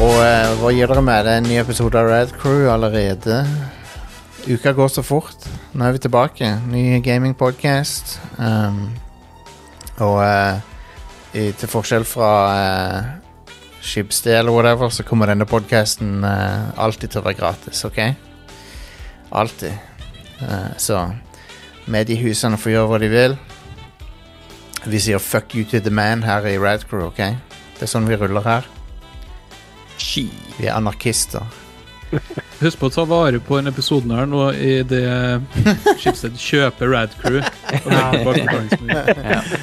Og eh, hva gir dere med? Det er en ny episode av Red Crew allerede. Uka går så fort. Nå er vi tilbake. Ny gamingpodcast. Um, og eh, i, til forskjell fra eh, Skibsted eller whatever, så kommer denne podcasten eh, alltid til å være gratis, OK? Alltid. Eh, så mediehusene får gjøre hva de vil. Vi sier fuck you to the man her i Red Crew, OK? Det er sånn vi ruller her. Ski. Vi er anarkister. Husk på å ta vare på denne episoden her nå i det Schibsted kjøper Rad Crew. Og legger bak betalingsmuren.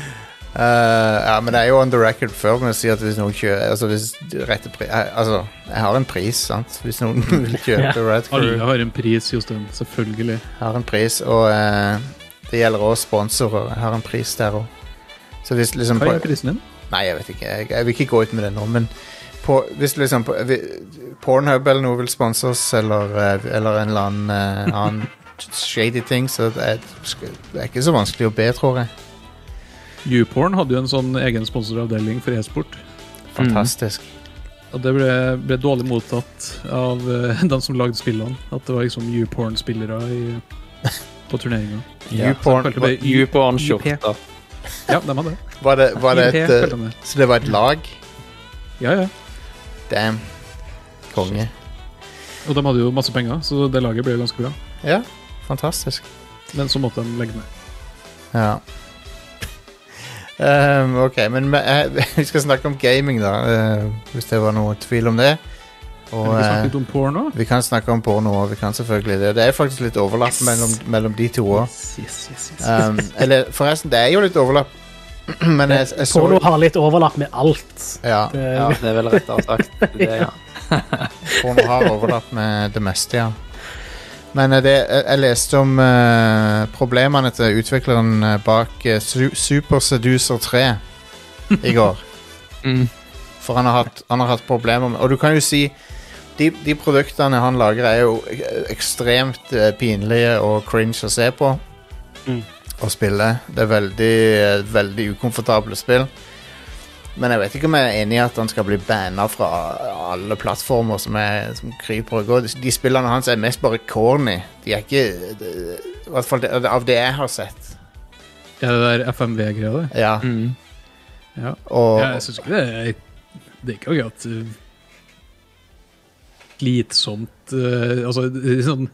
Eh, ja, men det er jo on the record før men å si at hvis noen kjører Altså, hvis du retter pri... eh, Altså, jeg har en pris, sant? Hvis noen vil kjøpe Red Alle Crew, har en pris, Jostein. Selvfølgelig. jeg har en pris, og eh, det gjelder også sponsorer. Jeg har en pris der òg. Så hvis liksom Hva på, er prisen din? Nei, jeg vet ikke. Jeg, jeg vil ikke gå ut med det nå, men på, hvis liksom på, vi, Pornhub eller noe vil sponse oss, eller, eh, eller en eller annen, eh, annen shady ting, så det er, det er ikke så vanskelig å be, tror jeg. Youporn hadde jo en sånn egen sponsoravdeling for e-sport. Fantastisk. Og det ble, ble dårlig mottatt av eh, de som lagde spillene. At det var liksom Youporn-spillere i- på turneringa. Ja. YouPorn- Kalte det You på en skjorte. Ja, de hadde det. Var det, var det et Helt eh, følgende. Så det var et lag? Ja, ja. Damn. Konge. Og de hadde jo masse penger, så det laget ble jo ganske bra. Ja, fantastisk. Men så måtte de legge ned. Ja. Ehm, ok, men me- eh, vi skal snakke om gaming, da. eh, hvis det var noe tvil om det. Og Kan vi eh, snakke litt om porno? vi kan snakke om porno òg. Vi kan selvfølgelig det. Det er faktisk litt overlapp mellom, mellom de to òg. eller forresten, det er jo litt overlapp, Eh, men jeg, jeg så Porno har litt overlapp med alt. Ja, Det, Ja, det er vel rettere sagt. Det, ja. porno har overlapp med det meste, ja. Men eh, det, jeg, jeg leste om eh, problemene til utvikleren eh, bak eh, Su Super Seducer 3 i går. Mm. For han har hatt, han har hatt problemer med Og du kan jo si de, de produktene han lager, er jo ek- ekstremt eh, pinlige og cringe å se på. Mm. Og spille. Det er veldig, eh, veldig ukomfortable spill. Men jeg vet ikke om jeg er enig i at han skal bli banna fra alle plattformer som, er, som kryper og går. De- De spillene hans er mest bare corny. De er ikke de- I hvert fall det- av det jeg har sett. Ja, det der FMV-greia der. Ja. Mm. Ja. Og Ja, jeg syns ikke det er Det er ikke akkurat uh, slitsomt uh, Altså, det er sånn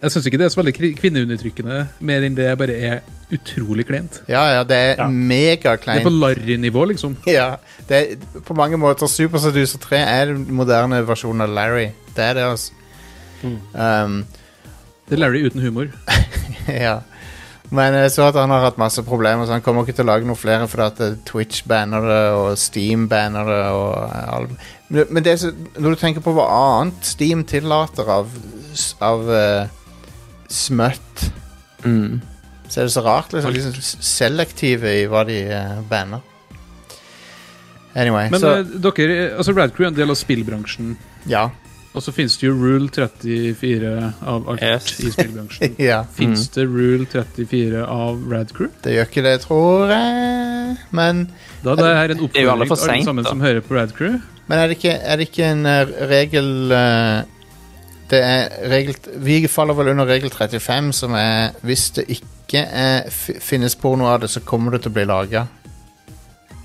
Jeg syns ikke det er så veldig kri- kvinneundertrykkende, mer enn det bare er utrolig kleint. Ja, ja, det er Ja. Det er megakleint. på larry-nivå, liksom. Ja, det er, på mange måter Super Seducer 3 er den moderne versjonen av Larry. Det er det, altså. Mm. Um, Det er Larry uten humor. ja. Men jeg så at han har hatt masse problemer, så han kommer ikke til å lage noen flere fordi at eh, Twitch banner det, og Steam banner det, og eh, all... Men, men det, er så- når du tenker på hva annet Steam tillater av, s- av eh, smøtt, Mm. så er det så rart, liksom. De er så s- selektive i hva de eh, banner. Anyway, Men så uh, dere, altså Radcrew er en del av spillbransjen. Ja. Og så finnes det jo Rule 34 av alt Yes. Mm. i spillbransjen. ja. Fins det Rule 34 av Radcrew? Det gjør ikke det, tror jeg. Men, Da det er en er jo alle oppfordring for til alle sent, sammen da. som hører på Radcrew. men er, det ikke, er det ikke en eh, regel eh, Det er regel Vi faller vel under regel 35, som er hvis det ikke er, f- finnes porno av det, så kommer det til å bli laga.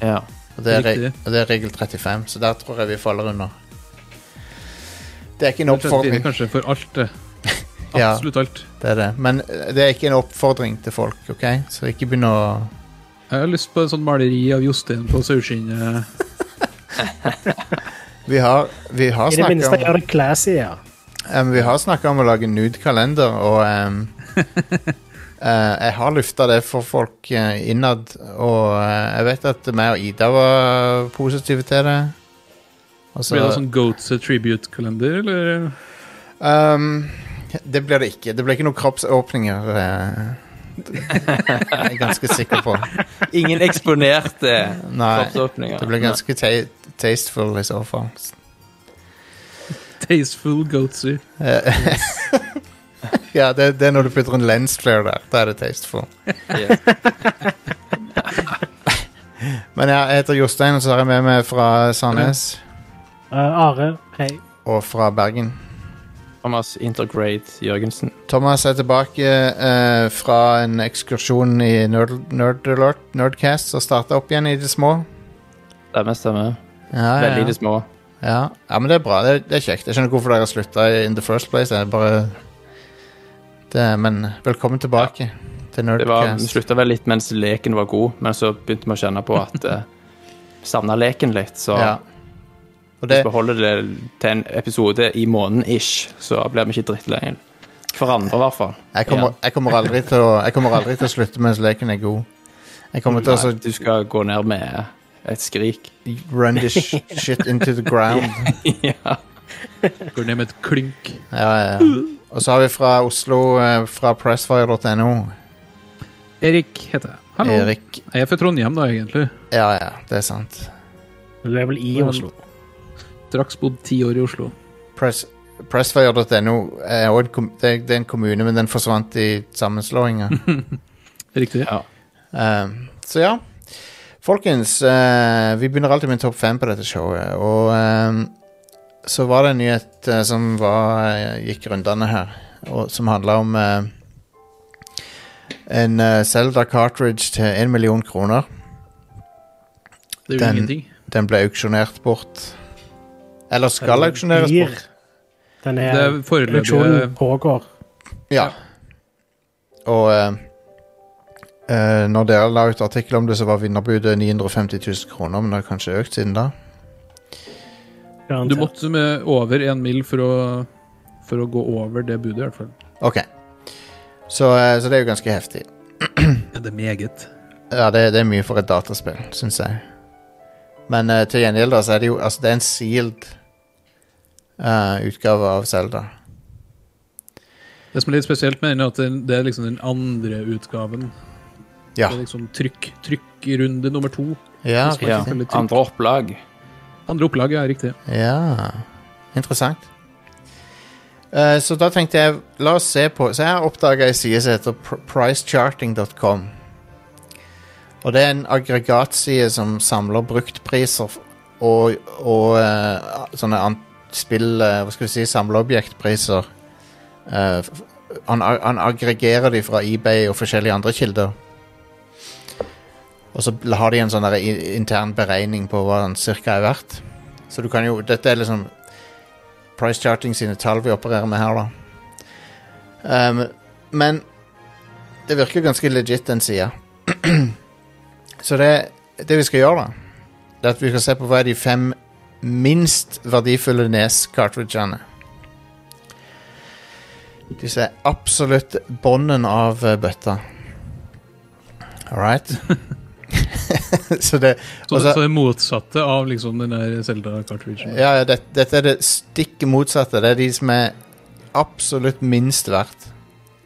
Ja. Og, det er Riktig. reg- og det er regel 35, så der tror jeg vi faller under. Det er ikke en Rule 34 oppfordring. kanskje for alt, det. Ja. Absolutt alt. Det er det. Men eh, det er ikke en oppfordring til folk, OK? Så ikke begynn å Jeg har lyst på en sånn maleri av Jostein på saueskinnet. Vi har, vi har I det snakka minste om gjør det classy, ja. Um, vi har snakka om å lage nude-kalender, og um, eh, jeg har lufta det for folk eh, innad. Og eh, jeg vet at meg og Ida var positive til det. Og så Blir det sånn Goats tribute-kalender, eller? um, Det blir det ikke. Det blir ikke noen kroppsåpninger. eh. det er jeg ganske sikker på. Ingen eksponerte Nei. kroppsåpninger. Det blir ganske ta tasteful i så fall. Tasteful goatsy. Eh, ja, det, det er når du putter en lens flare der. Da er det tasteful. Nei. Yes. Men ja, jeg heter Jostein, og så har jeg med meg fra Sandnes. Eh, Are, hei. og fra Bergen. Thomas Intergrade Jørgensen. Thomas er tilbake eh, fra en ekskursjon i Nerd, Nerd Alert, Nerdcast, som starta opp igjen i det små. Stemmer, stemmer. Ja, ja, Veldig i ja. det små. ja. ja men det er bra. Det, det er kjekt. Jeg skjønner ikke hvorfor dere slutta in the first place. Det er bare det, Men velkommen tilbake til Det var, vi Nerdcast. slutta vel litt mens leken var god, men så begynte vi å kjenne på at eh, savna leken litt, så Ja. Og hvis det, vi holder det til en episode i måneden ish, så blir vi ikke drittlei hverandre, i hvert fall. jeg, kommer, jeg, kommer aldri til å, jeg kommer aldri til å slutte mens leken er god. Jeg kommer til å Nei, så du skal gå ned med et skrik. run this sh- shit into the ground. ja. Går ned med et klynk. Ja, ja, ja. Og så har vi fra Oslo, eh, fra pressfire.no, Erik heter jeg. Hallo. Erik. Jeg er fra Trondheim, da, egentlig. Ja, ja, det er sant. Du er vel i Men- Oslo. Straks bodd ti år i Oslo. Press, Pressfire.no er også en kom- det, er- det er en kommune, men den forsvant i sammenslåinga. Riktig. ja. Um, så ja. Folkens, eh, vi begynner alltid med en topp fem på dette showet, og ehm, så var det en nyhet eh, som var, eh, gikk rundene her, og, som handla om eh, en uh, Zelda cartridge til én million kroner. Det er jo Den- ingenting. Den ble auksjonert bort. Eller skal Den auksjoneres blir- bort. Den Det er eh, her foreløpige auksjonen pågår. Ja. Og eh, eh, når dere la ut artikkel om det, så var vinnerbudet 950 000 kroner, men det har kanskje økt siden da. garantert. Du måtte med over én mil for å, for å gå over det budet, i hvert fall. Ok. Så, eh, så det er jo ganske heftig. Ja, det er meget. Ja, det, det er mye for et dataspill, syns jeg. Men eh, til gjengjeld, da, så er det jo Altså, det er en sealed eh, utgave av Zelda. Det som er litt spesielt med den, er at den- det er liksom den andre utgaven. Ja. Det er liksom trykk, trykkrunde nummer to. Ja, Det ja. riktig. Andre opplag. Andre opplag, ja, riktig. Ja, interessant. Eh, så da tenkte jeg, la oss se på Så jeg har oppdaga ei side som heter pr- pricecharting.com. Og det er en aggregatside som samler bruktpriser f- og, og eh, sånne an spill eh, Hva skal vi si, samleobjektpriser. Eh, f- han, ag- han aggregerer de fra eBay og forskjellige andre kilder. Og så har de en sånn der i- intern beregning på hva den cirka er verdt. Så du kan jo Dette er liksom Price Charting sine tall vi opererer med her, da. Um, men det virker ganske legit, den sida. Så det, det vi skal gjøre, da, det er at vi skal se på hva er de fem minst verdifulle nes-cartridgene. Disse er absolutt bånden av eh, bøtta. All right? Så det Så, Og så- så det motsatte av liksom den der Zelda-cartridgen. Ja, ja det, dette er det stikk motsatte. Det er de som er absolutt minst verdt.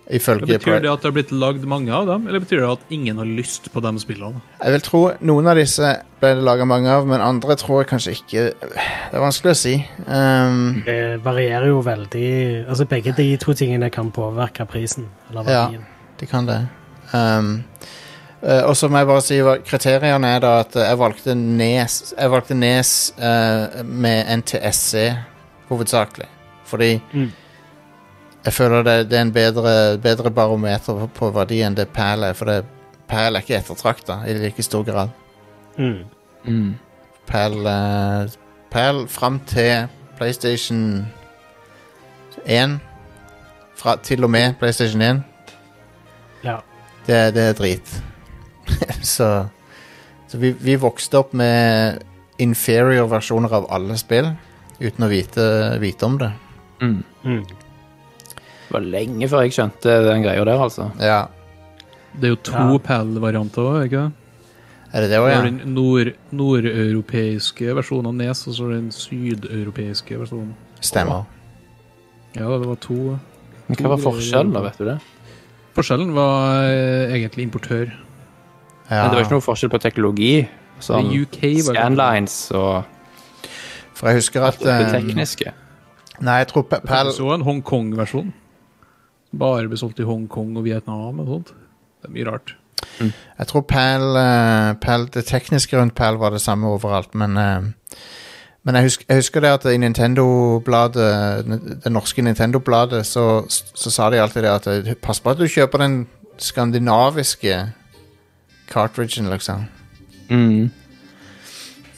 Det Ifølge betyr Pri- det at det har blitt lagd mange av dem, eller betyr det at ingen har lyst på de spillene? Jeg vil tro noen av disse ble det laga mange av, men andre tror jeg kanskje ikke Det er vanskelig å si. Ehm, Det varierer jo veldig. Altså Begge de to tingene kan påvirke prisen. Eller Ja. verdien. de kan det. Ehm, eh, og så må jeg bare si hva kriteriene er, da. At eh, jeg valgte Nes, jeg valgte nes eh, med NTSC hovedsakelig. Fordi Mm. jeg føler det, det er en bedre, bedre barometer på, på verdi enn det PAL er. For det, PAL er ikke ettertrakta i like stor grad. Mm. Mm. PAL, eh, PAL fram til PlayStation 1. Fra, til og med PlayStation 1. Ja. Det, det er drit. så så vi, vi vokste opp med inferior versjoner av alle spill uten å vite, vite om det. Mm. Mm. Det var lenge før jeg skjønte den greia der, altså. Ja, Det er jo to Ja. PAL-varianter òg, ikke det? Er det det òg, Det er ja? Den nord nordeuropeiske versjonen av Nes, og så den sydeuropeiske versjonen. Stemmer. Ja, det var to. Men hva var forskjellen, da, vet du det? Forskjellen var eh, egentlig importør. Ja. Men det var ikke noe forskjell på teknologi. Sånn Det er UK, var det. Scanlines og For jeg husker at det eh, tekniske. Nei, jeg tror P- Pal... PAL Så en Hongkong-versjon. Bare ble solgt i Hongkong og Vietnam og sånt. Det er mye rart. Jeg tror PAL, eh, PAL Det tekniske rundt PAL var det samme overalt, men eh, Men jeg husker, jeg husker det at i Nintendo-bladet, eh, det norske Nintendo-bladet, så, så sa de alltid det at eh, pass på at du kjøper den skandinaviske cartridgen, liksom. Mm.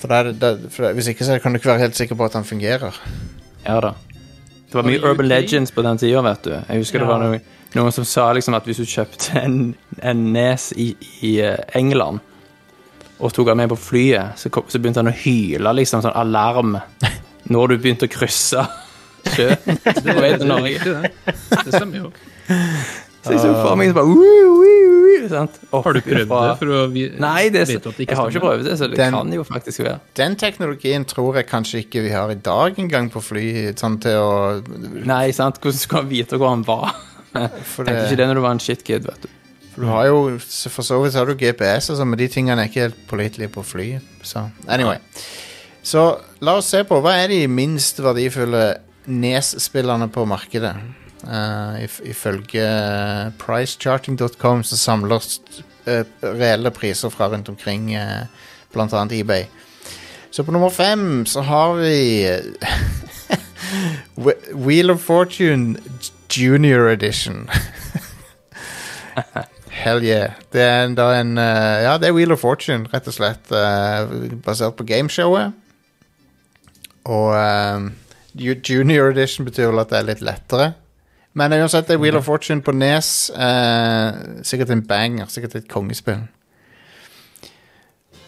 For, da er det- da- for hvis ikke så kan du ikke være helt sikker på at den fungerer. Ja da. Det var Og i mye Urban UK? Legends på den tida, vet du. Jeg husker det Ja. var noen, noen som sa liksom at hvis du kjøpte en, en nes i, i eh, England og tok han med på flyet, så, kom, så begynte han å hyle, liksom. Sånn alarm. Nå har du begynt å krysse sjøen på vei til Norge. riktig, det. Det stemmer jo. Så jeg så for meg så bare woo, woo, woo, sant? Um, Opp Har du prøvd fra- det? For å vi, Nei, det, vet du at det jeg har ikke stemmer? prøvd det, så det Den- kan jo faktisk være. Den teknologien tror jeg kanskje ikke vi har i dag engang på fly, sånn til å Nei, sant? Hvordan skulle han vite hvor han var? For, Tenkte det, ikke det når du var en shitkid, vet du. for du har jo For så vidt har du GPS og sånn, men de tingene er ikke helt pålitelige på fly. Så anyway. Så la oss se på hva er de minst verdifulle NES-spillerne på markedet. Eh, if, ifølge eh, pricecharting.com så samler eh, reelle priser fra rundt omkring, eh, blant annet eBay. Så på nummer fem så har vi Whe- Wheel of Fortune Junior Edition. Hell yeah. Det er en- da en eh, Ja, det er Wheel of Fortune, rett og slett. eh, basert på gameshowet. Og eh, ju- Junior Edition betyr vel at det er litt lettere. Men uansett, det er Wheel of Fortune på Nes. eh, sikkert en banger. Sikkert et kongespill.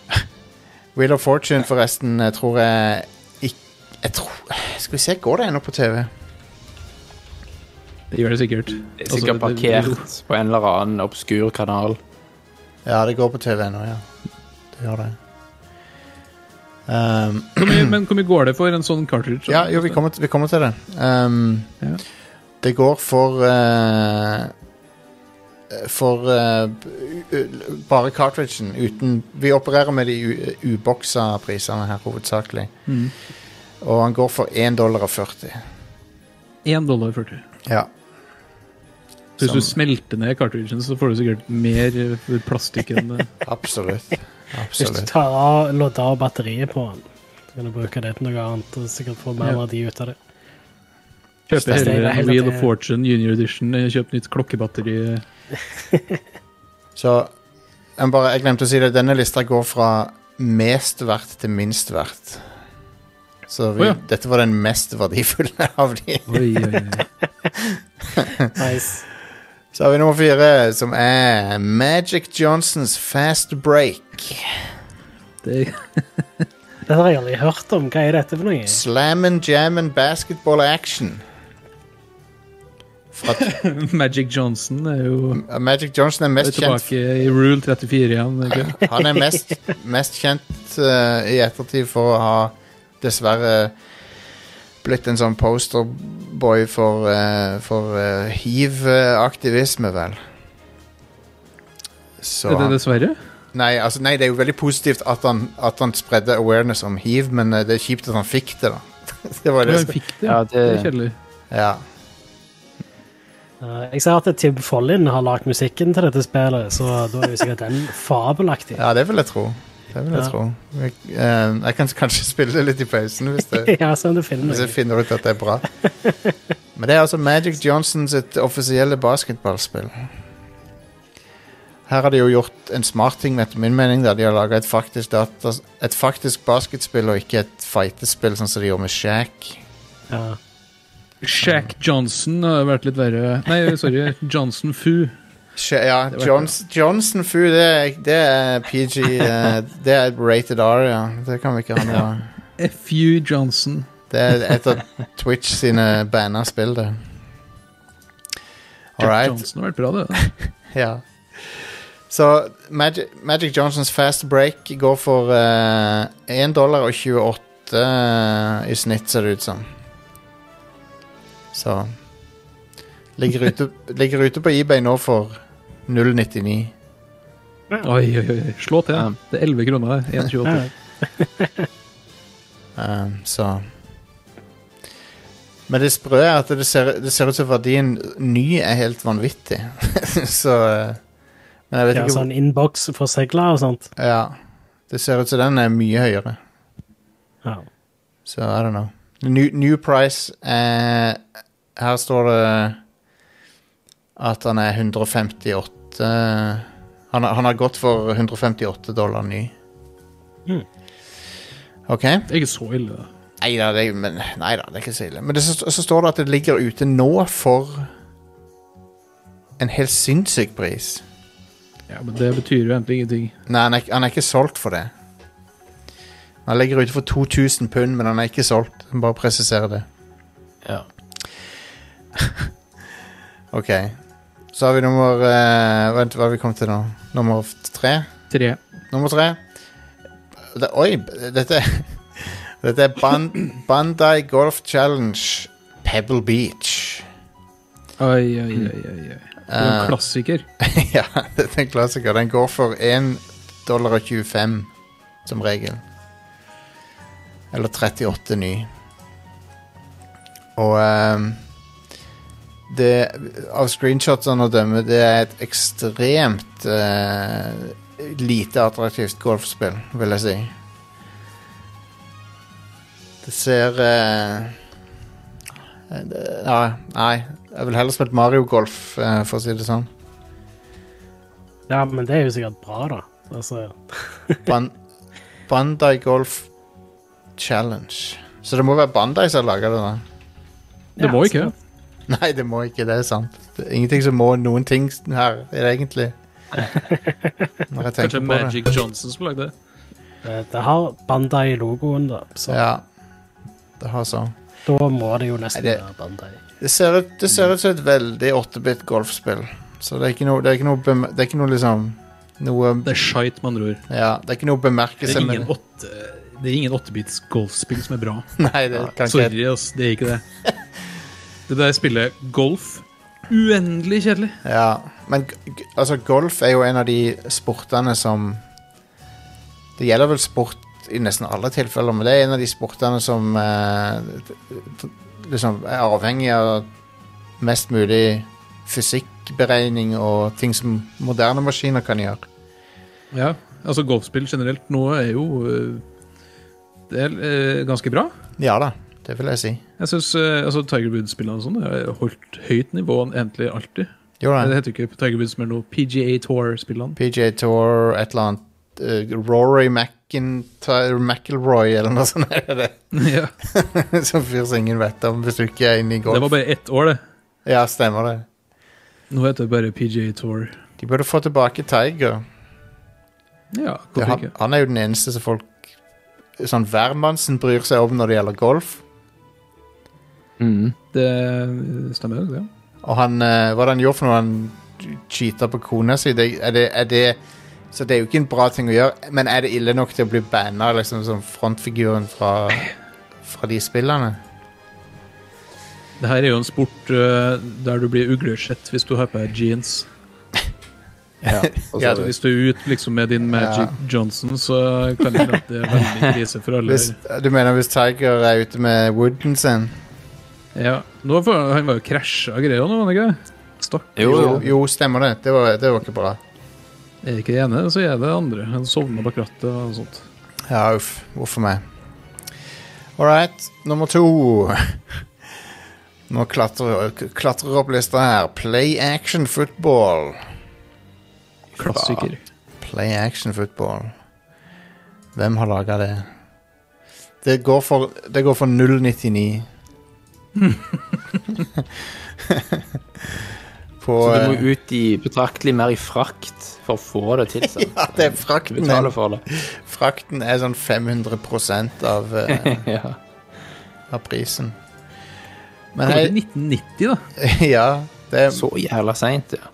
Wheel of Fortune, forresten, jeg tror jeg ikk- jeg tror, Skal vi se, går det ennå på TV? Det gjør det sikkert. Det Altså, er sikkert det- det- parkert på en eller annen obskur kanal. Ja, det går på TV ennå, ja. Det gjør det. Um, Hvor mye, men hvor mye går det for en sånn cartridge? ja, jo, vi kommer, til- vi kommer til det. Um, Ja. Det går for eh, For eh, b- u- bare cartridgen. Uten Vi opererer med de u- uboksa prisene her hovedsakelig. Mm. Og han går for 1,40 dollar. 1 dollar 40. Ja. Så hvis du Som- smelter ned cartridgen, så får du sikkert mer eh, for plastikk enn eh, Absolutt. Hvis du Absolutt. tar av, lodder av batteriet på den, så kan du bruke det til noe annet og sikkert få mer Ja. verdi ut av det. Kjøpe Det er heller en helt Wheel at of det- Fortune Junior Edition, eh, kjøp nytt klokkebatteri eh. Så jeg, bare, jeg glemte å si det. Denne lista går fra mest verdt til minst verdt. Så vi, Å ja. dette var den mest verdifulle av de. Oi, oi, oi. Nice. Så har vi nummer fire, som er Magic Johnsons Fast Break. Det, Det har jeg aldri hørt om. Hva er dette for noe? Slammin' jammin' basketball action. Fra, Magic Johnson er jo Magic Johnson er er mest kjent tilbake i Rule 34 igjen. Ikke? Han er mest, mest kjent eh, i ettertid for å ha dessverre blitt en sånn posterboy for, eh, for eh, hiv-aktivisme, vel. Så Er det han, dessverre? nei, altså, nei, det er jo veldig positivt at han, at han spredde awareness om hiv, men eh, det er kjipt at han fikk det, da. det var Ja, det. han som- fikk det. Ja, det- det er kjedelig. Ja. Eh, Jeg ser at Tim Follin har lagd musikken til dette spillet, så da er jo sikkert den fabelaktig. ja, det vil jeg tro. Det vil jeg Ja. tro. Jeg, eh, jeg kan kanskje spille det litt i pausen, hvis det Ja, se om du finner Hvis jeg noe. finner ut at det er bra. Men det er altså Magic Johnson sitt offisielle basketballspill. Her har de jo gjort en smart ting, etter min mening. Der de har laga et, faktisk datas- et faktisk basketspill og ikke et fightespill, sånn som de gjorde med Shack. Ja. Shaq Johnson har vært litt verre. Nei, sorry. Johnson Fu. Sha- Ja, Det var Johns, Johnson Fu, det er, det er PG eh, Det er rated R, ja. Det kan vi ikke ha noe av. FU Johnson. Det er et av Twitch sine banna spill, det. All Jack right. Johnson har vært bra, det. Ja. Så Magic, Magic Johnsons Fast Break går for uh, 1 dollar og 28 eh, i snitt, ser det ut som. Så Ligger ute, ligger ute på eBay nå for 0,99. Oi, oi, oi. Slå til. Ja. Det er 11 kroner. 1,28. Ja. Eh, så Men det sprø er at det ser, det ser ut som verdien ny er helt vanvittig. så eh, Men jeg vet Ja, ikke sånn innboks for segler og sånt. hvor- Ja. Det ser ut som den er mye høyere. Ja. Så I don't know. New, new price eh, Her står det at han er 158 Han, har- han har gått for 158 dollar ny. Mm. OK? Det er ikke så ille, da. Nei da, det, er- men, nei da, det er ikke så ille. Men det, så, så står det at det ligger ute nå for en helt sinnssyk pris. Ja, men det betyr jo egentlig ingenting. Nei, han er, ikke- han er ikke solgt for det. Han ligger ute for 2000 pund, men han er ikke solgt. Jeg må Bare presisere det. Ja. Ok. Så har vi nummer eh, Vent, hva har vi kommet til nå? Nummer f- tre? Tre. Nummer tre. Det, oi, dette Dette er Ban Bandai Golf Challenge Pebble Beach. Oi, oi, oi. oi, oi. Det er Eh, en klassiker. ja, dette er en klassiker. Den går for 1 dollar og 25 som regel. Eller 38 ny. Og ehm, det, Av screenshotsene å dømme, det er et ekstremt eh, lite attraktivt golfspill, vil jeg si. Det ser eh, det, ja, Nei, jeg vil heller spilt Mario Golf, eh, for å si det sånn. Ja, men det er jo sikkert bra, da. Altså, Ban Bandai Golf Challenge. Så det må være Bandai som lager det, da. Det ja, må ikke. sikkert. Nei, det må ikke. Det er sant. Det er ingenting som må noen ting her, er det egentlig. Når jeg Kanskje tenker på det. Magic Johnson som lagde det. Eh, Det har Bandai i logoen, da. Så Ja. Det har sånn. da må det jo nesten Nei, det- være Bandai. Det ser ut, det ser ut som et veldig 8-bit golfspill. Så det er ikke noe Det er ikke noe, bem- det er ikke noe liksom noe, Det er shite, med andre ord. ja, det er ikke noe å bemerke Det er seg ingen med. åtte... Det er ingen åttebits golfspill som er bra. Nei, det kan ikke Sorry, ass. Det er ikke det. Det der spillet golf Uendelig kjedelig. Ja, men g- g- altså, golf er jo en av de sportene som Det gjelder vel sport i nesten alle tilfeller, men det er en av de sportene som eh, t- t- liksom er avhengig av mest mulig fysikkberegning og ting som moderne maskiner kan gjøre. Ja, altså golfspill generelt nå er jo øh, Det er øh, ganske bra. Ja da, det vil jeg si. Jeg synes, øh, altså Tiger Woods-spillene og sånn har holdt høyt nivå egentlig alltid. Jo Det da. heter jo ikke Tiger Woods, men noe PGA Tour-spillene. PJ Tour, et eller annet eh, Rory McIntyre McIlroy eller noe sånt. Er det ja. det? Som fyr som ingen vet om, hvis du ikke er inne i Det golf. var bare ett år, det. Ja, stemmer det. Nå heter det bare PGA Tour. De burde få tilbake Tiger. Ja, Det, hvorfor han, ikke? han er jo den eneste som folk Sånn hvermannsen bryr seg om når det gjelder golf. Mm. Det stemmer jo, det. Og han, eh, hva er det han gjorde for noe? Han cheata på kona si. Det, er det, er det, så det er jo ikke en bra ting å gjøre. Men er det ille nok til å bli banna liksom, som frontfiguren fra, fra de spillene? Det her er jo en sport øh, der du blir uglesett hvis du har på deg jeans. Ja, for så Ja, Så vidt. hvis du er ute liksom, med din Magic Johnson, så kan det hende at det er veldig krise for alle. Hvis, du mener hvis Tiger er ute med wooden sin? Ja, nå var, Han var jo krasja og greier nå, var han ikke det? Stakk. jo, jo. jo stemmer det. Det var, det var ikke bra. Er ikke det ene, så er det det andre. Han sovna bak rattet og sånt. Ja, uff. Hvorfor meg? All right, nummer to. Nå klatrer, klatrer opp lista her. Play action football. Klassiker. Play action football. Hvem har laga det? Det går for, det går for 0,99. På Så du eh, må ut i betraktelig mer i frakt for å få det tilsendt. Ja, det er Du frakten. betaler for det. Frakten er sånn 500 av, eh, Ja. av prisen. Men Det var hei til 1990, da. Ja, det er Så jævla seint, ja.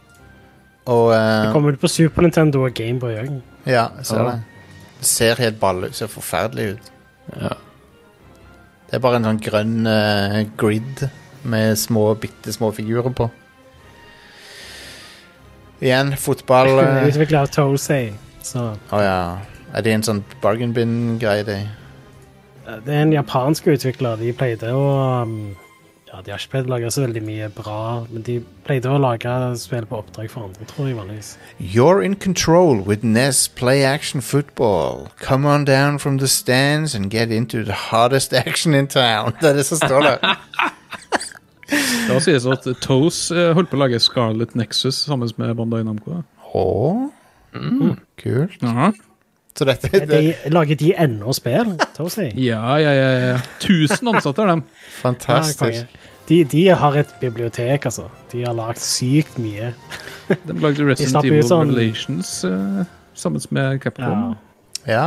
Og Det eh, kommer ut på Super Nintendo og Gameboy òg. Ja, jeg ser Ja. det. Det ser helt balle ut. Ser forferdelig ut. ja. Det er bare en sånn grønn eh, grid med små, bitte små figurer på. Igjen, fotball Å Utvikla av Tosei. eh, Så ja. Er det en sånn bargain bin-greie, det? eh, det er en japansk utvikler. De pleide å um, ja, de har ikke pleid å lage så veldig mye bra, men de pleide å lage spill på oppdrag for andre, tror jeg vanligvis. You're in control with NES Play Action Football. Come on down from the stands and get into the hardest action in town. Det er det som står der. Da sies det at Toes eh, holdt på å lage Scarlet Nexus sammen med Bandai Namco. Åh, kult. Aha. Så dette Er De, det er lager de ennå spill, Toasty? Ja, ja, ja, ja. Tusen ansatte er dem. fantastisk. De, de har et bibliotek, altså. De har lagd sykt mye. De lagde Resident slapp ut Evil sånn- Revelations eh, sammen med Capcom. Ja. Ja.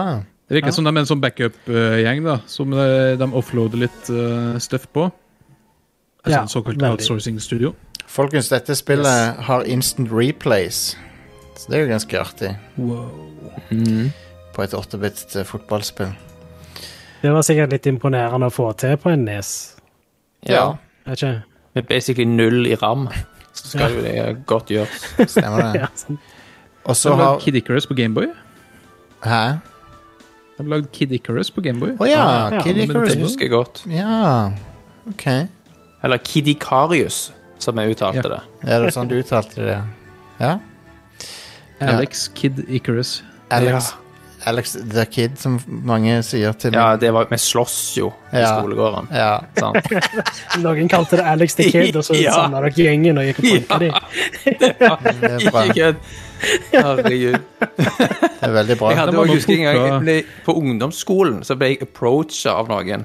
Det virker som de er en sånn backup-gjeng da, som eh, de offloader litt eh, stuff på. Altså Ja, en såkalt veldig. outsourcing-studio. Folkens, dette spillet har instant replays. Så det er jo ganske artig Mm. på et 8-bit eh, fotballspill. Det var sikkert litt imponerende å få til på en nes. Ja. Er ikke? Med basically null i ram, så skal jo det godt gjøres. Stemmer det. Ja, sånn. Og De så lagde har Kid Icarus på Gameboy. Hæ? De lagde Kid Icarus på Gameboy. Å ja, Ja, Kid men Icarus. Det husker jeg godt. Ja, OK. Eller Kidikarius, som jeg uttalte Ja. det. Er det sånn du uttalte det? Ja? Alex Kid Icarus. Alex, Alex the Kid, som mange sier til Ja, meg. det var, vi slåss jo i Ja. skolegården. Ja. Sant? Noen kalte det Alex the Kid, og så Ja. samla dere gjengen og gikk og banka dem. Det er bra. Ikke kødd. Herregud. Det er veldig bra. Jeg hadde Det var også noen husket en gang jeg fotball- ble, På ungdomsskolen så ble jeg approacha av noen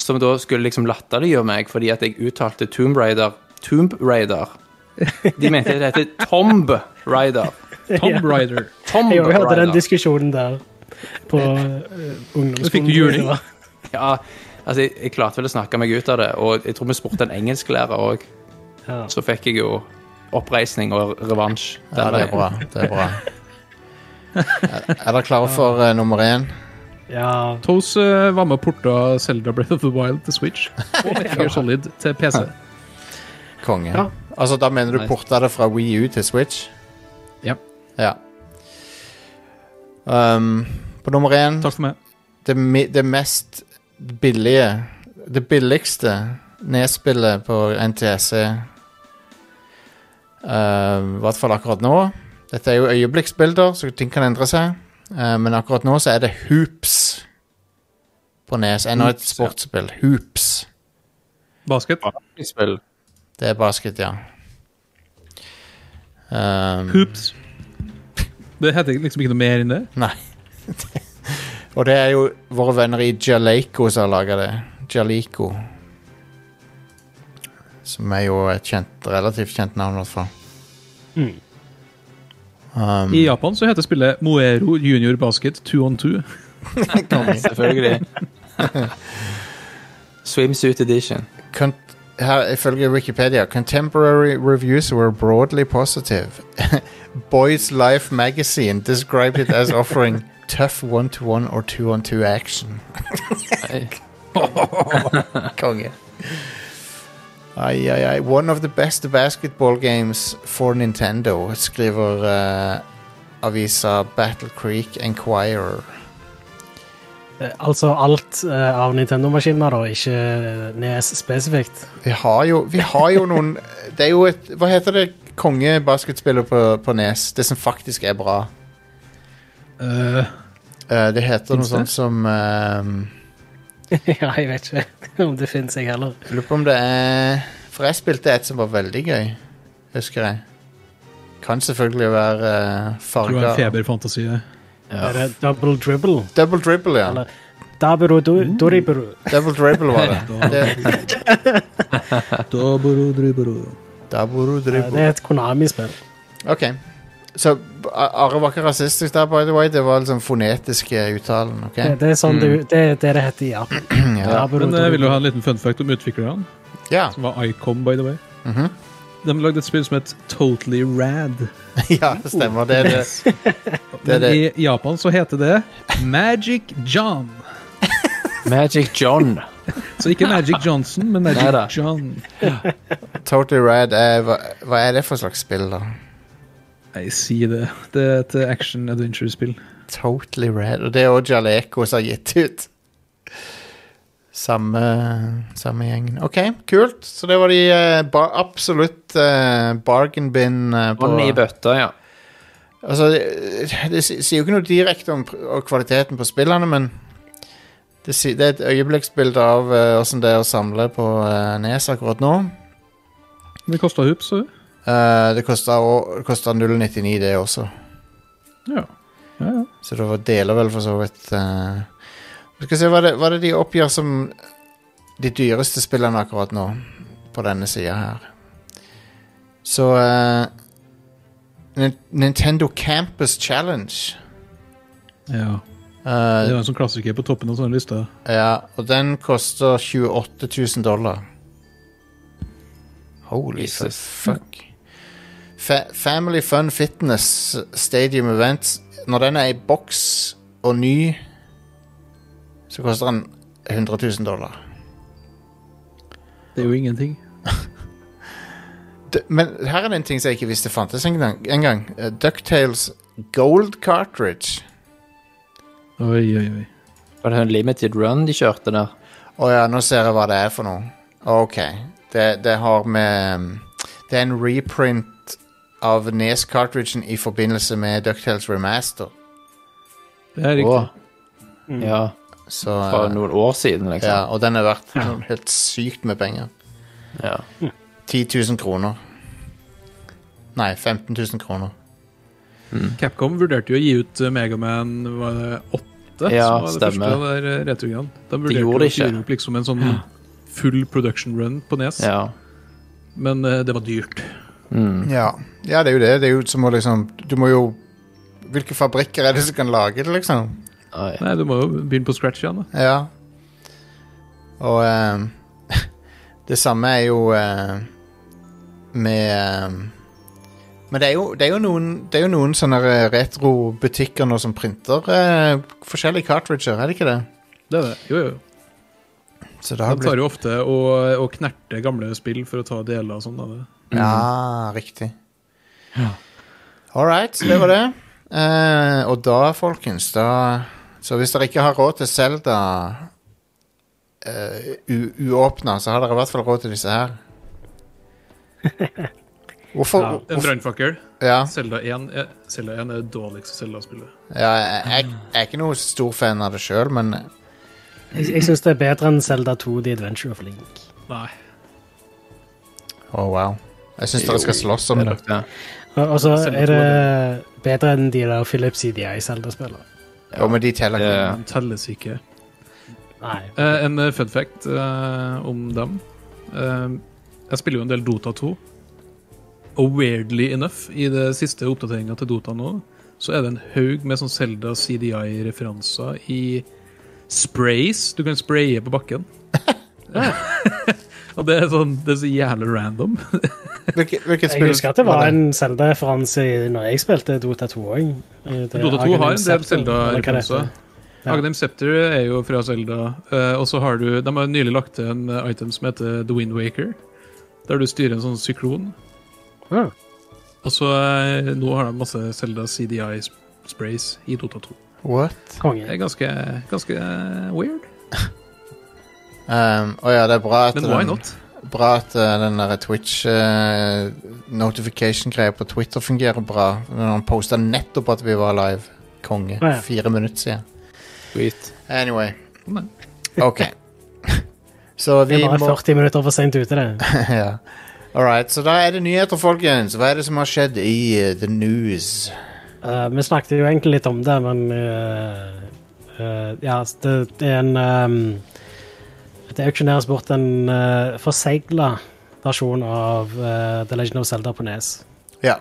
som da skulle liksom latterliggjøre meg fordi at jeg uttalte Tomb Raider Tomb Raider. De mente det heter Tomb Raider. Tom Ryder. Tomb Jeg også hørte den Raider. diskusjonen der på eh, ungdomsskolen. Så fikk du juling. Det var- Ja, altså, jeg, jeg klarte vel å snakke meg ut av det, og jeg tror vi spurte en engelsklærer òg. Ja. Så fikk jeg jo oppreisning og revansj. eh, Ja, det er bra. Det er bra. Er- Er dere klare for eh, nummer én? ja. Toes eh, var med og porta Zelda Breath of the Wild til Switch. Og Metal Gear Solid til PC. Konge. Ja. Altså, da mener du Nice. porta det fra Wii U til Switch? Ja. Ja. Um, på nummer én Takk for meg. det, mi- det mest billige Det billigste nedspillet på NTSC. Um, I hvert fall akkurat nå. Dette er jo øyeblikksbilder, så ting kan endre seg. Uh, men akkurat nå så er det Hoops på Nes. Enda et Hoops, ja. sportsspill. Hoops. Basket. Spill. Det er basket, ja. Um, Hoops. Det heter liksom ikke noe mer enn det. Nei. Og det er jo våre venner i Jaleco som har laga det. Jaleco. Som er jo et kjent, relativt kjent navn, i hvert fall. Mm. Um, I Japan så heter spillet Moero Junior Basket 2 on 2. Selvfølgelig. Swimsuit edition. Con- her, ifølge Wikipedia Contemporary reviews were broadly positive. Boys Life magazine described it as offering tough one-to-one or two-on-two action. Nei. Konge. Ai, ai, ai. One of the best basketball games for Nintendo, skriver eh, avisa Battle Creek Enquirer. Eh, Altså alt eh, av Nintendo-maskiner, da, ikke eh, Nes spesifikt. Vi har jo, vi har jo noen Det er jo et Hva heter det kongebasketspillet på, på Nes? Det som faktisk er bra. Eh, Eh, det heter noe Finns det? sånt som eh, ja, jeg vet ikke om det finnes, jeg heller. Jeg lurer på om det er For jeg spilte et som var veldig gøy, husker jeg. Kan selvfølgelig være uh, tror jeg er en farga feberfantasi. Er det double dribble? Double dribble, ja. Eller Daburu du, Doriburu. Double dribble var det. det Daburu Eh, Det dribble. er et Konami-spill. Ok. Så A- Are var ikke rasistisk der, by the way. Det var liksom fonetiske uttalen. ok? Det, det er sånn du, det, er det det heter i Japan. Ja. Daburu Men jeg vil jo ha Doriburu. en liten fun fact om utviklerne, Ja. som var Icom, by the way. Mhm. De lagde et spill som het Totally Rad. ja, det stemmer. Det er det. Det er Men det. i Japan så heter det Magic John. Magic John. Så ikke Magic Johnson, men Magic Neida. John. Totally Rad er hva, hva er det for slags spill, da? Nei, si det. Det er et action adventure-spill. Totally Rad. Og det er også Jaleco som har gitt ut. Samme, samme gjengen. OK, kult. Så det var de eh, ba absolutt eh, bargain bin eh, på Hånden i bøtta, ja. Altså, det, det si- sier jo ikke noe direkte om pr- og kvaliteten på spillene, men det, si- det er et øyeblikksbilde av åssen det er å samle på eh, Nes akkurat nå. Det kosta hups, så Eh, det kosta å- det kosta 0,99 det også, ja. ja, ja. så det var- deler vel for så vidt eh. Vi skal se hva det, hva det de oppgjør som de dyreste spillene akkurat nå, på denne sida her. Så eh, Nin- Nintendo Campus Challenge ja. eh, Det var en sånn klassiker på toppen av sånne lister. Ja, og den koster 28 000 dollar. Holy Jesus. fuck. Fa Family Fun Fitness Stadium Event. Når den er i boks og ny, så koster den 100 000 dollar. Det er jo ingenting. D men her er det en ting som jeg ikke visste fantes engang. En gang. Eh, Ducktales Gold Cartridge. Oi, oi, oi. Var det en limited run de kjørte der? Å ja, nå ser jeg hva det er for noe. Ok. Det, det har med um, Det er en reprint av Nes-cartridgen i forbindelse med Ducktales Remaster. Det er riktig. Åh. Ja, Så fra uh, noen år siden, ja, liksom. Og den er verdt noe helt sykt med penger. Ja. 10 000 kroner. Nei, 15 000 kroner. Capcom vurderte jo å gi ut eh, Megaman 8, Ja, som var det stemmer. første der eh, returgreiene. De vurderte gjorde jo det å ikke. gjøre opp liksom en sånn full production run på Nes, ja. men eh, det var dyrt. Mm. Ja. ja, det er jo det. Det er jo som å liksom Du må jo Hvilke fabrikker er det som kan lage det, liksom? Oi. Nei, du må jo begynne på scratch igjen, da. Ja. Og ehm, det samme er jo ehm, med ehm, Men det er jo, det er jo noen, det er jo noen sånne eh, retrobutikker nå som printer eh, forskjellige cartridger, er det ikke det? Det er det. Jo, jo. Så det har De tar blitt jo ofte å, å knerte gamle spill for å ta deler og sånn. da. Mhm. Ja, riktig. All right, så det var det. Eh, og da, folkens, da Så hvis dere ikke har råd til Selda uåpna, så har dere i hvert fall råd til disse her. Hvorfor Ja, En hvorfor- brannfakkel. Ja, Zelda 1 er, Zelda 1 er det dårligste Zelda-spillet. ja jeg, jeg, jeg er ikke noe stor fan av det sjøl, men Jeg, jeg syns det er bedre enn Zelda 2 The Adventure of Link. Nei. oh, wow. Jeg syns dere skal slåss om Det det. lukter- Og og så Zelda er 2 det er bedre enn de der Philips CDI-Zelda-spillene. Og med de teller Ja. ikke. De telles ikke. Nei. Eh, en eh, fun fact eh, om dem. Eh, jeg spiller jo en del Dota 2. Og weirdly enough, i det siste oppdateringa til Dota nå, så er det en haug med sånn Zelda CDI-referanser i sprays. Du kan spraye på bakken. og det er sånn Det er så jævlig random. Hvilket, hvilket Jeg spill husker at det var en Zelda-referanse i- når jeg spilte Dota eh, 2 òg. Dota 2 har en del Zelda-referanser. Ja. Agnem Scepter er jo fra Zelda. eh, og så har du De har nylig lagt til en eh, item som heter The Wind Waker. Der du styrer en sånn syklon. Ja. Og så eh, nå har de masse Zelda CDI-sprays i Dota 2. What? Det Konge. er ganske, ganske eh, weird. Um, og ja, det er bra at Men why den- not? Bra at eh, den der Twitch eh, notification-greia på Twitter fungerer bra. Når han posta nettopp at vi var live. Konge. Ah, ja. Fire minutter siden. Sweet. Anyway. Nei. OK. så Vi vi er bare må 40 minutter for seint ute, det. ja. All right, så da er det nyheter, folkens. Hva er det som har skjedd i eh, the news? Eh, vi snakket jo egentlig litt om det, men eh, eh, Ja, det, det er en ehm, Det auksjoneres bort en uh, forsegla versjon av eh, The Legend of Zelda på Nes. Ja.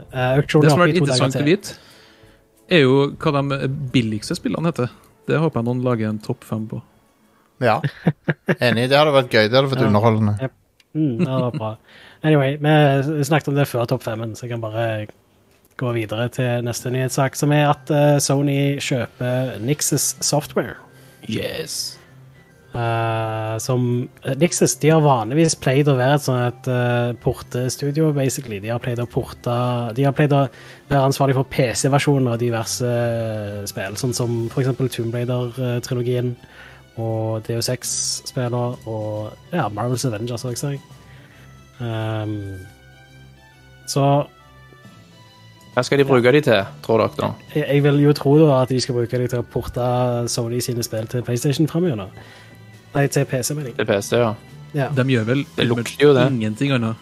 Uh, auksjonen Det er som har oppe vært i to dager interessant å til. vite, er jo hva de billigste spillene heter. Det håper jeg noen lager en topp fem på. ja. Enig. Det hadde vært gøy. Det hadde vært Ja. underholdende. Mm, det var bra. Anyway, vi snakket om det før topp femmen, så jeg kan bare gå videre til neste nyhetssak, som er at eh, Sony kjøper Nixes software. Yes. Eh, som eh, Nixes de har vanligvis pleid å være et sånn et eh, portestudio, basically. De har pleid å porte De har pleid å være ansvarlig for PC-versjoner av diverse eh, spill, sånn som for eksempel Tomb Raider-trilogien og DO6-spiller og ja, Marvels Avengers, så jeg ser. Ehm, så Hva skal de bruke de til, tror dere? da? jeg, jeg vil jo tro da at de skal bruke det til å porte Sony sine spill til PlayStation framover. Nei, til PC, mener jeg. Til PC, ja. Ja. De gjør vel Det pretty lukter jo much det. ingenting annet.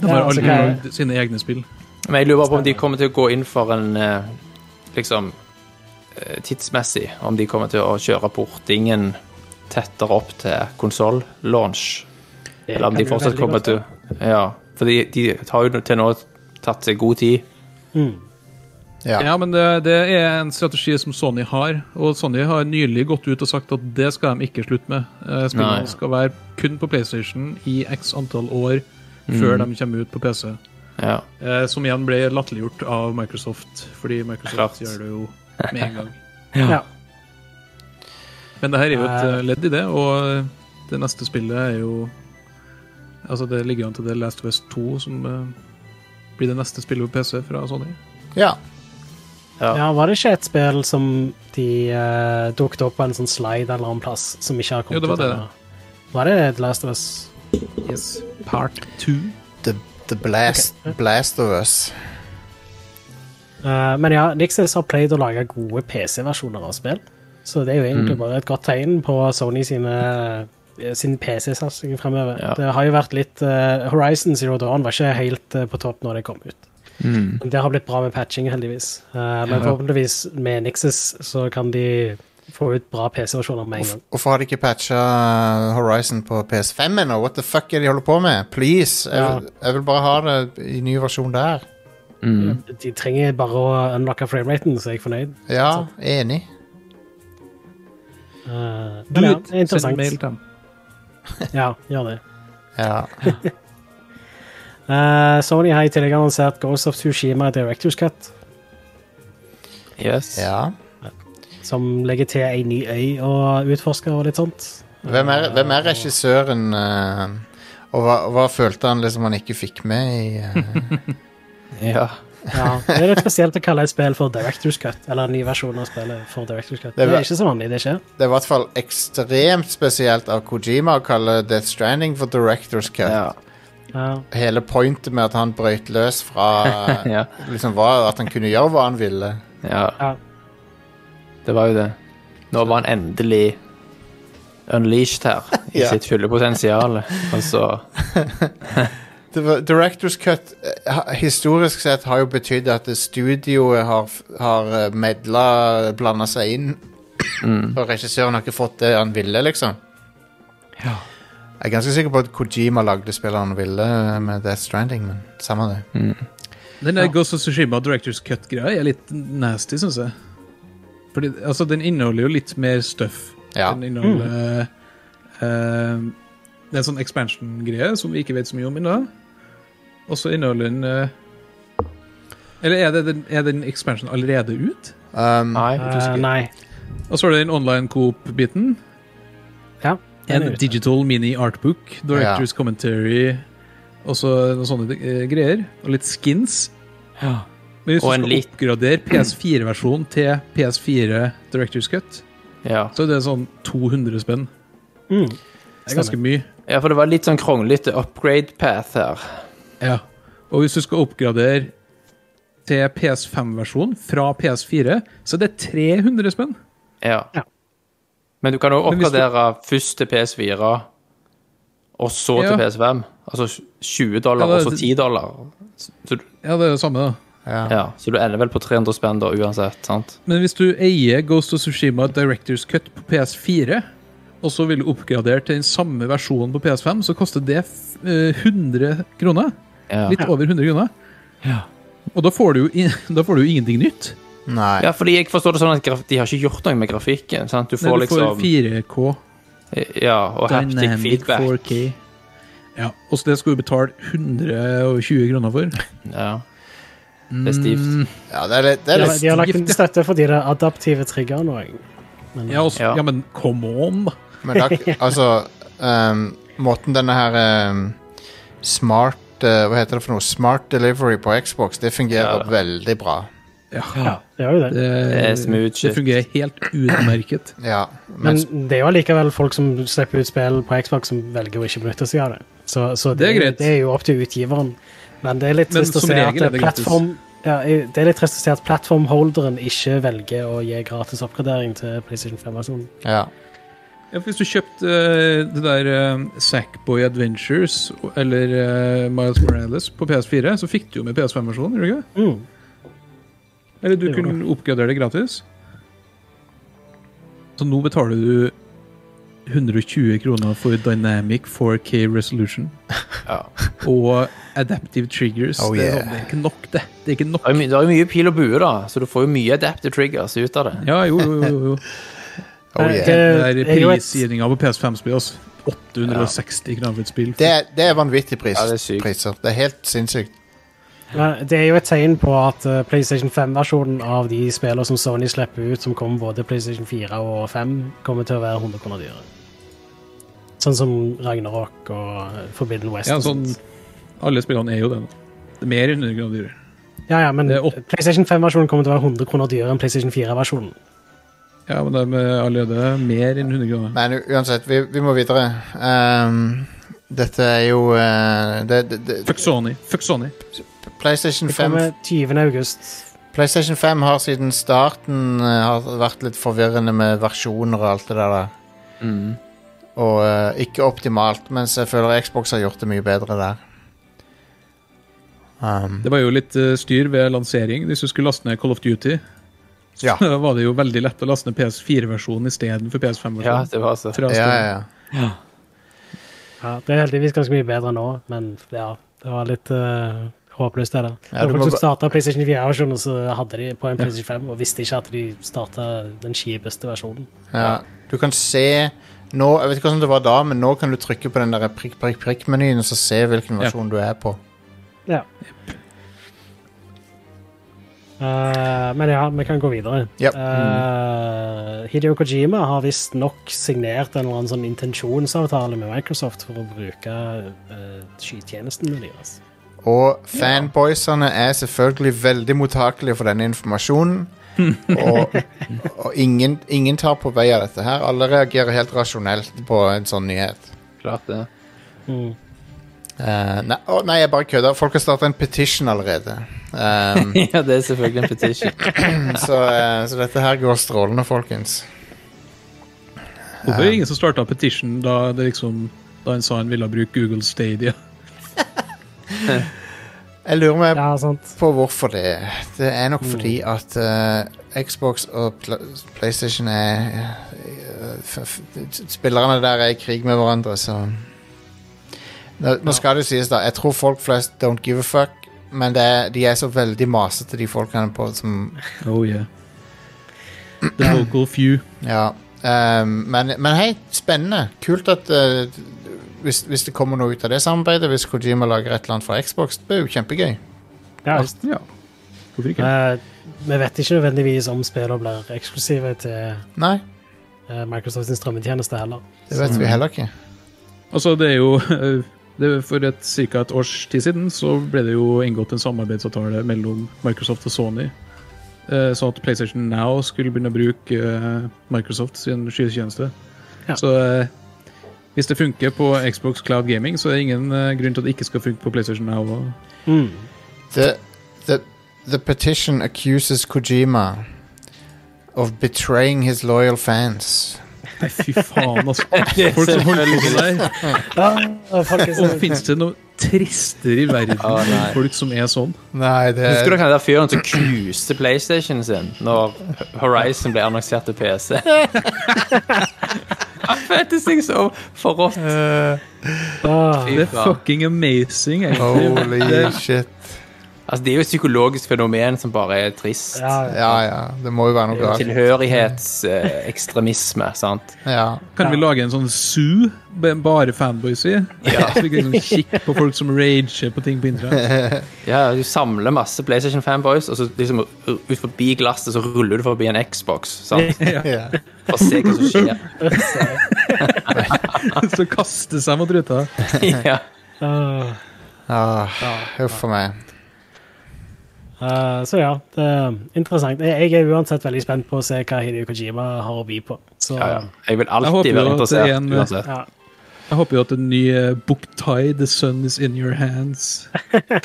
De Ja, har altså, alle hva- lagd sine egne spill. Men jeg lurer på om de kommer til å gå inn for en eh, liksom eh, tidsmessig Om de kommer til å kjøre portingen tettere opp til konsoll-launch. Det Eller om de kan jo fortsatt veldig kommer godt til være. Ja. For de, de har jo til nå tatt seg god tid. Mm. Ja. Ja, men det, det er en strategi som Sony har, og Sony har nylig gått ut og sagt at det skal de ikke slutte med. Eh, Spillene Nei. skal være kun på PlayStation i x antall år Mm. før de kommer ut på PC. Ja. Eh, Som igjen ble latterliggjort av Microsoft, fordi Microsoft Klart. gjør det jo med en gang. Ja. Men det her er jo et Eh. eh, ledd i det, og det neste spillet er jo Altså, det ligger an til det Last West 2 som eh, blir det neste spillet på PC fra Sony. ja. Ja. ja, var det ikke et spill som de uh, dukket opp på en sånn slide en eller annen plass, som ikke har kommet Jo, det var ut det. ennå? Var det The Last of Us? Yes. Part 2. The, the blast, blast of us. Eh, men ja, Nixis har pleid å lage gode PC-versjoner av spill, så det er jo egentlig bare et godt tegn på Sony sine eh, sin PC-satsing fremover. Ja. Det har jo vært litt eh, Horizon Zero Dawn var ikke helt eh, på topp når det kom ut. Mm. Det har blitt bra med patching, heldigvis. Eh, men Ja. forhåpentligvis med Nixis så kan de få ut bra PC-versjoner med en gang. Hvorfor har de ikke patcha Horizon på PS5 ennå? What the fuck er de holder på med? Please! Jeg, vil- jeg vil bare ha det i ny versjon der. Mm. De trenger bare å unlocke frameraten, så er jeg fornøyd. Ja, Sånn. enig. Eh, Du, men ja, det er send mail interessant. til dem. Ja, gjør det. Ja. Eh, Sony har i tillegg annonsert Ghost of Tsushima Directors Cut, Yes. ja. som legger til ei ny øy å utforske og litt sånt. Hvem, er, hvem er regissøren? eh, og hva, og hva følte han liksom han ikke fikk med i eh, Ja. Ja, det er litt spesielt å kalle et spill for Directors Cut, eller en ny versjon av spillet for Directors Cut. Det Det er er vel- ikke så vanlig, det skjer. Det er i hvert fall ekstremt spesielt av Kojima å kalle Death Stranding for Directors Cut. Ja. Ja, Hele pointet med at han brøyt løs fra ja. liksom var at han kunne gjøre hva han ville. ja. ja. Det var jo det. Nå var han endelig unleashed her, i Ja. sitt fulle potensial. Og så Det var, Directors Cut eh, ha- historisk sett har jo betydd at det studioet har, f- har eh, medla, blanda seg inn. Og regissøren har ikke fått det han ville, liksom. Ja. Jeg er ganske sikker på at Kojima lagde spillet han ville eh, med Death Stranding, men samme det. Mm. Den der Ghost of Tsushima Directors Cut-greia er litt nasty, syns jeg. Fordi, altså, den inneholder jo litt mer stuff. Ja. Den inneholder eh, Det er en sånn expansion-greie som vi ikke vet så mye om ennå. Og så inneholder den eh, Eller er, det den, er den expansion allerede ut? Um, Nei. Eh, nei. Og så er det den online coop-biten. Ja, den En er ute. digital mini artbook, directors commentary og så noen sånne eh, greier. Og litt skins. Ja. Men hvis Og du en skal lit- oppgradere PS4-versjonen til PS4 Directors Cut, ja. så er det sånn 200 spenn. Mm. Det er ganske mye. ja, for det var litt sånn kronglete upgrade path her. Ja. Og hvis du skal oppgradere til PS5-versjonen fra PS4, så er det 300 spenn. Ja. Ja. Men du kan òg Men hvis du- oppgradere først til PS4, og så Ja. til PS5. Altså 20 dollar, Ja, det- og så 10 dollar. Så, så du- Ja, det er det samme, da. ja. ja, så du ender vel på 300 spenn da uansett, sant? Men hvis du eier Ghost of Tsushima Directors Cut på PS4, og så vil du oppgradere til den samme versjonen på PS5, så koster det f- eh, 100 kroner. Ja. Litt over 100 kroner. Ja. Og da får du jo, i- da får du jo ingenting nytt. Nei. ja, fordi jeg forstår det sånn at graf de har ikke gjort noe med grafikken. sant? Du får Nei, du får liksom 4K. Ja, og haptic feedback. 4K. Ja, og så det skulle du betale 120 kroner for. Ja. Det er stivt. Ja, det er litt, det er De har, litt de har lagt inn støtte fordi det er adaptive triggere nå. jeg. Ja, også, Ja. ja. men come on, da. Men da, altså ehm, Måten denne her ehm, Smart eh, Hva heter det for noe? Smart delivery på Xbox, det fungerer Ja, da. veldig bra. Ja, Det gjør jo det. det, Det er smooth Mm, det shit. fungerer helt utmerket. Ja, Men men, det er jo allikevel folk som slipper ut spill på Xbox, som velger å ikke benytte seg av det. Så, så Det er greit. Det er jo opp til utgiveren. Men det er litt Men trist å som se at regel er det gratis. plattform... Ja, det er litt trist å se at plattformholderen ikke velger å gi gratis oppgradering til PlayStation 5-versjonen. ja. Ja, for hvis du kjøpte eh, det der eh, Sackboy Adventures eller eh, Miles Morales på PS4, så fikk du jo med PS5-versjonen, gjorde du ikke? Mm. Eller du Det gjorde kunne oppgradere det gratis. Så nå betaler du 120 kroner for Dynamic 4K Resolution Ja. og Adaptive Triggers. Oh, Det er yeah. sånn, det er ikke nok, det. Det er ikke nok. Det er jo my- det er jo mye pil og bue, da, så du får jo mye adaptive triggers ut av det. Ja, jo, jo, jo. jo. Oh, Nei, yeah. det- Eh, Det er er jo et- prisgivninga på PS5-spill, altså. 860 kroner for et spill. Det, er- det er vanvittig pris, Ja, det er sykt. priser. Det er helt sinnssykt. Men det er jo et tegn på at eh, PlayStation 5-versjonen av de spillene som Sony slipper ut, som kommer både PlayStation 4 og 5, kommer til å være 100 kroner dyrere. Sånn som Ragnarok og eh, Forbidden West. Ja, og sånn, sånt. alle spillene er jo det nå. Det er mer enn 100 kroner dyrere. Ja, ja, men Det er opp- PlayStation 5-versjonen kommer til å være 100 kroner dyrere enn PlayStation 4-versjonen. Mm, Ja, men de er allerede mer enn 100 kroner. Men u- uansett, vi, vi må videre. Ehm, dette er jo eh, det, det, det, Fuck Sony. Fuck Sony. PlayStation Det 5 kommer 20. august. PlayStation 5 har siden starten eh, har vært litt forvirrende med versjoner og alt det der. da. Mm. Og eh, ikke optimalt, mens jeg føler Xbox har gjort det mye bedre der. Um, Det var jo litt eh, styr ved lansering. Hvis du skulle laste ned Call of Duty, ja. da var det jo veldig lett å laste ned PS4-versjonen istedenfor Ja, PS5-versjonen. det var altså- så ja, ja, ja. Ja, det er heldigvis ganske mye bedre nå, men ja, det var litt eh, håpløst, det der. Ja, du Når må folk som ba- starta PlayStation 4-versjonen, så hadde de på en PlayStation 5 og visste ikke at de starta den kjipeste versjonen. Ja. Du kan se nå, Jeg vet ikke hvordan det var da, men nå kan du trykke på den der prikk, prikk, prikk-menyen og så se hvilken Ja. versjon du er på. Ja. Eh, men ja, vi kan gå videre. Ja. Eh, Hideo Kojima har visstnok signert en eller annen sånn intensjonsavtale med Microsoft for å bruke uh, skytjenesten deres. Og fanboysene er selvfølgelig veldig mottakelige for denne informasjonen. og og ingen, ingen tar på vei av dette her. Alle reagerer helt rasjonelt på en sånn nyhet. klart, det. Mm. Eh, nei, å, nei, jeg bare kødder. Folk har starta en petition allerede. Um, Ja, det er selvfølgelig en petition. så, eh, så dette her går strålende, folkens. Hvorfor er det ingen som starta petition da, det liksom, da en sa en ville bruke Google Stadia? Jeg lurer meg Ja, sant. på hvorfor det. Det er nok fordi at eh, Xbox og Pl- PlayStation er eh, f f Spillerne der er i krig med hverandre, så Nå, nå skal det sies, da. Jeg tror folk flest don't give a fuck, men det er, de er så veldig masete, de folkene på som Oh yeah. The vocal few. Ja. ehm, men, men hei, spennende. Kult at eh, hvis, hvis det kommer noe ut av det samarbeidet, hvis Kojima lager et eller annet for Xbox, det blir jo kjempegøy. Ja. Ja. Hvorfor ikke? Eh, vi vet ikke nødvendigvis om spillene blir eksklusive til Nei, eh, Microsoft sin strømmetjeneste heller. det vet vi heller ikke. Altså, det er jo eh, det er For et, ca. et års tid siden så ble det jo inngått en samarbeidsavtale mellom Microsoft og Sony. eh, Sånn at PlayStation Now skulle begynne å bruke eh, Microsoft sin skytjeneste. Ja. Så eh, hvis det funker på Xbox Cloud Gaming, så er det ingen eh, grunn til at det ikke skal funke på PlayStation Now. også. Mm. The, the, the petition accuses Kojima of betraying his loyal fans. Nei, fy faen, altså. Folk som holder på med det der. Ja, og folk er Og så- fins det noe tristere i verden Å, enn nei. folk som er sånn? Nei, det Husker dere han der fyren som knuste PlayStationen sin når Horizon ble annonsert til PC? Han følte seg så forrådt. Ah. Det er fucking amazing. egentlig. Holy shit. Altså, det er jo et psykologisk fenomen som bare er trist. Ja, Ja, ja. Det må jo være noe galt. Tilhørighetsekstremisme, sant. Ja. Kan vi lage en sånn zoo b- bare fanboys i? Ja. Så vi kan liksom kikke på folk som rager på ting på internett. Ja, du samler masse PlayStation fanboys, og så liksom ut forbi glasset så ruller du forbi en Xbox, sant? ja. For å se hva som skjer. Så kaste seg mot ruta. Ja. Ah. Ah, Huff a meg. Eh, så ja, det er interessant. Jeg, jeg er uansett veldig spent på å se hva Hideo Kojima har å by på. Så, Ja, ja. Jeg vil Jeg håper jo alltid at være det interessert er en- uansett. ja. Jeg håper jo at den nye Booktie, The Sun Is In Your Hands,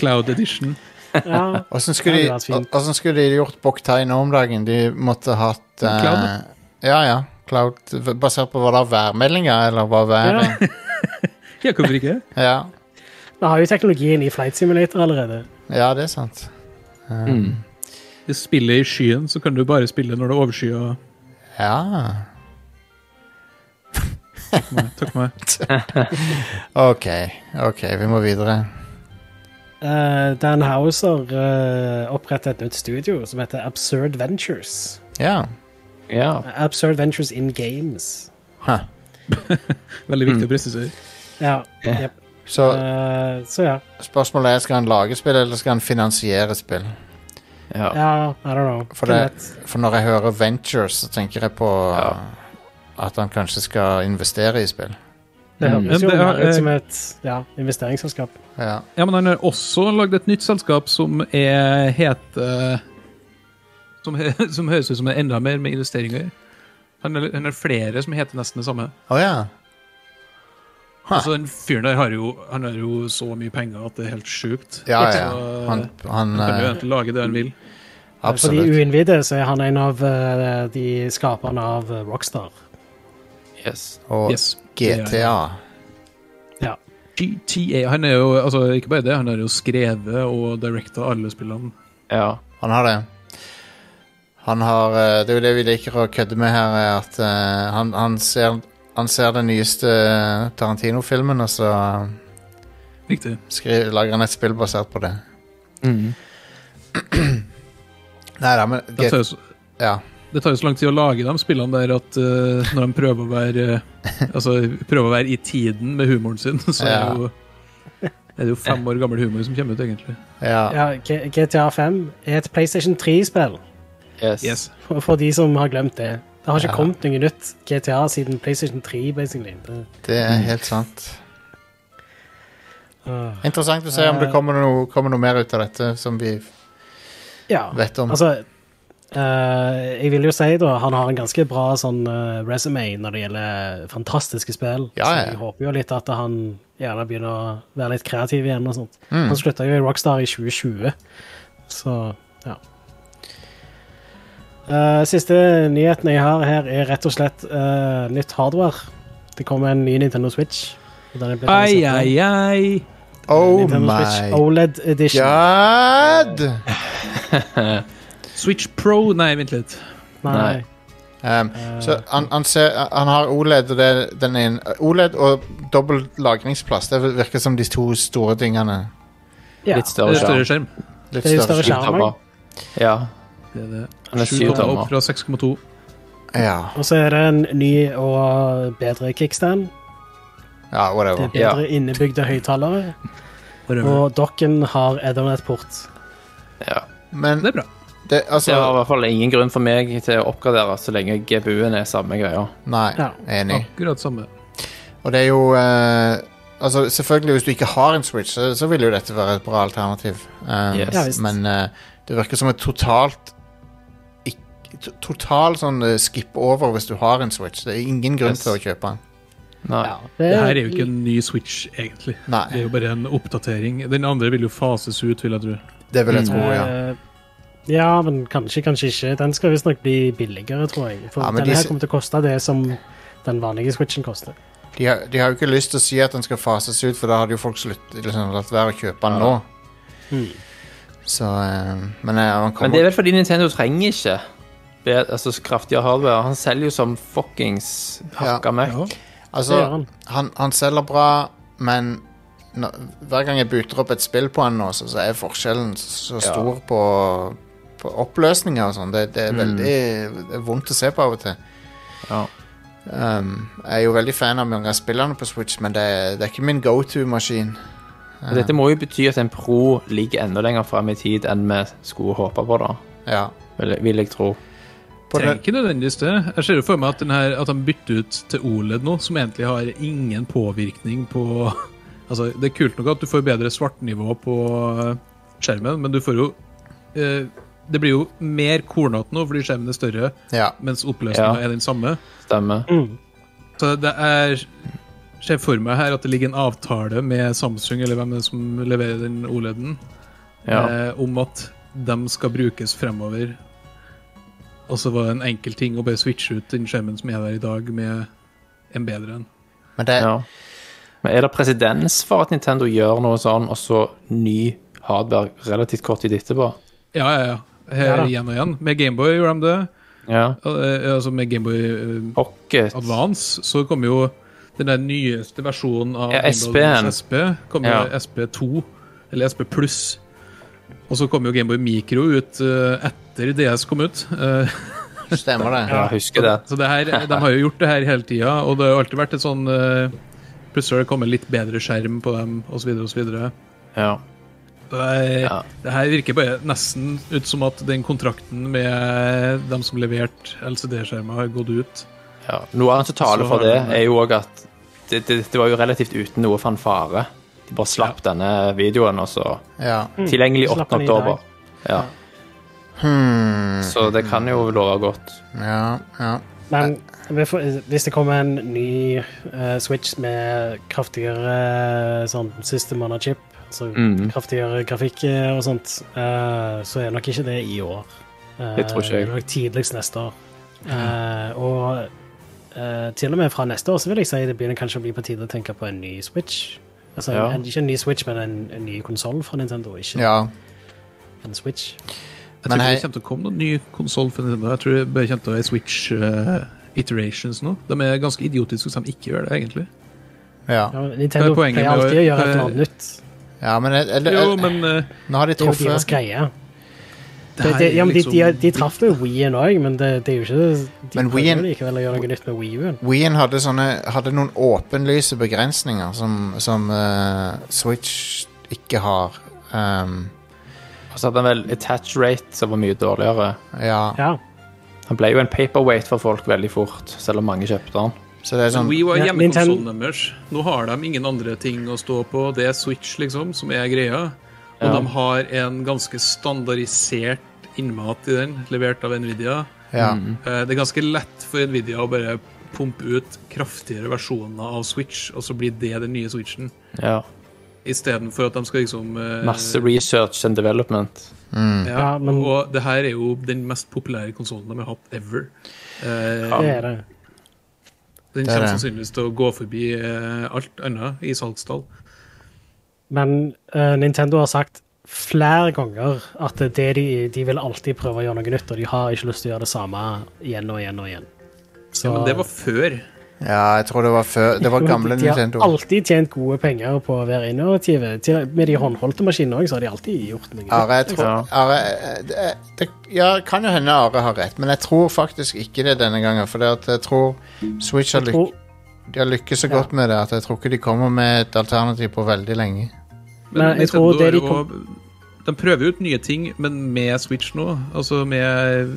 Cloud Edition ja. Åssen skulle, de- Ja, det hadde vært fint. hvordan skulle de gjort Boktai nå om dagen? De måtte hatt eh, Cloud? Ja, ja. Cloud, basert på hva da? Værmeldinger, eller hva været? Ja. Ja, hvorfor ikke? Ja. Vi har jo teknologien i Flight Simulator allerede. ja, det er sant. Eh, Mm. Hvis spillet er i skyen, så kan du bare spille når det er overskya. Ja. Nei, Takk for meg. OK, ok, vi må videre. Eh, Dan Houser uh, opprettet et nytt studio som heter Absurd Ventures. Ja. Ja. Absurd Ventures in Games. Huh. Veldig viktig Mm. å presisere. Ja. Ja. jep. Så Eh, så ja. spørsmålet er, skal han lage spill, eller skal han finansiere spill? ja. ja. I don't know. For Hvem det- vet? For når jeg hører Ventures, så tenker jeg på Ja. at han kanskje skal investere i spill. Mm. det høres jo Men det eh, er- mer ut som et ja, investeringsselskap. Ja. Ja, men han har også lagd et nytt selskap som er heter som, he- som høres ut som er enda mer med investeringer. Han har, han har flere som heter nesten det samme. Å ja. Hæ. Altså, den fyren der har jo, han har jo så mye penger at det er helt sjukt. Ja, ja. Så, Han, han han kan jo eh, egentlig lage det han vil. For de Absolutt. uinnvidde så er han en av eh, de skaperne av eh, Rockstar. Yes. Og Yes. GTA. Ja. GTA, han er jo, altså ikke bare det, han har jo skrevet og directa alle spillene. Ja. Han har det. Han har eh, Det er jo det vi liker å kødde med her, er at eh, han, han, ser, han ser den nyeste eh, Tarantino-filmen, og så Riktig. skri- lager han et spill basert på det. Mm. Nei da, men Det tar, G- jo, så- ja. det tar jo så lang tid å lage de spillene der at eh, når de prøver å være eh, Altså prøver å være i tiden med humoren sin, så er Ja. det jo er det jo fem år gammel humor som kommer ut, egentlig. ja. Ja, G- GTA 5 er et PlayStation 3-spill. Yes. Yes. For for de som har glemt det. Det har ikke Ja. kommet noe nytt GTA siden PlayStation 3, basically. Det, Det er helt sant. Åh. Interessant å se Eh. om det kommer noe, kommer noe mer ut av dette som vi ja. vet om. Altså, eh, jeg vil jo si da, han har en ganske bra sånn eh, resume når det gjelder fantastiske spill. Ja, ja. Så jeg håper jo litt at han gjerne begynner å være litt kreativ igjen og sånt. Mm. Han slutta jo i Rockstar i 2020, så ja. Eh, siste nyheten jeg har her, er rett og slett eh, nytt hardware. Det kommer en ny Nintendo Switch. og den er blitt Ai, lansert nå. ai, ai. Oh Nintendo Switch my OLED Edition. god! Switch Pro Nei, vent litt. Nei. Um, eh, Så han, han, ser, han har OLED og, det, den ene, OLED E og dobbel lagringsplass. Det virker som de to store tingene. ja. Litt Det større er større skjerm. skjerm. Litt Det er jo større større skjerm. skjerm. Skjerm. Ja. Det er det. Den er Sju syv tommer opp tommer. fra 6,2. Ja. Og så er det en ny og bedre kickstand. ja, Det whatever. er bedre innebygde høyttalere. Og dokken har Ethernet-port. Ja. Men Det er bra. det, Det var i altså hvert fall ingen grunn for meg til å oppgradere så lenge GPU-en er samme greia. Nei, Ja. enig. Akkurat samme. Og det er jo eh, Altså, selvfølgelig, hvis du ikke har en Switch, så, så vil jo dette være et bra alternativ. Um, Yes. Ja, visst. men eh, det virker som et totalt ikk- to- Total sånn eh, skip over hvis du har en Switch. Det er ingen grunn Yes. til å kjøpe den. Nei. Det Det her er jo ikke en ny Switch, egentlig. Det Nei, er jo bare en oppdatering. Den andre vil jo fases ut, vil jeg tro. det vil jeg Mm. tro, ja. eh, ja, men kanskje, kanskje ikke. Den skal visstnok bli billigere, tror jeg. For Ja, men denne de her s- kommer til å koste det som den vanlige Switchen koster. De har, de har jo ikke lyst til å si at den skal fases ut, for da hadde jo folk slutt, liksom, latt være å kjøpe den Ja. nå. Mm. Så eh, Men eh, han Men det kommer er vel fordi Nintendo trenger ikke bed- altså, kraftigere hardware. Han selger jo som fuckings hakka møkk. Det Altså, gjør han. han, han selger bra, men nå- hver gang jeg buter opp et spill på han nå, så, så er forskjellen så Ja. stor på, på oppløsninger og sånn. Det, det er Mm. veldig det er vondt å se på av og til. Ja. Um, jeg er jo veldig fan av mange av spillerne på Switch, men det, er- det er ikke min go to-maskin. Og Dette må jo bety at en pro ligger enda lenger frem i tid enn vi skulle håpe på, da. Ja. Vil, vil jeg tro. På Trenger det, ikke nødvendigvis det. Jeg ser jo for meg at, den her, at de bytter ut til OLED nå, som egentlig har ingen påvirkning på Altså, det er kult nok at du får bedre svartnivå på eh, skjermen, men du får jo eh, Det blir jo mer kornete nå fordi skjermen er større, Ja. mens oppløsninga Ja. er den samme. Stemmer. Mm. Så det er ser for meg her at det ligger en avtale med Samsung eller hvem det er som leverer den OLED-en, Ja. eh, om at de skal brukes fremover. Og så var det en enkel ting å bare switche ut den skjermen som er der i dag, med en bedre en. Men det, Ja. Men er det presedens for at Nintendo gjør noe sånn, og så ny hardware relativt kort tid etterpå? Ja, ja, ja. Her Ja da. igjen og igjen. Med Gameboy gjorde de det. Ja. Al- eh, Altså med Gameboy eh, Pocket. Advance så kom jo den der nyeste versjonen av Ja, Windows SP-en. SP. Kom jo Ja. SP2, eller SP pluss. Og så kom jo Gameboy Micro ut eh, etter DS kom ut. Eh, stemmer det. Ja, husker det. så det her, de har jo gjort det her hele tida, og det har jo alltid vært et sånn eh, Plutselig har det kommet litt bedre skjerm på dem, osv. osv. Ja. Det, er- Ja. det her virker bare nesten ut som at den kontrakten med dem som leverte LCD-skjermer, har gått ut. ja. Noe annet som taler Så har for det, den- er jo òg at det, det, det var jo relativt uten noe fanfare. De bare slapp denne videoen, og så Ja. Tilgjengelig 8. Slapp den i dag. oktober. Ja. Så det kan jo love godt. Ja, ja. Men vi får- hvis det kommer en ny eh, Switch med kraftigere eh, sånn system on a chip, så Mm. kraftigere grafikk eh, og sånt, eh, så er nok ikke det i år. Eh, Det tror ikke jeg. Det er nok tidligst neste år. Eh, og eh, til og med fra neste år så vil jeg si det begynner kanskje å bli på tide å tenke på en ny Switch. Altså, Ja. en, Ikke en ny Switch, men en, en ny konsoll fra Nintendo. Ikke ja. en Switch. Jeg Men tror ikke hei- det kommer til å komme noen ny konsoll for Nintendo. Jeg tror det bare kommer til å være Switch eh, iterations nå. De er ganske idiotiske hvis de ikke gjør det, egentlig. ja. Ja, Hva Nintendo er poenget pleier med å- alltid å gjøre hva et eller er- annet nytt. ja men jeg, jeg, Jo, jeg, men eh, nå har de Det er jo deres truffet greie. her Det, det, ja, men de, de, liksom- de traff jo Wii-en òg, men det, det er jo ikke De Men prøver Wii-en- jo likevel å gjøre noe nytt med Wii-en. Wien hadde, sånne, hadde noen åpenlyse begrensninger som, som eh, Switch ikke har. Um, Og så hadde han vel attach rate som var mye dårligere. ja. Ja. Han ble jo en paperweight for folk veldig fort, selv om mange kjøpte han. Så det er sånn Wii var Ja, hjemmekonsollen Nintendo- deres. Nå har de ingen andre ting å stå på. Det er Switch, liksom, som er greia. Og Ja. de har en ganske standardisert innmat i den, levert av Nvidia. Ja. Mm. Eh, Det er ganske lett for Nvidia å bare pumpe ut kraftigere versjoner av Switch, og så blir det den nye Switchen. Ja. Istedenfor at de skal liksom eh, Masse research and development. Ja, Ja, men- Og det her er jo den mest populære konsollen de har hatt ever. Eh, Det er det. Den Det er kommer det. sannsynligvis til å gå forbi eh, alt annet i salgstall. Men eh, Nintendo har sagt flere ganger at det de, de vil alltid prøve å gjøre noe nytt, og de har ikke lyst til å gjøre det samme igjen og igjen og igjen. Så Ja, men det var før. ja, jeg tror det var før Det var gamle de har Nintendo. alltid tjent gode penger på å være innovative. Til- Med de håndholdte maskinene òg, så har de alltid gjort noe. nytt. Are, jeg tror, Ja. Are, eh, det, det ja, kan jo hende Are har rett, men jeg tror faktisk ikke det denne gangen. For det at jeg tror Switch har, Jeg lyk, tror, de har lykkes så Ja. godt med det at jeg tror ikke de kommer med et alternativ på veldig lenge. Men jeg tror Nintendo det de er jo- de prøver ut nye ting, men med Switch nå. Altså med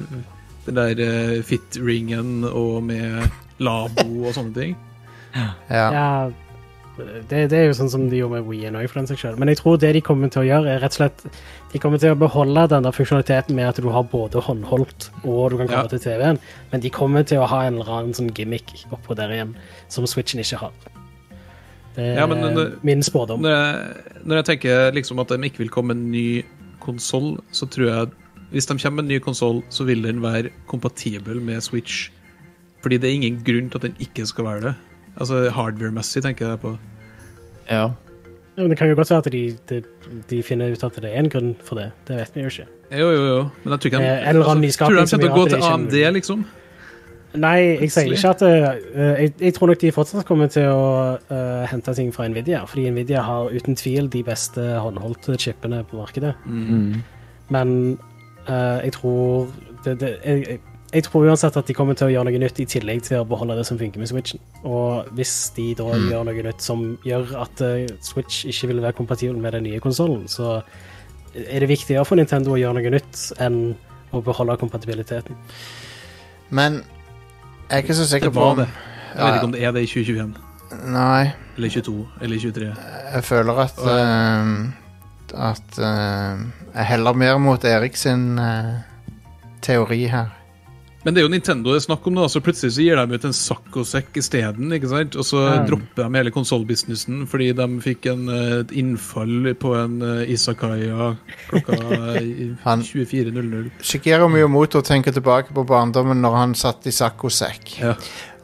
den der eh, fit-ringen og med Labo og sånne ting. Ja. Ja, det, det er jo sånn som de gjorde med Wii-en òg, for den saks skyld. Men jeg tror det de kommer til å gjøre, er rett og slett De kommer til å beholde den der funksjonaliteten med at du har både håndholdt og du kan komme Ja. til TV-en, men de kommer til å ha en eller annen sånn gimmick oppå der igjen, som Switchen ikke har. Det er Ja, men når- min spådom. Når jeg, når jeg tenker liksom at de ikke vil komme med en ny konsoll, så tror jeg hvis de kommer med en ny konsoll, så vil den være kompatibel med Switch. Fordi det er ingen grunn til at den ikke skal være det. Altså Hardware-messig tenker jeg på. Ja. Ja, Men det kan jo godt være at de, de, de finner ut at det er en grunn for det. Det vet vi jo ikke. Jo, jo, jo. Men jeg tror ikke de, altså, Eh, en eller annen tror du de nyskaping kommer til som å gjør gå at det til ikke er AMD, mulig. liksom. Nei, jeg sier ikke at eh, jeg, jeg tror nok de fortsatt kommer til å eh, hente ting fra Nvidia, fordi Nvidia har uten tvil de beste håndholdte chipene på markedet. Men eh, jeg tror det, det, jeg, jeg- jeg tror uansett at de kommer til å gjøre noe nytt i tillegg til å beholde det som funker med Switchen. Og hvis de da gjør noe nytt som gjør at eh, Switch ikke vil være kompatibel med den nye konsollen, så er det viktigere for Nintendo å gjøre noe nytt enn å beholde kompatibiliteten. Men jeg er ikke så sikker Det på var om det. Jeg vet ikke om det er det i 2021. Nei, Eller 22. Eller 23. jeg føler at Og- ehm, at eh, Jeg heller mer mot Erik sin eh, teori her. Men det er jo Nintendo det er snakk om, da, så plutselig så gir de ut en saccosekk isteden. ikke sant? Og så Ja. dropper de hele konsollbusinessen fordi de fikk en, eh, et innfall på en eh, Isakaya klokka eh, Han- 24.00. Shigeru Miyamoto tenker tilbake på barndommen når han satt i saccosekk. Ja.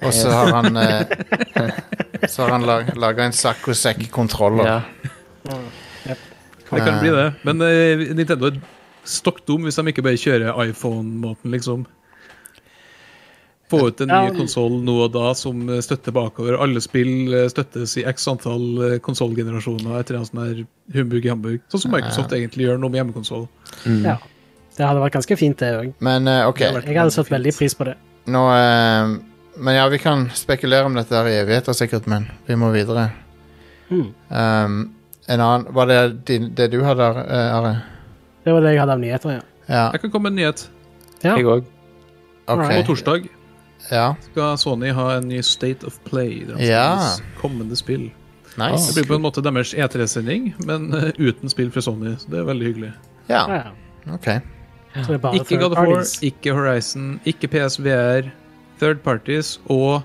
Og så har han eh, Så har han lag, laga en saccosekk-kontroller. Ja. Det kan bli det. Men eh, Nintendo er stokk dum hvis de ikke bare kjører iPhone-måten, liksom. Få ut en Ja. ny konsoll nå og da som eh, støtter bakover. Alle spill eh, støttes i x antall eh, konsollgenerasjoner etter en sånn her humbug-hambug. Sånn som Microsoft egentlig gjør nå med hjemmekonsoll. Ja. Det hadde vært ganske fint, det òg. Men eh, OK. Jeg hadde satt veldig pris på det. Nå eh, Men ja, vi kan spekulere om dette her i evigheter sikkert, men vi må videre. Mm. Um, en annen Var det din, det du hadde, eh, Are? Det var det jeg hadde av nyheter, ja. Ja, Jeg kan komme med en nyhet. Ja. Jeg òg. OK. På torsdag Ja, skal Sony ha en ny State of Play. deres Ja. Kommende spill. Det nice. blir på en måte deres E3-sending, men eh, uten spill fra Sony. Så det er veldig hyggelig. Ja, Ja, ja. OK. Så det er bare Ikke third God of War, parties. ikke Horizon, ikke PSVR, Third Parties og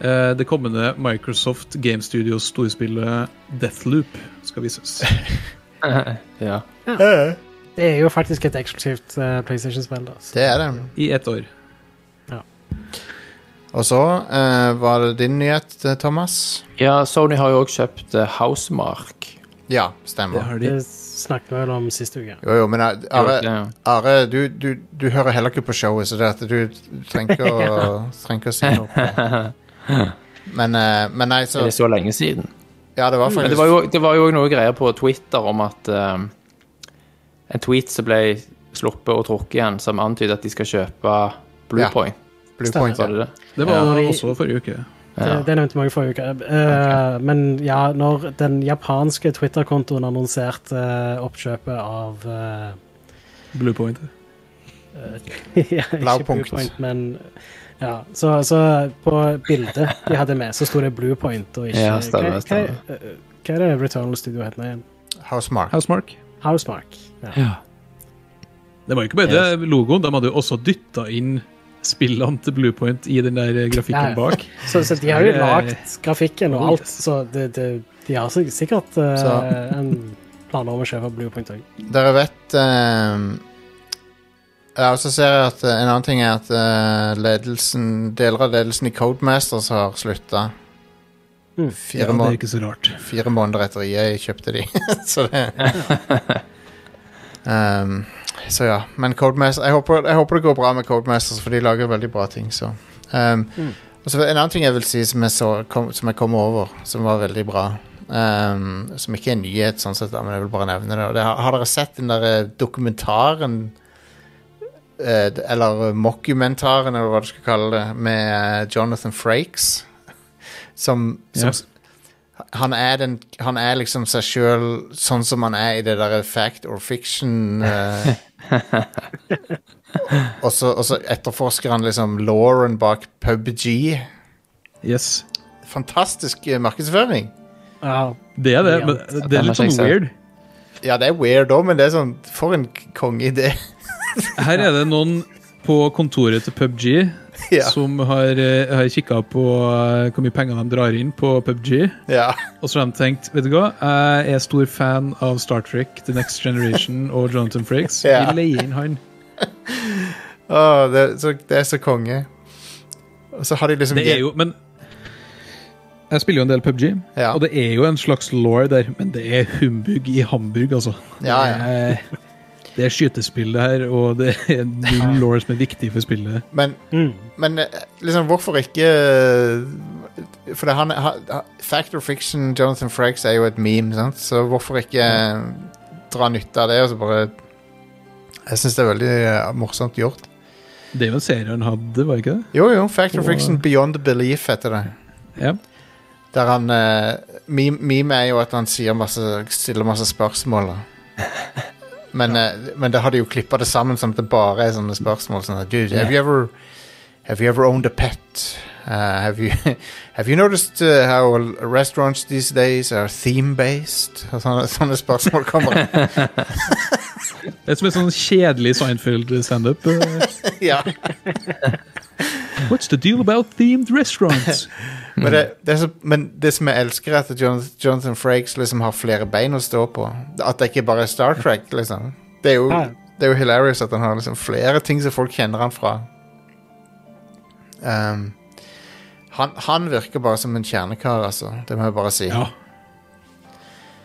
eh, det kommende Microsoft Game Studios storspillet Deathloop skal vises. ja. Det er jo faktisk et eksklusivt eh, PlayStation-spill. da. Så- Det er det. I ett år. Og så eh, var det din nyhet, eh, Thomas. ja, Sony har jo òg kjøpt eh, Housemark. Ja, Det stemmer. har de. Det snakket vi vel om siste uke. Jo, jo, men eh, Are, Ja. Are du, du, du hører heller ikke på showet, så det at du trenger ikke å, trenger ikke å si noe. Men, eh, men nei, Er så det så lenge siden? Ja, det var Men det var faktisk jo- det var jo òg noe greier på Twitter om at eh, En tweet som ble sluppet og trukket igjen, som antydet at de skal kjøpe Ja. Bluepoint. Blue Point. Var Ja. det det? Det var Ja. også forrige uke. Ja. Det, det nevnte mange forrige uke. Eh, Men ja, når den japanske Twitter-kontoen annonserte eh, oppkjøpet av eh, Blue Point. ja, ikke Blaupunkt. Blue Point, men ja, så, så på bildet de hadde med, så sto det Blue Point og ikke Ja, stemmer, hva- hva- stemmer. eh, Hva er det Returnal Studio heter nå igjen? Housemark. Housemark. Housemark. Ja. Ja. Det var jo ikke bare det logoen, de hadde jo også dytta inn spillene til Blue Point i den der eh, Ja, grafikken ja. bak. Så, så de har jo Det er- lagd grafikken og alt, så det, det, de har sik- sikkert eh, Så- en planer om å kjøpe Blue Point òg. Dere vet ehm, Ja, og så ser jeg at eh, en annen ting er at eh, ledelsen, deler av ledelsen i Codemasters har slutta. Mm. Ja, Fire, det er måned, ikke så rart. fire måneder etter jeg kjøpte de. så det Ehm, Så ja. Men Codemasters jeg håper, jeg håper det går bra med Codemasters, for de lager veldig bra ting, så Ehm, Mm. Og så En annen ting jeg vil si som jeg, så, kom, som jeg kom over, som var veldig bra ehm, Som ikke er en nyhet, sånn sett, da, men jeg vil bare nevne det. Og det har, har dere sett den der eh, dokumentaren eh, d- Eller mockumentaren, eller hva du skal kalle det, med eh, Jonathan Frakes? Som, som Ja. s- han, er den, han er liksom seg sjøl sånn som han er i det derre fact or fiction eh, og så, og så etterforsker han liksom Lauren bak PubG. Yes. Fantastisk eh, markedsføring. Ja. Det er det, Ja. men det Den er har litt sånn jeg sett. weird. Ja, det er weird òg, men det er sånn For en k- kongeidé. Her er det noen på kontoret til PubG ja. som har, eh, har kikka på eh, hvor mye penger de drar inn på PubG. ja. Og så har de tenkt vet du hva, jeg er stor fan av Star Trek, The Next Generation og Jonathan Frakes. Ja. Vi leier inn han. Å, det, er så, det er så konge. Og så har de liksom Det er jo, men Jeg spiller jo en del PubG, Ja. og det er jo en slags law der, men det er humbug i Hamburg, altså. Ja, ja. Det er- Det er skytespill, det her, og det er null law som er viktig for spillet. Men, Mm. men eh, liksom, hvorfor ikke eh, For det, han, han, Fact or fiction, Jonathan Frakes er jo et meme, sant? så hvorfor ikke eh, dra nytte av det? Og så bare Jeg syns det er veldig eh, morsomt gjort. Det er jo en serie han hadde, var det ikke det? Jo, jo. Fact or Og- fiction beyond belief heter det. Ja. Der han eh, meme, meme er jo at han sier masse, stiller masse spørsmål. da. Men, eh, men da har de jo klippa det sammen sånn at det bare er sånne spørsmål. Sånn at, Dude, have you ever Have you ever owned a pet? Uh, have you have you noticed uh, how restaurants these days are theme based? Og Sånne, sånne spørsmål kommer. Det er som en sånn kjedelig Seinfeld-standup. eh, ja. What's the deal about themed restaurants? men, det, det er så, men det som jeg elsker, er at Jon- Jonathan Frakes liksom har flere bein å stå på. At det ikke bare er Star Trek, liksom. Det er jo, Ja. det er jo hilarious at han har liksom flere ting som folk kjenner han fra. Um, han, han virker bare som en kjernekar, altså. Det må jeg bare si. Ja.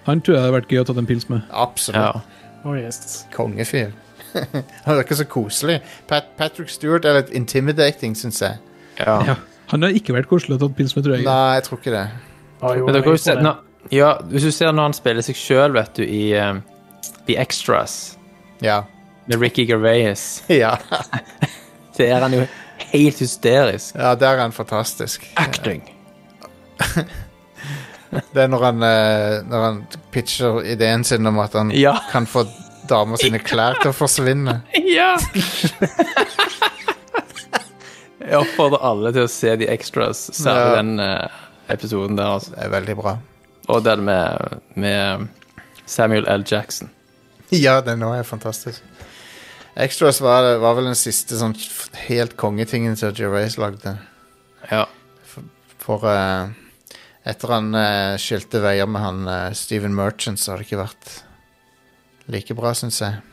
Han tror jeg det hadde vært gøy å ta en pils med. Absolutt. Ja. Oh, yes. Kongefyr. han virker så koselig. Pat Patrick Stewart er litt intimidating, syns jeg. ja. Ja. Han har ikke vært koselig å ta en pils med, tror jeg. Nei, jeg tror ikke det. Oh, jo, Men dere har jeg jo tror sett det. når, ja, Hvis du ser når han spiller seg sjøl, vet du, i eh, The Extras Ja. med Ricky Gervais, Ja, så er han jo helt hysterisk. ja der er han fantastisk. Acting. Det er når han, eh, når han pitcher ideen sin om at han Ja. kan få damer sine klær til å forsvinne. Ja! Jeg oppfordrer alle til å se The Extras, særlig Ja. den eh, episoden der, altså. Det er veldig bra. Og den med, med Samuel L. Jackson. Ja, den nå er fantastisk. Extras var, det- var vel den siste sånn f- helt kongetingen som Gervais lagde. Ja. For eh, etter han eh, skilte veier med han eh, Steven Merchant, så har det ikke vært like bra, syns jeg.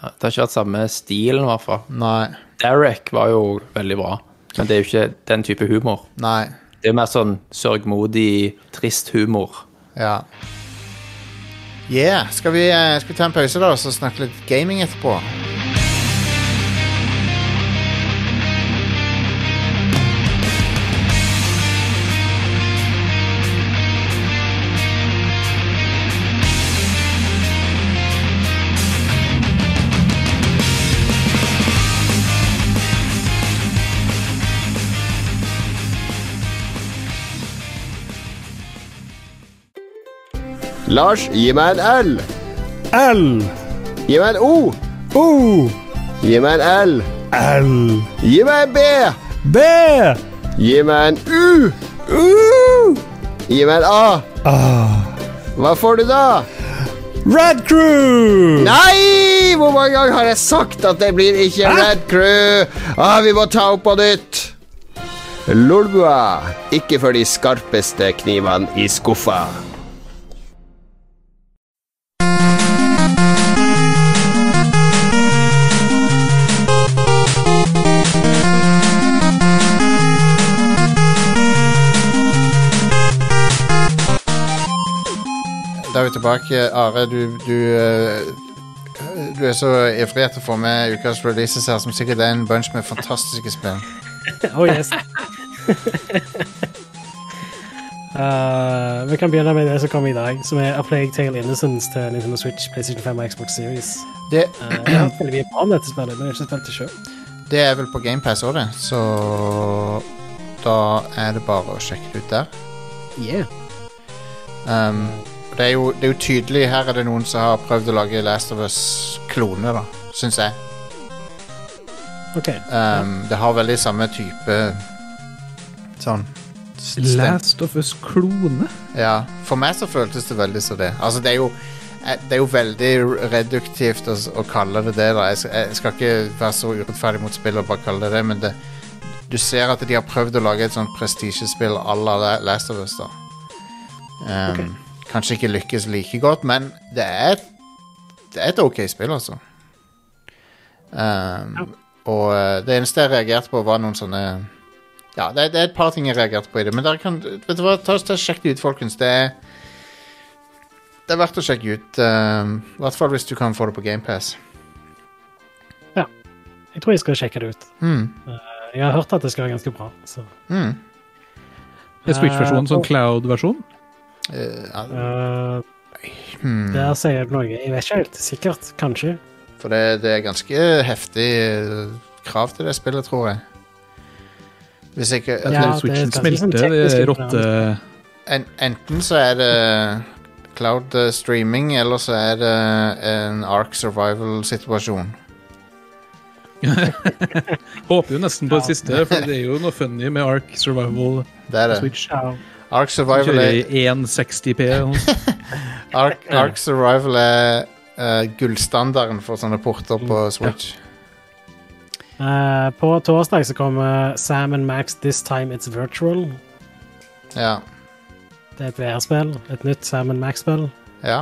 Det har ikke vært samme stilen, i hvert fall. Nei. Derek var jo veldig bra, men det er jo ikke den type humor. Nei. Det er mer sånn sørgmodig, trist humor. Ja. Yeah. Skal vi, eh, skal vi ta en pause, da, og så snakke litt gaming etterpå? Lars, gi meg en L. L. Gi meg en O. O. Gi meg en L. L. Gi meg en B. B. Gi meg en U. U. Gi meg en A. Ah. Hva får du da? Red Crew. Nei! Hvor mange ganger har jeg sagt at det blir ikke Red Crew? Ah, vi må ta opp på nytt. Lolbua. Ikke for de skarpeste knivene i skuffa. Da er vi tilbake. Are, du, du eh, Du er så ivrig etter å få med ukas releases her, som sikkert er en bunch med fantastiske spill. Oh, yes. Eh, vi kan begynne med det som kom i dag, som er A Plague Tale Innocence til Nintendo Switch, PlayStation 5 og Xbox Series. Det, Eh, jeg har hørt veldig mye bra om dette spillet, men jeg har ikke spilt det sjøl. det er vel på GamePass òg, det. Så da er det bare å sjekke det ut der. Yeah. Um, det, er jo, det er jo tydelig Her er det noen som har prøvd å lage Last of Us-klone, da, syns jeg. Ok. Um, det har veldig samme type sånn s- stem- Last of Us Klone. Ja. For meg så føltes det veldig som det. Altså, det er jo eh, det er jo veldig reduktivt å, s- å kalle det det. da jeg, s- jeg skal ikke være så urettferdig mot spill og bare kalle det det, men det, du ser at de har prøvd å lage et sånt prestisjespill à la La- Last of Us. da um, Kanskje ikke lykkes like godt, men det er et, det er et ok spill, altså. Um, Og eh, det eneste jeg reagerte på, var noen sånne Ja, det, det er et par ting jeg reagerte på i det, men dere kan Vet du hva, ta, ta, sjekk det ut, folkens. Det er det er verdt å sjekke ut. Um, I hvert fall hvis du kan få det på GamePass. Jeg tror jeg skal sjekke det ut. Mm. Eh, Jeg har hørt at det skal være ganske bra. Så. Mm. En Switch-versjon, sånn Cloud-versjon. Eh, ja, eh, hmm. der sier det noe. Jeg vet ikke helt. Sikkert. Kanskje. For det, det er ganske heftig eh, krav til det spillet, tror jeg. Hvis ikke altså, Jeg Ja, tror det Switchen skal liksom smelter, det teknisk rotte... en, Enten så er det cloud eh, streaming, eller så er det en Ark Survival-situasjon. Håper jo nesten på det siste, for det er jo noe funny med Ark Survival Det er det. Switch. Ja. Ark Survival Kjører er, i 160P. eller noe sånt. Ark, Ark Survival er eh, gullstandarden for sånne porter på Switch. Eh, på torsdag så kommer Sam and Max This Time It's Virtual. Ja. Det er et VR-spill. Et nytt Sam and Max-spill. ja.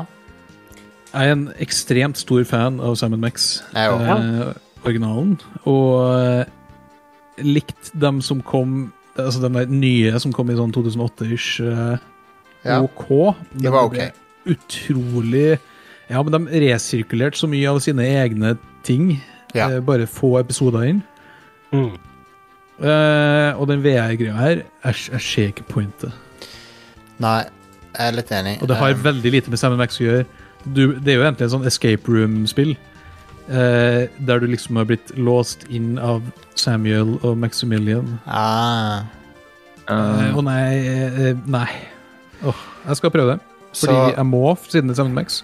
Jeg er en ekstremt stor fan av Sam Max, Jeg òg. eh, originalen. Og eh, likt dem som kom Altså de der nye som kom i sånn 2008-ish. Eh, Ja. OK. Det var ok. ble Utrolig Ja, men de resirkulerte så mye av sine egne ting. Ja. eh, Bare få episoder inn. Mm. Eh, og den VR-greia her, jeg, jeg ser ikke pointet. Nei, jeg er litt enig. Og det har Um, veldig lite med Sam Max å gjøre. Du, det er jo egentlig en sånn escape room-spill. eh, der du liksom har blitt låst inn av Samuel og Maximilian. ah. Eh, Eh, og nei eh, Nei. Åh, jeg skal prøve det. Fordi eh, Så jeg må, siden det er Sam Max.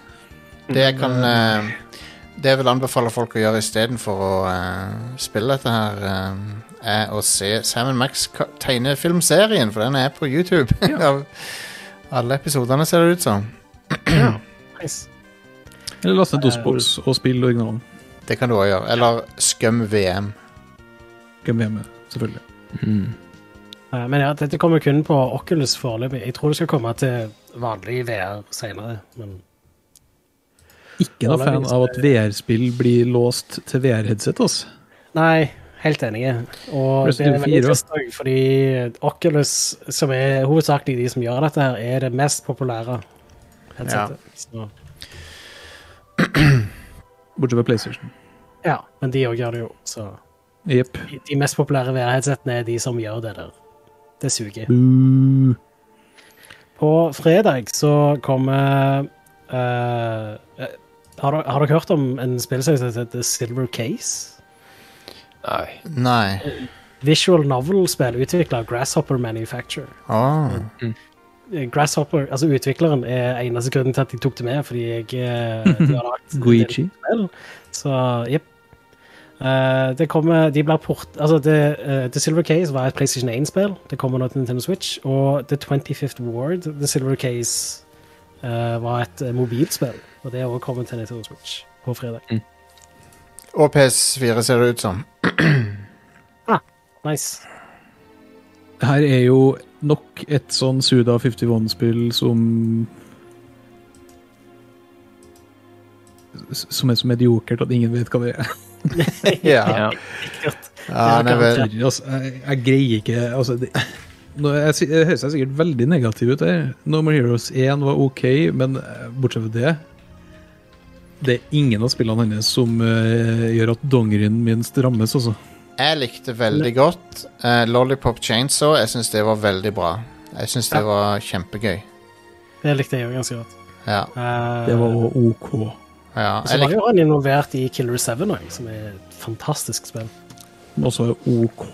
det jeg kan eh, Det jeg vil anbefale folk å gjøre istedenfor å eh, spille dette her, eh, er å se Sam Max ka- tegnefilmserien, for den er på YouTube. Av alle episodene, ser det ut som. Nice. Eller laste ned DOS-boks og spille originalen. Det kan du òg gjøre. Eller Skum VM. Hvem er med, selvfølgelig. mm. Eh, men ja, dette kommer kun på Oculus foreløpig. Jeg tror det skal komme til vanlig VR senere. Men Ikke noe fan av at VR-spill blir låst til VR-headset. altså. nei, helt enige. Og det Resident er Evil 4 veldig trist også, fordi Oculus, som er hovedsakelig de som gjør dette, her, er det mest populære headsetet. Så, Bortsett fra PlayStation. ja, men de òg gjør det jo, så Jepp. de- De mest populære VR-headsetene er de som gjør det der. Det suger. Boo. På fredag så kommer eh, eh, har, dere, har dere hørt om en spillserie som heter The Silver Case? Nei. Nei. Visual novel-spill utvikla av Grasshopper Manufacture. Åh. Eh, Grasshopper, altså Utvikleren er eneste grunnen til at de tok det med, fordi jeg eh, de har lagt en del Guichi. spill. Så jepp. Eh, det kommer De blir port... Altså, det, eh, The Silver Case var et PlayStation 1-spill. Det kommer nå til Nintendo Switch. Og The 25th Ward, The Silver Case, eh, var et eh, mobilspill. Og det er også kommet til Nintendo Switch på fredag. Mm. Og PS4 ser det ut som. Nice. Det her er jo nok et sånn Suda 51-spill som s- Som er så mediokert at ingen vet hva det er. Ja, Ja. ja det er vel Sorry, altså, jeg, jeg greier ikke altså, det, nå, er jeg, si- jeg høres jeg sikkert veldig negativ ut her. No More Heroes 1 var OK, men eh, bortsett fra det Det er ingen av spillene hennes som eh, gjør at dongerien min strammes, altså. Jeg likte veldig godt eh, Lollipop Chainsaw. Jeg syns det var veldig bra. Jeg syns det var kjempegøy. Det likte jeg jo ganske godt. Ja. Eh, Det var også OK. ja. Jeg Så var likte, jo han involvert i Killer 7 òg, som er et fantastisk spill. Men også OK.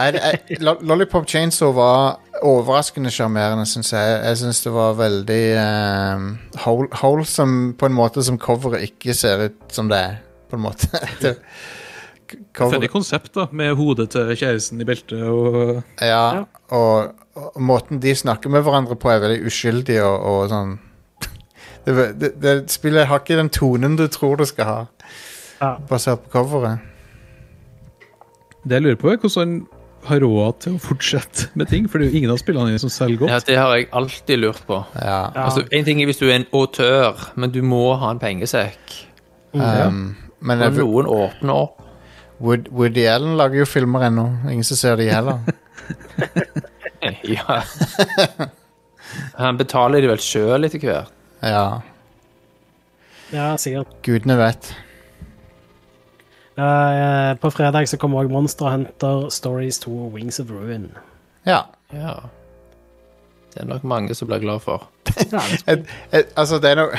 jeg, jeg, Lo- Lollipop Chainsaw var overraskende sjarmerende, syns jeg. Jeg syns det var veldig eh, hol- wholesome på en måte som coveret ikke ser ut som det er, på en måte. Det- Funny Coveret, konsept, da, med hodet til kjæresten i beltet og ja, og, og måten de snakker med hverandre på, er veldig uskyldig og, og sånn det, det, det spillet har ikke den tonen du tror det skal ha, Ja. basert på coveret. Det jeg lurer på, er hvordan han har råd til å fortsette med ting, for det er jo ingen av spillene hennes som selger Ja, godt. det har jeg alltid lurt på. Ja. Altså, en ting er hvis du er en autør, men du må ha en pengesekk. Um, men Når jeg, noen åpner opp Wood, Woody Allen lager jo filmer ennå. Ingen som ser de heller. Ja. Han betaler det vel sjøl etter hvert. Ja, Ja, sikkert. gudene vet. Eh, på fredag så kommer òg Monster Hunter Stories 2 og Wings of Ruin. Ja. Ja. Det er nok mange som blir glad for. Eh, altså, det er noe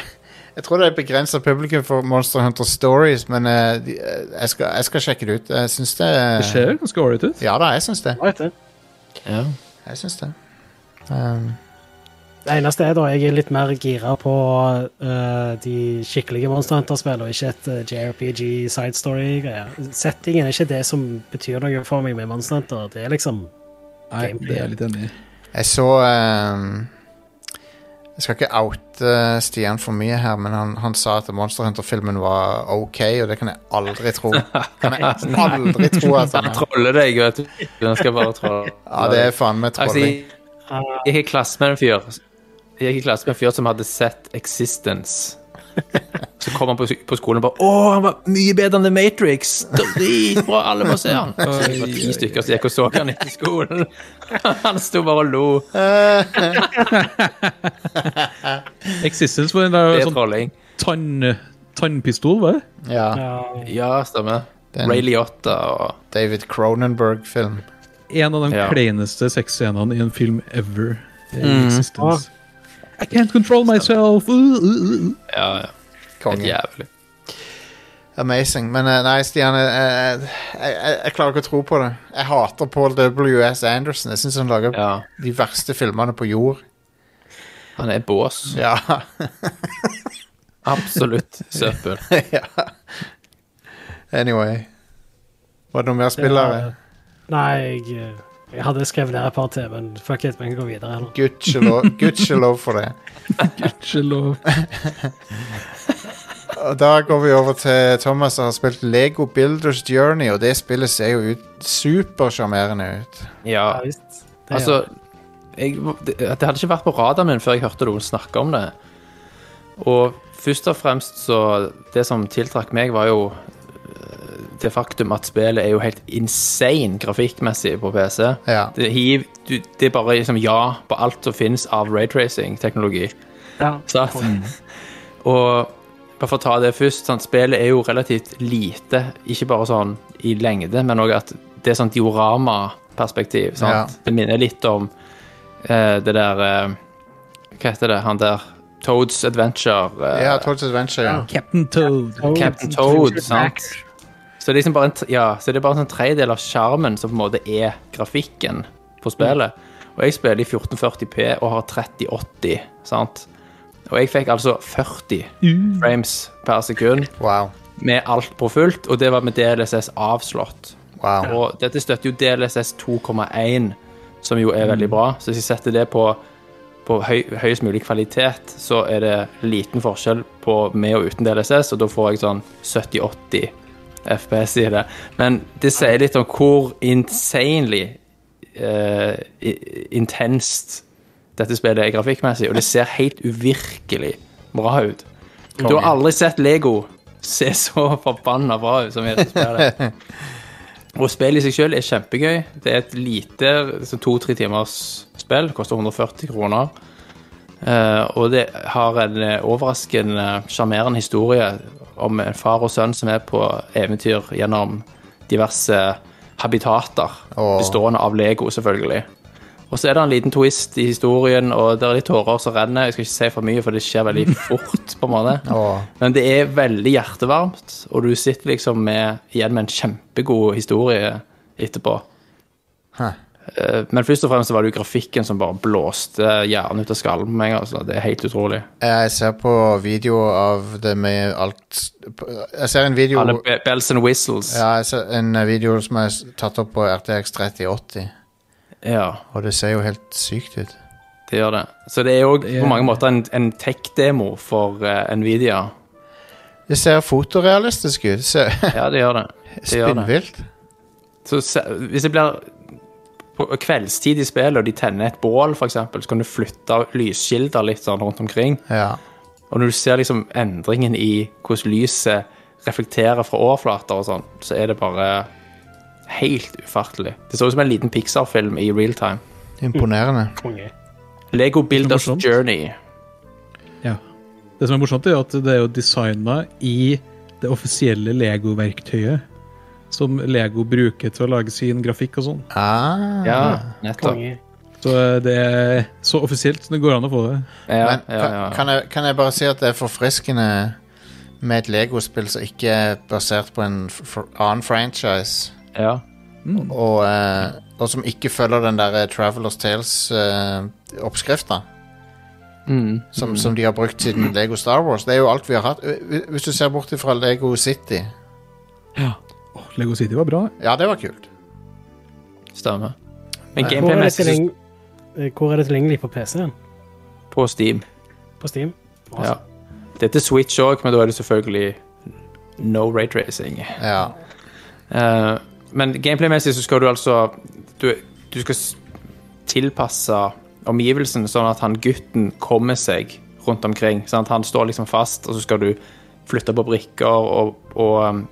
Jeg tror det er et begrenset publikum for Monster Hunter Stories, men eh, de- eh, jeg, skal, jeg skal sjekke det ut. Jeg syns det Det ser ganske ålreit ut. eh. Ja da, jeg syns det. Right, det. Ja. Jeg syns det. Um, Det eneste er da jeg er litt mer gira på eh, de skikkelige Monster Hunter-spillene, og ikke et eh, JRPG side story-greier. Settingen er ikke det som betyr noe for meg med Monster Hunter. Det er liksom Nei, det er jeg litt enig i. Jeg så ehm, Jeg skal ikke oute eh, Stian for mye her, men han, han sa at Monster Hunter-filmen var ok, og det kan jeg aldri tro. Kan jeg aldri tro at han Han troller deg, vet du. Han skal bare trolle. Ja, det er faen meg Altså, trolling. jeg, jeg gikk i klasse med en fyr Jeg gikk i klasse med en fyr som hadde sett Existence. Så kom han på, på skolen og bare 'Å, han var mye bedre enn The Matrix!' Dritbra! Alle må se han! Så det var ti stykker som gikk og så han etter skolen. Han sto bare og lo. Existence var en der, Det er sånn trolling. tann, tannpistol, var det? Ja, ja, Ja, stemmer. Den- Ray Liotta og David Cronenberg-film. En av de Ja. kleineste sexscenene i en film ever. Det er Mm. Existence. I can't control myself! Uh, uh, uh. Ja, ja. Helt Konge. jævlig. Amazing. Men eh, nei, Stian, jeg, jeg, jeg, jeg klarer ikke å tro på det. Jeg hater Paul W.S. Anderson. Jeg syns han lager Ja. de verste filmene på jord. Han er bås. Ja. Absolutt søppel. ja. Anyway. Var det noen mer det spillere? var- Nei, jeg, eh, jeg hadde skrevet ned et par til, men fuck it, vi kan gå videre. Eller? Gudskjelov gudskjelov for det. Gudskjelov. Og Da går vi over til Thomas som har spilt Lego Builders Journey, og det spillet ser jo ut supersjarmerende ut. Ja. Ja, visst. Det, Altså, jeg, det, det hadde ikke vært på radaren min før jeg hørte noen snakke om det. Og først og fremst så Det som tiltrakk meg, var jo øh, det faktum at spillet er jo helt insane grafikkmessig på PC. Ja. Det, hiv, du, det er bare liksom ja på alt som finnes av raytracing-teknologi. ja. Sant? Og bare for å ta det først, sant? spillet er jo relativt lite, ikke bare sånn i lengde, men òg at det er sånn dioramaperspektiv. sant? Det minner litt om eh, det der eh, Hva heter det, han der Toads Adventure? eh, Ja, Toads Adventure. Ja. Captain Toad. Toad. Captain Toad, sant? Så det er liksom bare en, t- ja, så det er bare en sånn tredjedel av skjermen som på en måte er grafikken på spillet. Og jeg spiller i 1440P og har 3080, sant? Og jeg fikk altså 40 frames per sekund Wow. med alt på fullt, og det var med DLSS avslått. wow. Og dette støtter jo DLSS 2,1, som jo er veldig bra. Så hvis jeg setter det på, på høy, høyest mulig kvalitet, så er det liten forskjell på med og uten DLSS, og da får jeg sånn 70-80 FPS i det. Men det sier litt om hvor insanely eh, i- intenst dette spillet er grafikkmessig, og det ser helt uvirkelig bra ut. Du har aldri sett Lego se så forbanna bra ut som i dette spillet. Og spillet i seg selv er kjempegøy. Det er et lite så to-tre timers spill. Koster 140 kroner. Eh, og det har en eh, overraskende sjarmerende historie om en far og sønn som er på eventyr gjennom diverse habitater. Åh. Bestående av Lego, selvfølgelig. Og så er det en liten twist i historien, og det er litt tårer som renner. Jeg skal ikke si for mye, for det skjer veldig fort, på en måte. Åh. Men det er veldig hjertevarmt, og du sitter liksom med, igjen med en kjempegod historie etterpå. Hæ. Eh, Men først og fremst så var det jo grafikken som bare blåste hjernen ut av skallen på meg. Altså. Det er helt utrolig. Jeg ser på video av det med alt Jeg ser en video Alle be- bells and whistles. ja, jeg ser en video som er s- tatt opp på RTX 3080, ja. og det ser jo helt sykt ut. Det gjør det. Så det er jo på mange måter en, en tech-demo for eh, Nvidia. Det ser fotorealistisk ut. Det ser Ja, det gjør det. det, gjør det. Spinnvilt. Så se- hvis det blir på kveldstid i spillet, og de tenner et bål, for eksempel, så kan du flytte lyskilder litt sånn rundt omkring. Ja. Og når du ser liksom endringen i hvordan lyset reflekterer fra overflater og sånn, så er det bare helt ufattelig. Det så ut som en liten Pixar-film i real time. Imponerende. Konge. Lego Builders morsomt. Journey. Ja. Det som er morsomt, er at det er jo designa i det offisielle Lego-verktøyet. Som Lego bruker til å lage sin grafikk og sånn. Ah. Ja, nettopp. Konge. Så eh, det er så offisielt som det går an å få det. Ja, Men ja, kan, ja. Kan, jeg, kan jeg bare si at det er forfriskende med et Lego-spill som ikke er basert på en f- f- annen franchise, ja. Mm. og, eh, og som ikke følger den der eh, Travelers Tales-oppskrifta. Mm. eh, som, som de har brukt siden Lego Star Wars. Det er jo alt vi har hatt. Hvi- Hvis du ser bort fra Lego City Åh, Lego City var bra. Ja, det var kult. Stemmer. Nei. Men Hvor er, det gameplay-messig så- tilgjeng- eh, hvor er det tilgjengelig på PC-en? på Steam På Steam? Awesome. Ja. Det er til Switch òg, men da er det selvfølgelig no rate racing. Ja. Eh, men gameplaymessig så skal du altså Du, du skal s- tilpasse omgivelsen sånn at han gutten kommer seg rundt omkring. Sånn at han står liksom fast, og så skal du flytte på brikker og, og um,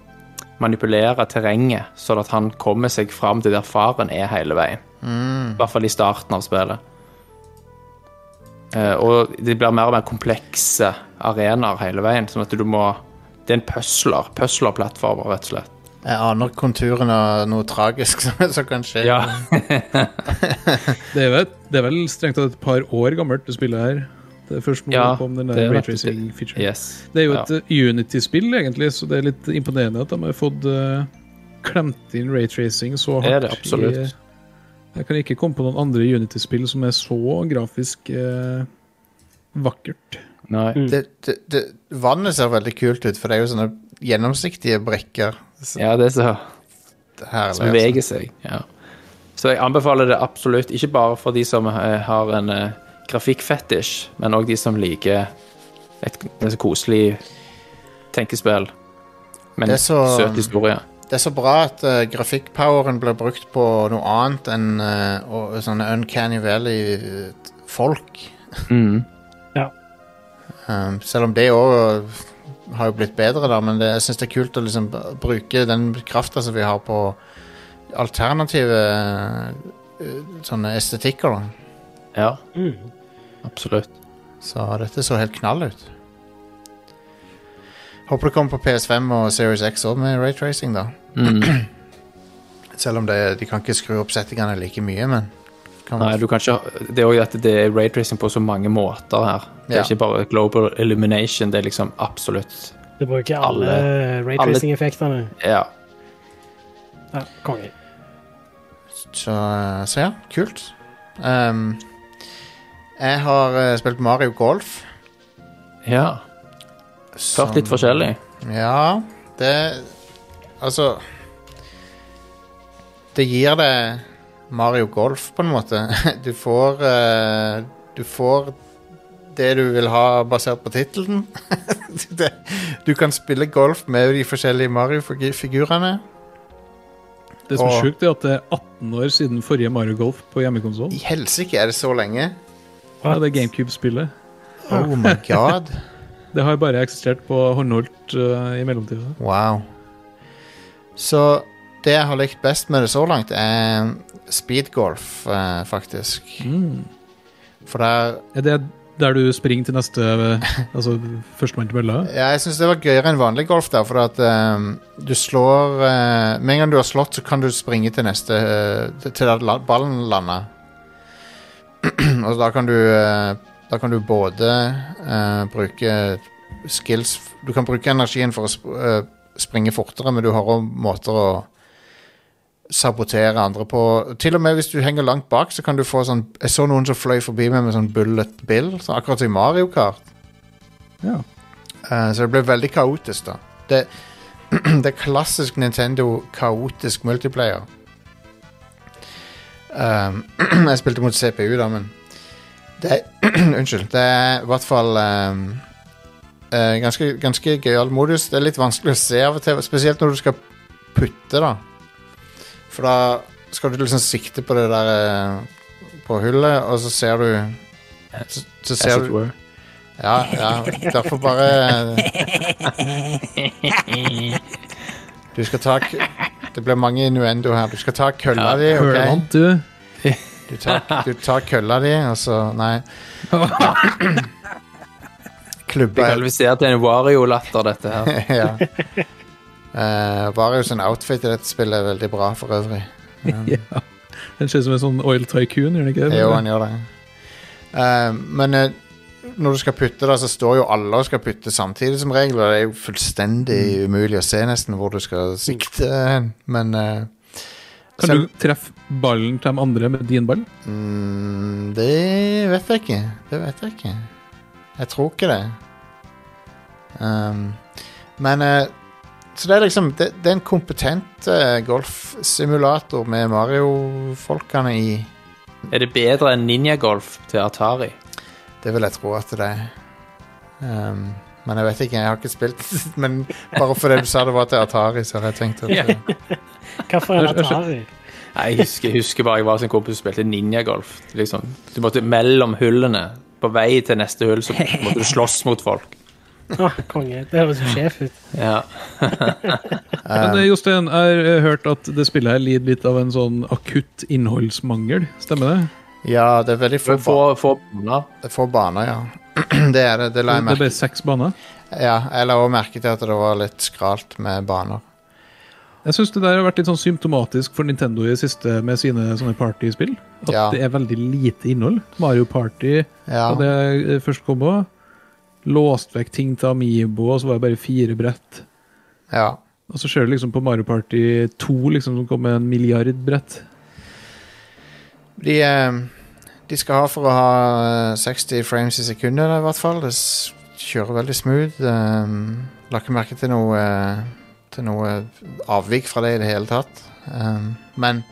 manipulere terrenget sånn at han kommer seg fram til der faren er hele veien. I hvert fall i starten av spillet. Eh, og det blir mer og mer komplekse arenaer hele veien, sånn at du må Det er en pusler. Pusler-plattformer, rett og slett. Jeg aner konturen av noe tragisk som, som kan skje. Ja. Det er vel, det er vel strengt tatt et par år gammelt, det spillet her. Det er først nå Ja, kom den det der er Ray nettopp det. Tracing-featuren. Yes. Det er jo Ja. et eh, Unity-spill, egentlig, så det er litt imponerende at de har fått eh, klemt inn raytracing så hardt. Er det absolutt. i- jeg kan ikke komme på noen andre Unity-spill som er så grafisk eh, vakkert. Nei. Det, det, det, vannet ser veldig kult ut, for det er jo sånne gjennomsiktige brikker. Ja, det er så Herlig, som beveger seg. Ja. Så jeg anbefaler det absolutt, ikke bare for de som eh, har en eh, grafikkfetisj, men òg de som liker et, et så koselig tenkespill med Det er en så- søt historie. Det er så bra at eh, grafikkpoweren blir brukt på noe annet enn eh, å- sånne Uncanny Valley-folk. Mm. Um, selv om det òg har jo blitt bedre, da, men det, jeg syns det er kult å liksom b- bruke den krafta som vi har på alternative eh, sånne estetikker, da. Ja, Mm. absolutt. Så dette så helt knall ut. Håper det kommer på PS5 og Series X òg med raytracing, da. Mm. Selv om det, de kan ikke skru opp settingene like mye, men kan, Nei, du kan ikke, det er òg at det er raytracing på så mange måter her. Det er Ja. ikke bare global illumination, det er liksom absolutt Du bruker alle, Alle- raytracing-effektene. Ja. Ja, konge. Så, så ja, kult. Ehm, jeg har eh, spilt Mario Golf. ja. som- Hørt litt forskjellig. Ja, det Altså Det gir deg Mario Golf, på en måte. Du får eh, Du får det du vil ha basert på tittelen. Det- du kan spille golf med de forskjellige Mario-figurene. Det som Og- er sjukt, er at det er 18 år siden forrige Mario Golf på hjemmekonsoll. I helsike er det så lenge. Ja, det GameCube-spillet. Oh my god. Det har bare eksistert på håndholdt eh, i mellomtida. Wow. Så det jeg har likt best med det så langt, er speedgolf, eh, faktisk. Hmm. For der Er det der du springer til neste Altså førstemann til mølla? ja, Jeg syns det var gøyere enn vanlig golf, der, for at ehm, du slår eh, Med en gang du har slått, så kan du springe til neste eh, Til der la- ballen lander. Og da kan du eh, Da kan du både eh, bruke skills Du kan bruke energien for å sp eh, springe fortere, men du har òg måter å sabotere andre på. Til og med hvis du henger langt bak, så kan du få sånn Jeg så noen som fløy forbi meg med sånn bullet bill, så akkurat som i Mario Kart. Ja. Eh, så det ble veldig kaotisk, da. Det, det er klassisk Nintendo-kaotisk multiplayer. Um, jeg spilte mot CPU, da, men det Unnskyld. Det er i hvert fall um, eh, ganske, ganske gøyal modus. Det er litt vanskelig å se av og til, spesielt når du skal putte, da. For da skal du liksom sikte på det der eh, på hullet, og så ser du Så, så As ser it du were. ja, ja, derfor bare Du skal ta k- Det blir mange innuendo her. Du skal ta kølla di, OK? Hørvant, du. Du tar, du tar kølla di, og så Nei. Vi Klubba kvalifiserer til en Wario-latter, dette her. ja. Eh, Vario sin outfit i dette spillet er veldig bra for øvrig. Ja. Den ser ut som en sånn oil tycoon, gjør den ikke? det? Jo, han gjør det. Eh, men eh, når du skal putte, da, så står jo alle og skal putte samtidig som regel. Og det er jo fullstendig Mm. umulig å se nesten hvor du skal sikte hen. Men eh, Kan du treffe ballen til de andre med din ball? mm, Det vet jeg ikke. Det vet jeg ikke. Jeg tror ikke det. Ehm, men eh, Så det er liksom Det, det er en kompetent eh, golfsimulator med Mario-folkene i. Er det bedre enn ninjagolf til Atari? Det vil jeg tro at det er. Ehm, men jeg vet ikke, jeg har ikke spilt Men bare fordi du sa det var til Atari, så har jeg tenkt at eh, Hvorfor er det Atari? Nei, jeg husker, jeg husker bare jeg var som kompis og spilte ninjagolf. Liksom. Du måtte mellom hullene, på vei til neste hull, så måtte du slåss mot folk. Å, konge. Det høres jo sjef ut. Ja. Men eh, Jostein, jeg har eh, hørt at det spillet her lider litt av en sånn akutt innholdsmangel. Stemmer det? Ja, det er veldig få, For, for, for, ja. ba få baner, ja. det er det. Det la Det jeg er merke bare seks baner. Ja, jeg la også merke til at det var litt skralt med baner. Jeg syns det der har vært litt sånn symptomatisk for Nintendo i det siste med sine sånne partyspill. At Ja. det er veldig lite innhold. Mario Party Ja, hadde jeg eh, først kom på. Låst vekk ting til Amiibo, og så var det bare fire brett. ja. Og så ser du liksom på Mario Party 2, liksom, som kom med en milliard brett. De, eh, de skal ha for å ha eh, 60 frames i sekundet, da, i hvert fall. Det s- kjører veldig smooth. Um, la ikke merke til noe, eh, til noe avvik fra det i det hele tatt. Um, men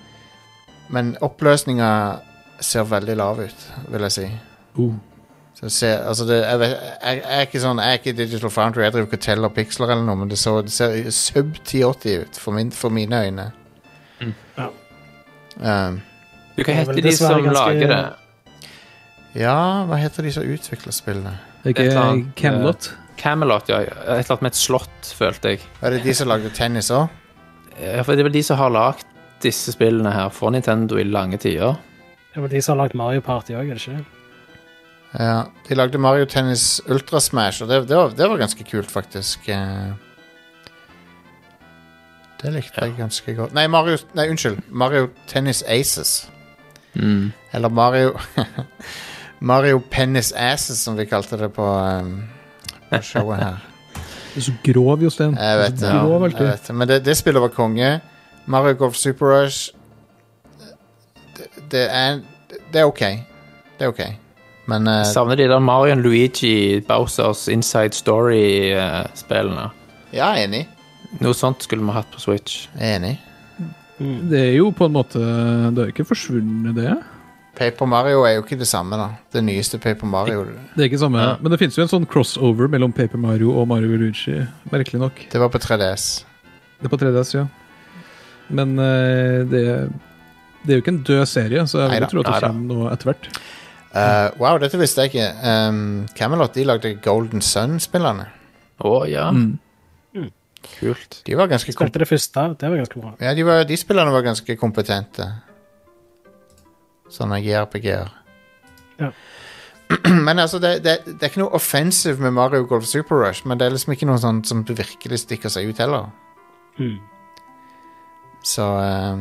men oppløsninga ser veldig lav ut, vil jeg si. Oh. Så det ser, altså det, jeg, vet, jeg, jeg er ikke sånn Jeg er ikke Digital Foundry, jeg driver ikke og teller piksler eller noe, men det, så, det ser sub-1080 ut for, min, for mine øyne. Mm. Ja. Um, Du, hva Det er vel heter de dessverre som ganske- lager det? Ja, hva heter de som utvikler spillene? Det er Et eller ikke annet, Camelot. Camelot, ja. Et eller annet med et slott, følte jeg. Er det de som lagde tennis òg? Ja, For det er vel de som har lagd disse spillene her for Nintendo i lange tider. Det var de som har lagd Mario Party òg, er det ikke? Ja, de lagde Mario Tennis Ultra Smash, og det, det, var, det var ganske kult, faktisk. Eh, Det likte jeg ganske godt. Nei, Mario, nei, unnskyld. Mario Tennis Aces. Mm. Eller Mario Mario Pennis Asses, som vi kalte det på, eh, på showet her. Du er så grov, Jostein. Jeg vet Du det. er så grov, Jeg alltid. vet det. Men det, det spillet var konge. Mario Golf Super Rush det, det er Det er OK. Det er OK. Men eh, Jeg savner de der Marion Luigi Bowsers Inside eh, Story-spillene. ja, enig. Noe sånt skulle vi hatt på Switch. Enig. Det er jo på en måte Det har ikke forsvunnet, det. Paper Mario er jo ikke det samme, da. Det nyeste Paper Mario. Det er ikke samme. Ja. Men det finnes jo en sånn crossover mellom Paper Mario og Mario Luigi. Merkelig nok. Det var på 3DS. Det er på 3DS, ja. Men eh, det, det er jo ikke en død serie, så jeg vil Neida, jo tro at det neida. kommer noe etter hvert. Eh, wow, dette visste jeg ikke. Um, Camelot de lagde Golden Sun-spillerne. Å ja, Mm. kult. De var ganske kom Spilte det første. Det var ganske bra. Ja, de, var, de spillerne var ganske kompetente. Sånne JRPG-er. Ja. Men altså, det, det, det er ikke noe offensive med Mario Golf Super Rush, men det er liksom ikke noe sånt som virkelig stikker seg ut heller. Mm. Så eh,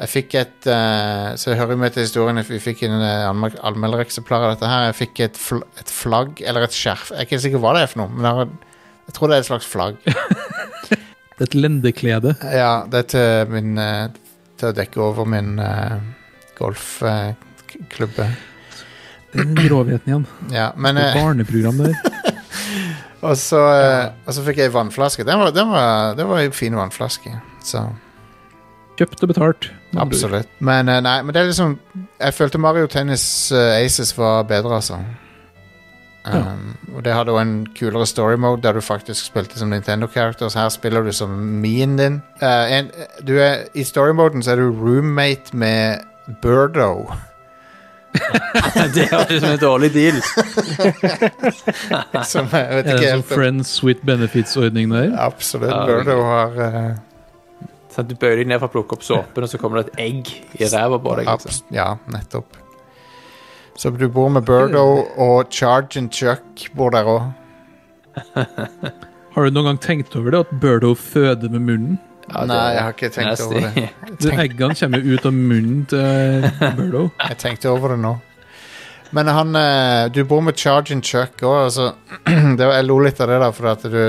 jeg fikk et eh, Så jeg hører jo med til historien at vi fikk en eh, anmer- anmeldereksemplar av dette her. Jeg fikk et, fl et flagg, eller et skjerf. Jeg er ikke sikker hva det er for noe, men jeg, har, jeg tror det er et slags flagg. Det er et lendeklede. Ja, det er til min eh, Til å dekke over min eh, golfklubbe. Den Grovheten igjen. ja, men Det er eh, barneprogram der. Og så, eh, og så fikk jeg ei vannflaske. Den var, den var, det var ei fin vannflaske. Så Kjøpt og betalt. med andre ord. absolutt. Men eh, nei, men det er liksom Jeg følte Mario Tennis eh, Aces var bedre, altså. Um, Og det hadde òg en kulere story mode, der du faktisk spilte som Nintendo Characters. Her spiller du som Mien din. Eh, en, du er, I story moden så er du roommate med Birdo. det var liksom en dårlig deal. Som jeg vet Er det ikke en sånn helt eh, om- Friends with benefits-ordning der? Absolutt. Ja, Birdo har eh, Sånn, du bøyer deg ned for å plukke opp såpen, og så kommer det et egg i ræva på deg. Liksom. abs Ja, nettopp. Så du bor med Birdo, Mm. og Charge and Chuck bor der òg. Har du noen gang tenkt over det, at Birdo føder med munnen? Ja, det- Nei, jeg har ikke tenkt over det. Nasty. Det- Eggene kommer jo ut av munnen til Birdo. Jeg tenkte over det nå. Men han eh, Du bor med Charge and Chuck òg, altså. det var- Jeg lo litt av det, da, for at du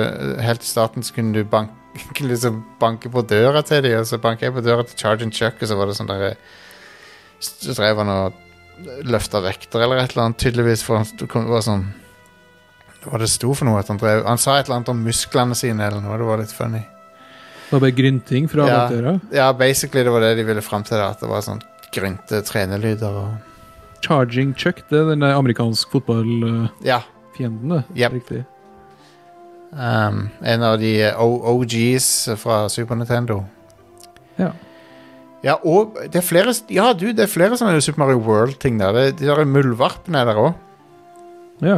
helt i starten så kunne du bank, liksom banke på døra til dem, og så banket jeg på døra til Charge and Chuck, og så var det sånn derre Så drev han og løfta vekter eller et eller annet, tydeligvis, for han sto- kom- var sånn hva det sto for noe at han drev Han sa et eller annet om musklene sine eller noe. Det var litt funny. Det var bare grynting fra Ja. aktører. Ja, basically det var det de ville fram til. da, At det var sånn grynte trenelyder og Charging Chuck, det er den der amerikansk fotballfienden, Ja. det. Yep. Riktig. Um, en av de eh, O- OGs fra Super Nintendo. Ja. Ja, og det er flere Ja, du, det er flere sånne Super Mario World-ting der. Det, de der muldvarpene er der òg. ja.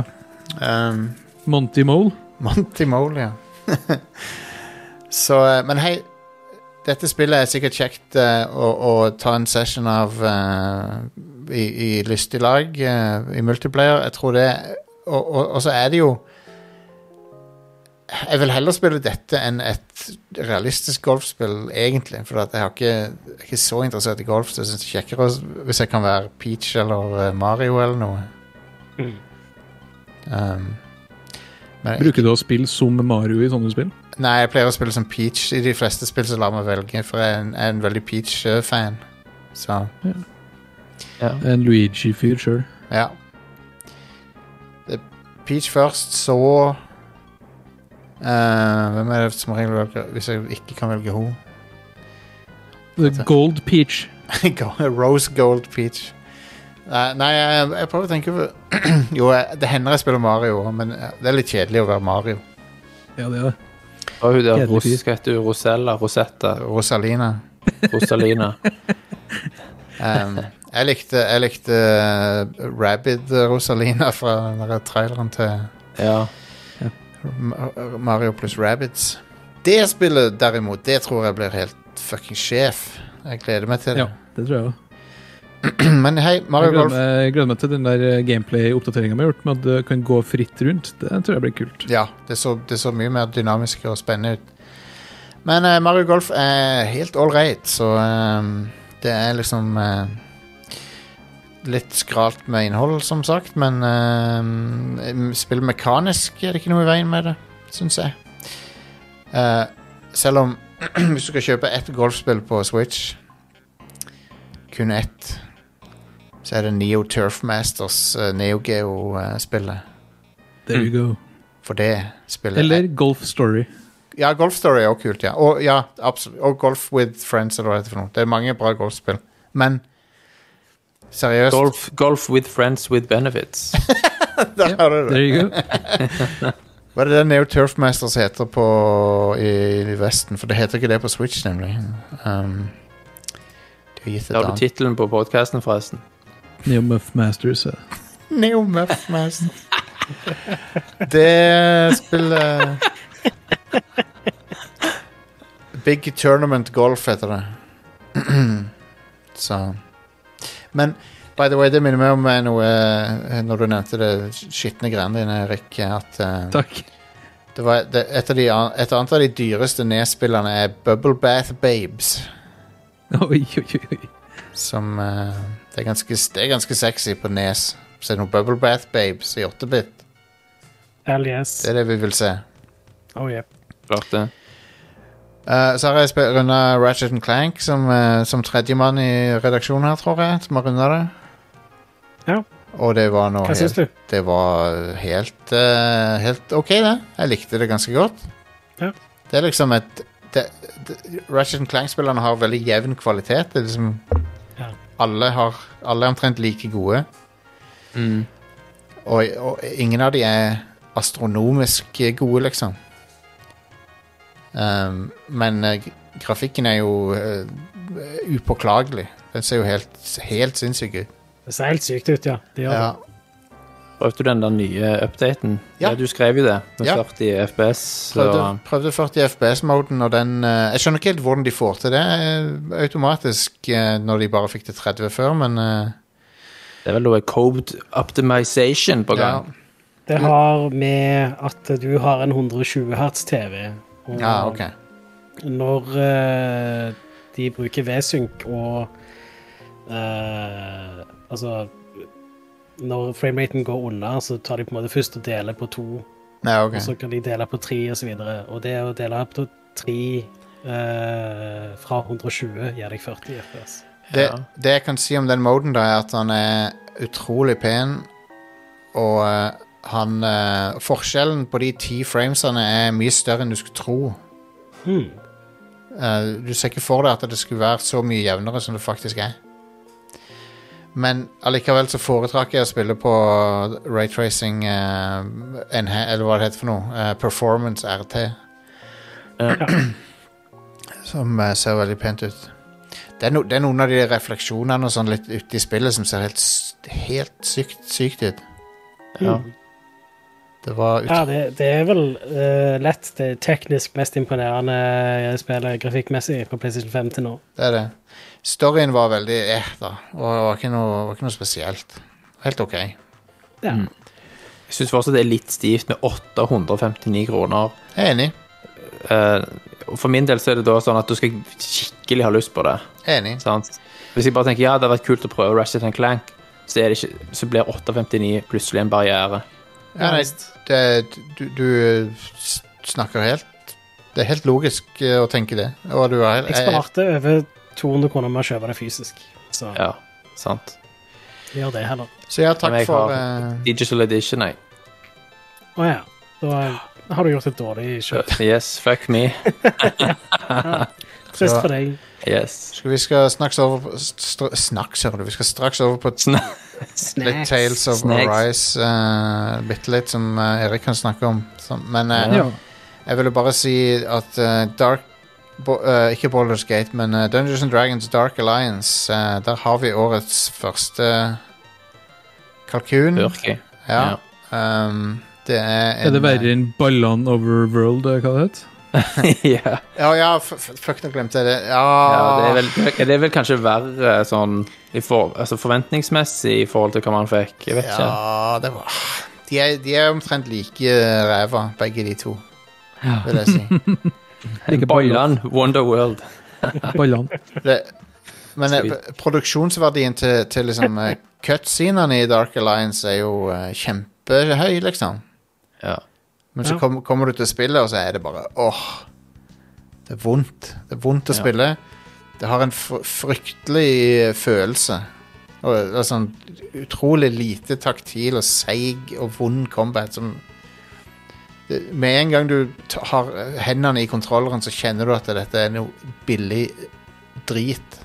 Um, Monty Mole. Monty Mole, ja. Så, eh, men hei Dette spillet er sikkert kjekt eh, å, å ta en session av eh, i, i lystig lag, eh, i multiplayer. Jeg tror det Og, og, og så er det jo Jeg vil heller spille dette enn et realistisk golfspill, egentlig. For at jeg, har ikke, jeg er ikke så interessert i golf, så jeg syns det er kjekkere å- hvis jeg kan være Peach eller eh, Mario eller noe. Mm. Um, men- Bruker du å spille som Mario i sånne spill? Nei, jeg pleier å spille som Peach i de fleste spill, så la meg velge, for jeg er en, jeg er en veldig Peach-fan. Så Ja. En Luigi-fyr sjøl. ja. Det, Peach først, så eh, Hvem er det som regel velger hvis jeg ikke kan velge henne? The Sånn. Gold Peach. Rose Gold Peach. Nei, nei, jeg, jeg prøver å tenke på Jo, jeg, det hender jeg spiller Mario, også, men eh, det er litt kjedelig å være Mario. Ja, det er det. Og hun der Kjedelig Ros, fyr. hva heter hun? Rosella? Rosetta? Rosalina. Rosalina? Um, jeg likte, jeg likte eh, Rabid Rosalina fra den der traileren til Ja. Ma- Mario pluss Rabbids. Det spillet, derimot, det tror jeg blir helt fucking sjef. Jeg gleder meg til det. Ja, det tror jeg òg. Men hei, Jeg Mario gleder Golf meg, jeg gleder meg til den der gameplay-oppdateringa vi har gjort, med at du kan gå fritt rundt. Det tror jeg blir kult. Ja, det så, det så mye mer dynamisk og spennende ut. Men eh, Mario Golf er helt ålreit, så eh, det er liksom eh, Litt skralt med innhold, som sagt, men uh, spill mekanisk er det ikke noe i veien med det, syns jeg. Eh, selv om hvis du skal kjøpe ett golfspill på Switch, kun ett, så er det Neo Turf Masters, eh, Neo Geo-spillet. There Mm. you go. For det spillet Eller Golf Story. ja, Golf Story er også kult, ja. Og, ja, absolutt. og Golf with Friends, eller hva det heter for noe. Det er mange bra golfspill. Men seriøst, Golf, golf with friends with benefits. der har du det. There you go. Hva er det det Neo Turfmasters heter på, i, i Vesten? For det heter ikke det på Switch, nemlig. Um, de har gitt Det et har du annet tittelen på podkasten, forresten. Neo Muff Masters. eh. ja. Neo Muffmasters. det spillet Big Tournament Golf heter det. Så Men by the way, det minner meg om eh, noe eh, når du nevnte det skitne greiene dine, Erik. At eh, Takk. det var det, et, av de, an- et annet av de dyreste nedspillerne er Bubble Bath Babes. Oi, oi, oi, oi. Som eh, det, er ganske, det er ganske sexy på nes. Se noe Bubble Bath Babes i 8-bit. Hell yes. Det er det vi vil se. E Oh, yeah. Klart det. Eh, så har jeg spe- runda Ratchet and Clank som, uh, som tredjemann i redaksjonen her, tror jeg. Som har runda det. Ja. Og det var nå Hva syns helt du? Det var helt, eh, helt OK, det. Jeg likte det ganske godt. Ja. Det er liksom et det, det, Ratchet and Clank-spillerne har veldig jevn kvalitet. Det er liksom Ja. alle, har, alle er omtrent like gode. Mm. Og, og ingen av de er astronomisk gode, liksom. Um, men eh, grafikken er jo eh, upåklagelig. Den ser jo helt, helt sinnssyk ut. Det ser helt sykt ut, ja. Det gjør Ja. det. Prøvde du den der nye updaten? Ja. Ja. du skrev jo det. Med Ja. 40 FPS. Så, Prøvde, prøvde 40 FPS-moden, og den eh, Jeg skjønner ikke helt hvordan de får til det eh, automatisk, eh, når de bare fikk til 30 før, men eh, det er vel noe code optimization på ja. gang. Det har med at du har en 120 hertz TV. og ja, OK. Når eh, de bruker V-sync og eh, Altså Når frameraten går unna, så tar de på en måte først og deler på to, Ja, ok. og så kan de dele på tre og så videre. Og det å dele på tre eh, fra 120 gir deg 40 FPS. det, Ja. det jeg kan si om den moden, da, er at han er utrolig pen, og eh, han eh, Forskjellen på de ti framesene er mye større enn du skulle tro. Hmm. Eh, du ser ikke for deg at det skulle være så mye jevnere som det faktisk er. Men allikevel så foretrakk jeg å spille på raytracing eh, enha- Eller hva det heter for noe. eh, performance RT. som eh, ser veldig pent ut. Det er, no, det er noen av de refleksjonene og sånn litt ute i spillet som ser helt, s- helt sykt, sykt ut. Mm. Ja. Det var ut... Ja, det, det er vel eh, lett det teknisk mest imponerende eh, spillet grafikkmessig på PlayStation 5 til nå. Det er det. Storyen var veldig eh, da. Og det var ikke noe, var ikke noe spesielt. Helt OK. Ja. Mm. Jeg syns fortsatt det er litt stivt med 859 kroner. Jeg er enig. Eh, og for min del så er det da sånn at du skal skikkelig ha lyst på det. Jeg er enig. Sant? Hvis jeg bare tenker ja, det hadde vært kult å prøve Ratchet Clank, så, er det ikke, så blir 859 plutselig en barriere. Ja, nei, det, du, du s- snakker helt Det er helt logisk eh, å tenke det. Og du har helt Jeg sparte over 200 kroner med å kjøpe det fysisk, så Ja, sant. gjør det heller. Så ja, takk Men jeg for har- eh, Digital Edition, jeg. Å ja. Da eh, har du gjort et dårlig kjøp. Yes, fuck me. Trist så- for deg. Yes. skal Vi skal snakks over på str Snakks, hører du. Vi skal straks over på Sn- litt Tales of Snacks. Arise. eh, bitte litt, som eh, Erik kan snakke om. Som, men eh, Ja. jeg ville bare si at eh, Dark Bo- eh, Ikke Baldur's Gate, men eh, Dungeons and Dragons Dark Alliance. eh, der har vi årets første kalkun. Turkey. Ja. Um, det er en Er det verre enn Ballan Overworld, eh, hva det het? ja. Ja, ja, f- f- fuck, nå glemte jeg det. Ja, ja det, er vel, det er vel kanskje verre sånn i for, altså forventningsmessig i forhold til hva man fikk. Jeg vet ikke. Ja, det var De er, de er omtrent like ræva, begge de to, vil jeg si. Ikke Boylan, Wonderworld. Ballan. Det, men eh, produksjonsverdien til, til liksom eh, cutscenene i Dark Alliance er jo eh, kjempehøy, liksom. Ja. Men så Ja. kom, kommer du til spillet, og så er det bare åh. Det er vondt. Det er vondt å Ja. spille. Det har en fr fryktelig eh, følelse. Og det er sånn utrolig lite taktil og seig og vond combat som det, Med en gang du ta- har eh, hendene i kontrolleren, så kjenner du at dette er noe billig drit.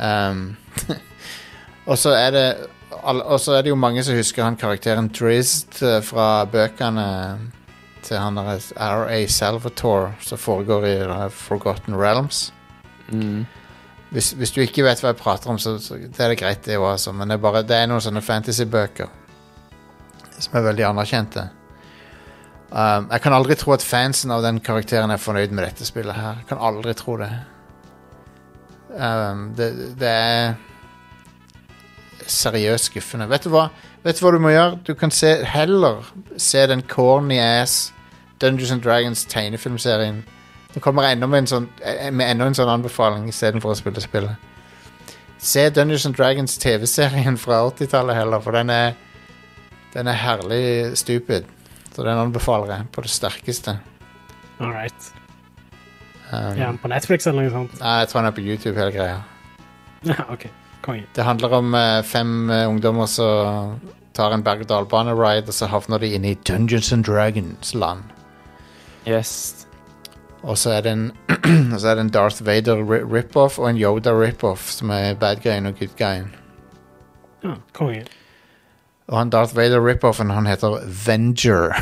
Um, og så er det all- Og så er det jo mange som husker han karakteren Drizzt eh, fra bøkene til han der R.A. Salvatore, som foregår i det her Forgotten Realms. Mm. Hvis, hvis du ikke vet hva jeg prater om, så, så det er det greit, det òg, altså. Men det er, bare, det er noen sånne fantasybøker som er veldig anerkjente. Um, jeg kan aldri tro at fansen av den karakteren er fornøyd med dette spillet her. Jeg kan aldri tro det. Um, det, det er seriøst skuffende. Vet du hva? Vet du hva du må gjøre? Du kan se, heller se den corny ass Dungeons and Dragons tegnefilmserien. Det kommer enda med en sånn, eh, med enda en sånn anbefaling istedenfor å spille spillet. Se Dungeons and Dragons TV-serien fra 80-tallet heller, for den er, den er herlig stupid. Så den anbefaler jeg på det sterkeste. All right. Um, Er den på Netflix eller noe sånt? Nei, jeg tror den er på YouTube, hele greia. Ja, OK. Konge. Det handler om eh, fem eh, ungdommer som tar en berg-og-dal-bane-ride, og så havner de inne i Dungeons and Dragons-land. Yes. Og så er det en, og så er det en Darth Vader ri- rip-off og en Yoda rip-off, som er bad guyen og good guyen. Ja, konge. Og han Darth Vader rip-offen, han heter Venger.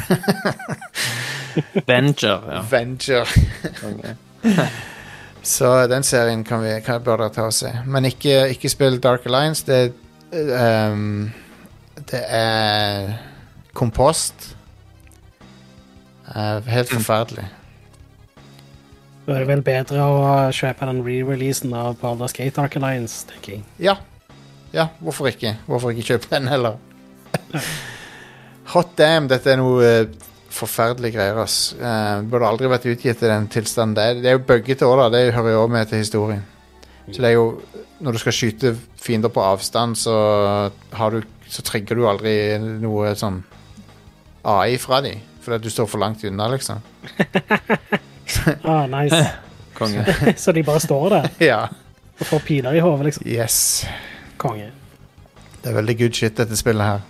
Venger, ja. Venger. Så den serien kan vi, kan, bør dere ta og se. Men ikke, ikke spill Dark Alliance. Det, er, ehm, det er kompost. Eh, helt forferdelig. Da er det vel bedre å kjøpe den re-releasen av Baldur's Gate Ark Alliance, tenker jeg. Ja. ja, hvorfor ikke? Hvorfor ikke kjøpe den heller? Hot damn, dette er noe eh, forferdelige greier, ass. Eh, burde aldri vært utgitt i den tilstanden. Det er, det er jo bøggete òg, da. Det hører jo også med til historien. Så det er jo Når du skal skyte fiender på avstand, så har du Så trigger du aldri noe sånn AI fra dem. Fordi at du står for langt unna, liksom. Ah, nice. Konge. Så de bare står der Ja. og får piler i hodet, liksom. Yes. Konge. Det er veldig good shit, dette spillet her.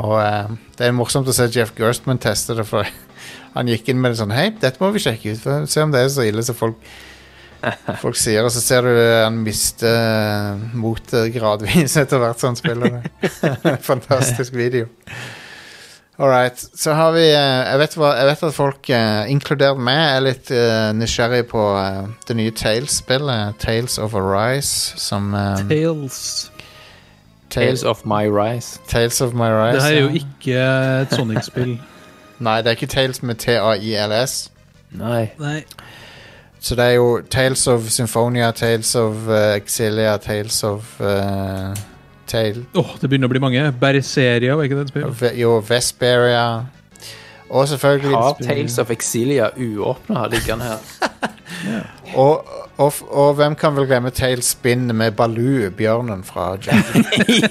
Og eh, det er morsomt å se Jeff Gerstman teste det, for han gikk inn med det sånn Hei, dette må vi sjekke ut, for se om det er så ille som folk, folk sier. Og så ser du eh, han mister eh, motet gradvis etter hvert som han spiller det. Fantastisk video. All right. Så har vi eh, jeg, vet hva, jeg vet at folk, eh, inkludert meg, er litt eh, nysgjerrig på eh, det nye Tales-spillet. Tales of Arise, som eh, Tales. Tales of My Rise. Tales of My Rise. Det her er jo ja. ikke et Sonic-spill. Nei, det er ikke Tales med T-A-I-L-S. Nei. Nei. Så det er jo Tales of Symphonia, Tales of eh, Exilia, Tales of eh, Tale, Åh, det begynner å bli mange. Berseria, var ikke det et spill? Ve- Jo, Vesperia. Og selvfølgelig Har Tales of Exilia uåpna liggende her? og, og, og hvem kan vel glemme Tales Spin med Baloo, bjørnen fra Jungle,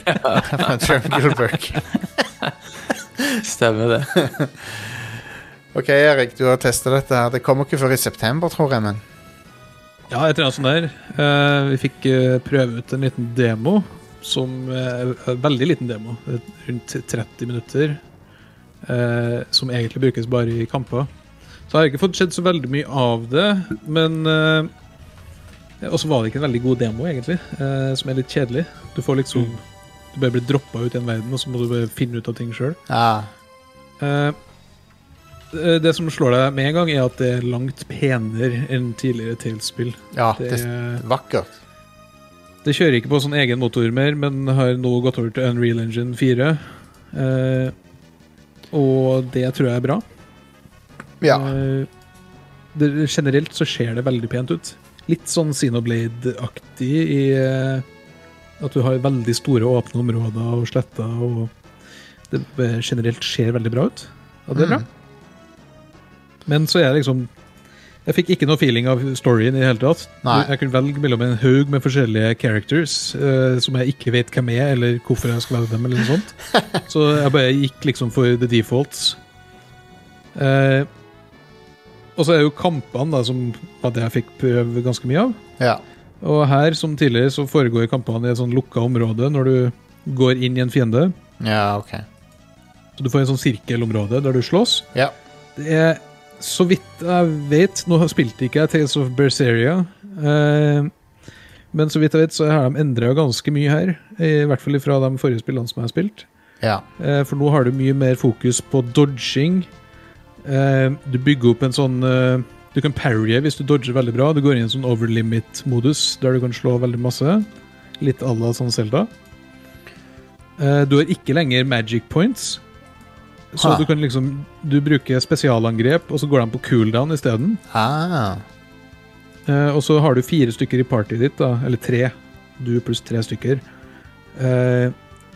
fra Jungle Book. Stemmer det. Ok, Erik, du har testa dette her. Det kommer ikke før i september, tror jeg, men Ja, et eller annet sånt der. Eh, vi fikk eh, prøve ut en liten demo. Som eh, En veldig liten demo. eh, Rundt 30 minutter. eh, som egentlig brukes bare i kamper. Så har jeg ikke fått sett så veldig mye av det, men eh, Og så var det ikke en veldig god demo, egentlig, eh, som er litt kjedelig. Du får liksom Du bare blir droppa ut i en verden, og så må du bare finne ut av ting sjøl. ah, Eh, det som slår deg med en gang, er at det er langt penere enn tidligere Tales-spill. Ja, det Det, er vakkert. det kjører ikke på sånn egen motor mer, men har nå gått over til Unreal Engine 4. Eh, og det tror jeg er bra. Ja. Eh, det, generelt så ser det veldig pent ut. Litt sånn Xenoblade-aktig i eh, at du har veldig store åpne områder og sletter, og det eh, generelt ser veldig bra ut. Og det er bra. Men så er det liksom Jeg fikk ikke noe feeling av storyen i det hele tatt. Nei. Jeg kunne velge mellom en haug med forskjellige characters eh, som jeg ikke vet hvem er, eller hvorfor jeg skal velge dem, eller noe sånt. Så jeg bare gikk liksom for the defaults. Eh, og så er jo kampene da, som var det jeg fikk prøve ganske mye av. ja. Og her, som tidligere, så foregår kampene i et sånn lukka område når du går inn i en fiende. Ja, ok. Så du får en sånn sirkelområde der du slåss. Ja. Det er, så vidt jeg vet Nå har- spilte ikke jeg Tales of Berseria. Eh, men så vidt jeg vet, så har de endra ganske mye her. I hvert fall fra de forrige spillene som jeg har spilt. Ja. Eh, For nå har du mye mer fokus på dodging. Eh, Du bygger opp en sånn eh, Du kan parrye hvis du dodger veldig bra. Du går inn i en sånn overlimit-modus der du kan slå veldig masse. Litt à la sånn Zelda. Eh, Du har ikke lenger magic points. Så Ha. du kan liksom Du bruker spesialangrep, og så går de på cooldown isteden. Ah. Eh, og så har du fire stykker i partyet ditt, da, eller tre. Du pluss tre stykker. Eh,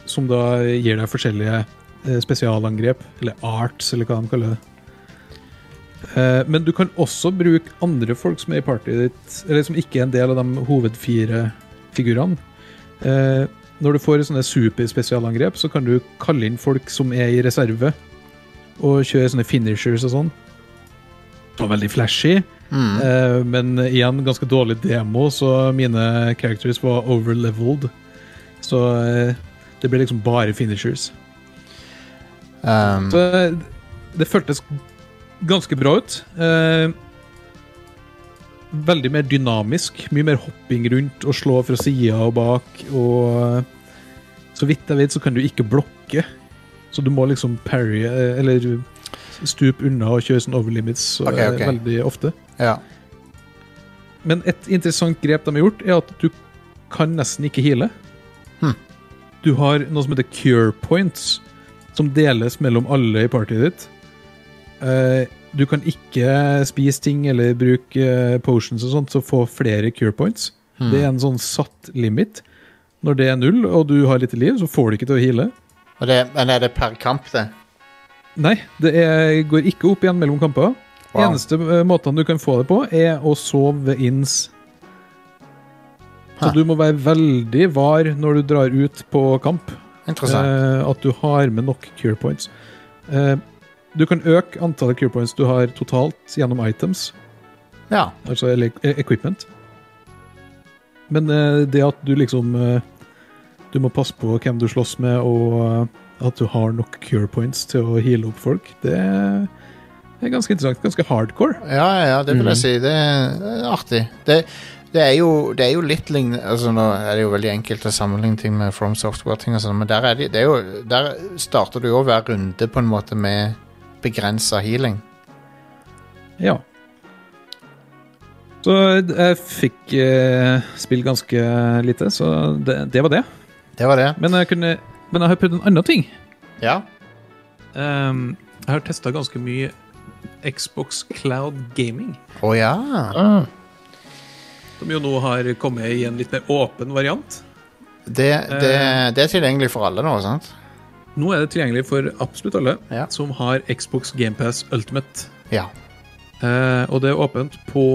som da gir deg forskjellige eh, spesialangrep, eller arts, eller hva de kaller det. Eh, men du kan også bruke andre folk som er i partyet ditt, eller som ikke er en del av de hovedfire figurene. Eh, når du får sånne superspesialangrep, så kan du kalle inn folk som er i reserve, og kjøre sånne finishers og sånn. Det var veldig flashy. Mm. Eh, Men igjen, ganske dårlig demo, så mine characters var overleveled. Så eh, det ble liksom bare finishers. Um, Så eh, det føltes ganske bra ut. Eh, Veldig mer dynamisk. Mye mer hopping rundt og slå fra sida og bak. Og eh, så vidt jeg vet, så kan du ikke blokke. Så du må liksom parry, eh, eller stupe unna og kjøre sånn overlimits eh, Ok, ok. veldig ofte. ja. Men et interessant grep de har gjort, er at du kan nesten ikke heale. Hmm. Du har noe som heter cure points, som deles mellom alle i partyet ditt. Eh, Du kan ikke spise ting eller bruke eh, potions og sånt, så få flere cure points. Det er en sånn satt limit. Når det er null, og du har lite liv, så får du ikke til å heale. Og det, men er det per kamp, det? Nei, det er, går ikke opp igjen mellom kamper. Wow. Eneste eh, måten du kan få det på, er å sove ved inns. Så Hæ. du må være veldig var når du drar ut på kamp, Interessant. eh, at du har med nok cure points. Eh, du kan øke antallet cure points du har totalt gjennom items, ja. altså eller, eh, equipment. Men eh, det at du liksom eh, Du må passe på hvem du slåss med, og eh, at du har nok cure points til å heale opp folk, det er ganske interessant. Ganske hardcore. Ja, ja, ja, det vil jeg si. Det er, det er artig. Det, det, er jo, det er jo litt lignende altså, Nå er det jo veldig enkelt å sammenligne ting med From Software-ting, og sånn, men der, er de, det er jo, der starter du jo hver runde på en måte med begrensa healing. Ja. Så eh, jeg fikk eh, spilt ganske lite, så det, det var det. Det var det. Men jeg, kunne, men jeg har prøvd en annen ting. Ja. Ehm, jeg har testa ganske mye Xbox Cloud Gaming, Å ja. som jo nå har kommet i en litt mer åpen variant. Det, det, det er tilgjengelig for alle nå, sant? Nå er det tilgjengelig for absolutt alle Ja. som har Xbox GamePass Ultimate. Ja. Eh, og det er åpent på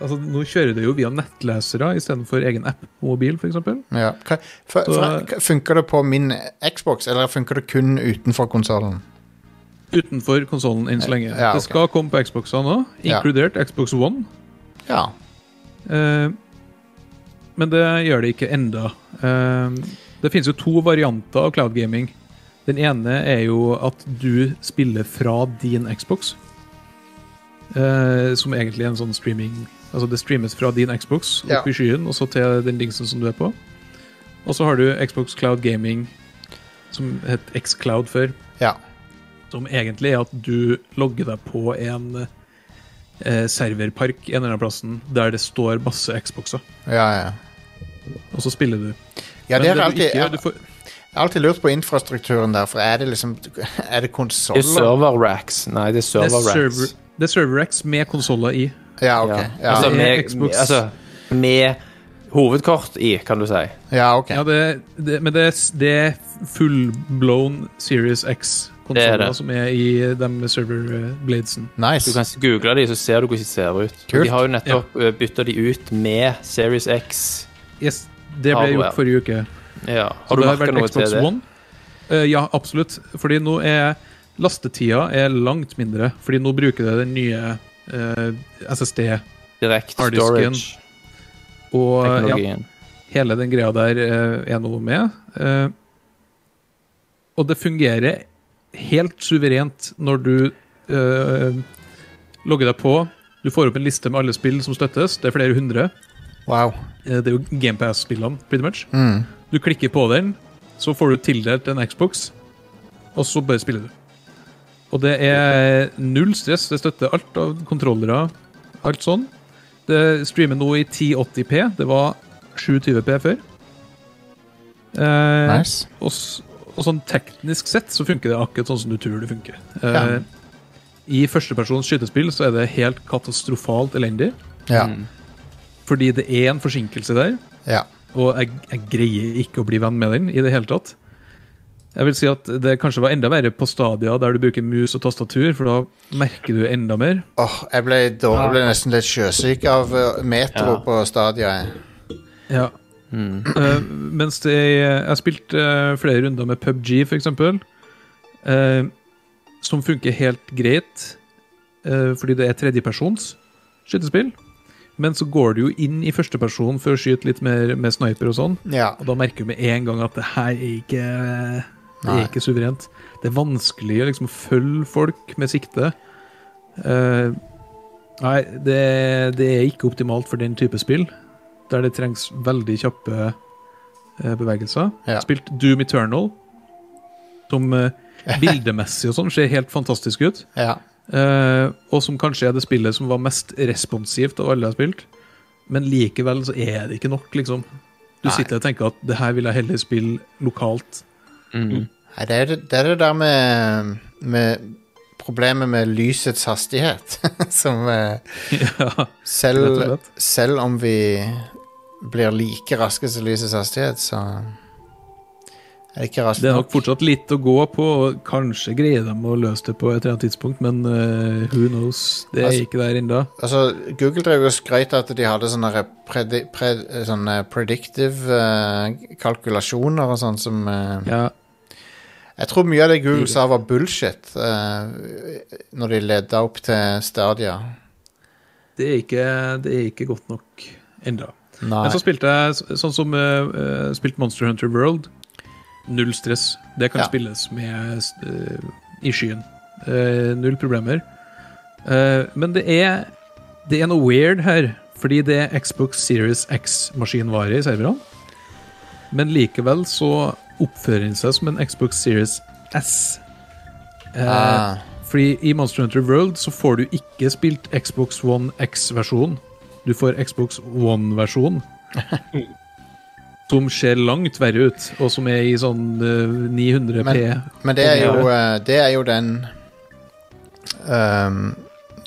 Altså, Nå kjører det jo via nettlesere istedenfor egen app på mobil, f.eks. ja. Hva- F Så- f funker det på min Xbox, eller funker det kun utenfor konsollen? Utenfor konsollen enn så lenge. Ja, ok. Det skal komme på Xboxene nå, Ja. inkludert Xbox One. Ja. Eh, men det gjør det ikke enda. Eh, det finnes jo to varianter av cloud gaming. Den ene er jo at du spiller fra din Xbox. Eh, som egentlig er en sånn streaming Altså det streames fra din Xbox opp Ja. i skyen og så til den dingsen som du er på. Og så har du Xbox Cloud Gaming, som het Xcloud før. Ja. Som egentlig er at du logger deg på en eh, serverpark en eller annen plassen der det står masse Xboxer, Ja, ja. og og så spiller du. Ja, det Men er det du alltid, ikke gjør, jeg du får, har alltid lurt på infrastrukturen der, for er det liksom Er det Det er konsoller? server racks. Nei, det er det er server racks. server- det er server-X med konsoller i. Ja, ok. Ja. Ja, Altså, Det er med, Xbox. altså med hovedkort i, kan du si. ja ok. Ja, det, det, men det, er s- det er full-blown Series Det er X-konsoller det. som er i de server-bladesen. Du Nice. kan google de, så ser du hvordan de ser ut. Kult. De har jo nettopp ja. bytta de ut med Series X. Yes, det ble Hardware. gjort forrige uke. Ja. Så Har du det merka noe til Xbox det? One? Eh, ja, absolutt. Fordi nå er lastetida er langt mindre. Fordi nå bruker det den nye eh, SSD-og Direct Harddisken. ja, storage-teknologien. hele den greia der eh, er noe med. Eh, og det fungerer helt suverent når du eh, logger deg på. Du får opp en liste med alle spill som støttes. Det er flere hundre. Wow. Eh, Det er jo GamePass-spillene, pretty much. Mm. Du klikker på den, så får du tildelt en Xbox, og så bare spiller du. Og det er null stress. Det støtter alt av kontrollere, alt sånn. Det streamer nå i 1080p. Det var 720p før. Eh, Nice. og, s- og sånn teknisk sett så funker det akkurat sånn som du tror det funker. Eh, Ja. I førstepersons skytespill så er det helt katastrofalt elendig, Ja. Mm. fordi det er en forsinkelse der. ja. Og jeg, jeg greier ikke å bli venn med den i det hele tatt. Jeg vil si at det kanskje var enda verre på stadia der du bruker mus og tastatur, for da merker du enda mer. Åh, jeg ble, dårlig, jeg ble nesten litt sjøsyk av eh, metro på Stadia. jeg. Ja. Eh, mens det, jeg spilte eh, flere runder med PubG, for eksempel, eh, som funker helt greit, eh, fordi det er tredjepersons skytespill. Men så går du jo inn i førsteperson for å skyte litt mer med sniper og sånn. Ja. Og da merker du med en gang at det her er ikke, det Nei. er ikke suverent. Det er vanskelig å liksom følge folk med sikte. Eh, nei, det, det er ikke optimalt for den type spill, der det trengs veldig kjappe eh, bevegelser. Ja. Spilt Doom Eternal, som eh, bildemessig og sånn ser helt fantastisk ut. ja. Eh, og som kanskje er det spillet som var mest responsivt av alle jeg har spilt. Men likevel så er det ikke nok, liksom. Du Nei. sitter og tenker at det her vil jeg heller spille lokalt. Mm. Nei, det er det, det er det der med, med Problemet med lysets hastighet. som eh, ja. Rett og selv, slett. selv om vi blir like raske som lysets hastighet, så er det ikke raskt Det er nok fortsatt litt å gå på, og kanskje greier de å løse det på et eller annet tidspunkt, men eh, who knows? Det er Altså- ikke der ennå. Altså, Google drev jo og skrøt at de hadde sånne, re- predi, pred, sånne predictive eh, kalkulasjoner og sånn som eh, Ja. Jeg tror mye av det Google sa var bullshit eh, når de leda opp til Stadia. Det, er ikke, det er ikke godt nok ennå. Nei. Men så spilte jeg s- sånn som eh, eh, spilte Monster Hunter World. Null stress. Det kan Ja. spilles med eh, i skyen. Eh, null problemer. Eh, men det er Det er noe weird her, fordi det er Xbox Series X-maskinvare i serverne. Men likevel så oppfører den seg som en Xbox Series S. Eh, Ah, fordi i Monster Hunter World så får du ikke spilt Xbox One X-versjon. Du får Xbox One-versjon. Som ser langt verre ut, og som er i sånn eh, 900 P. men det er jo eh, Det er jo den ehm,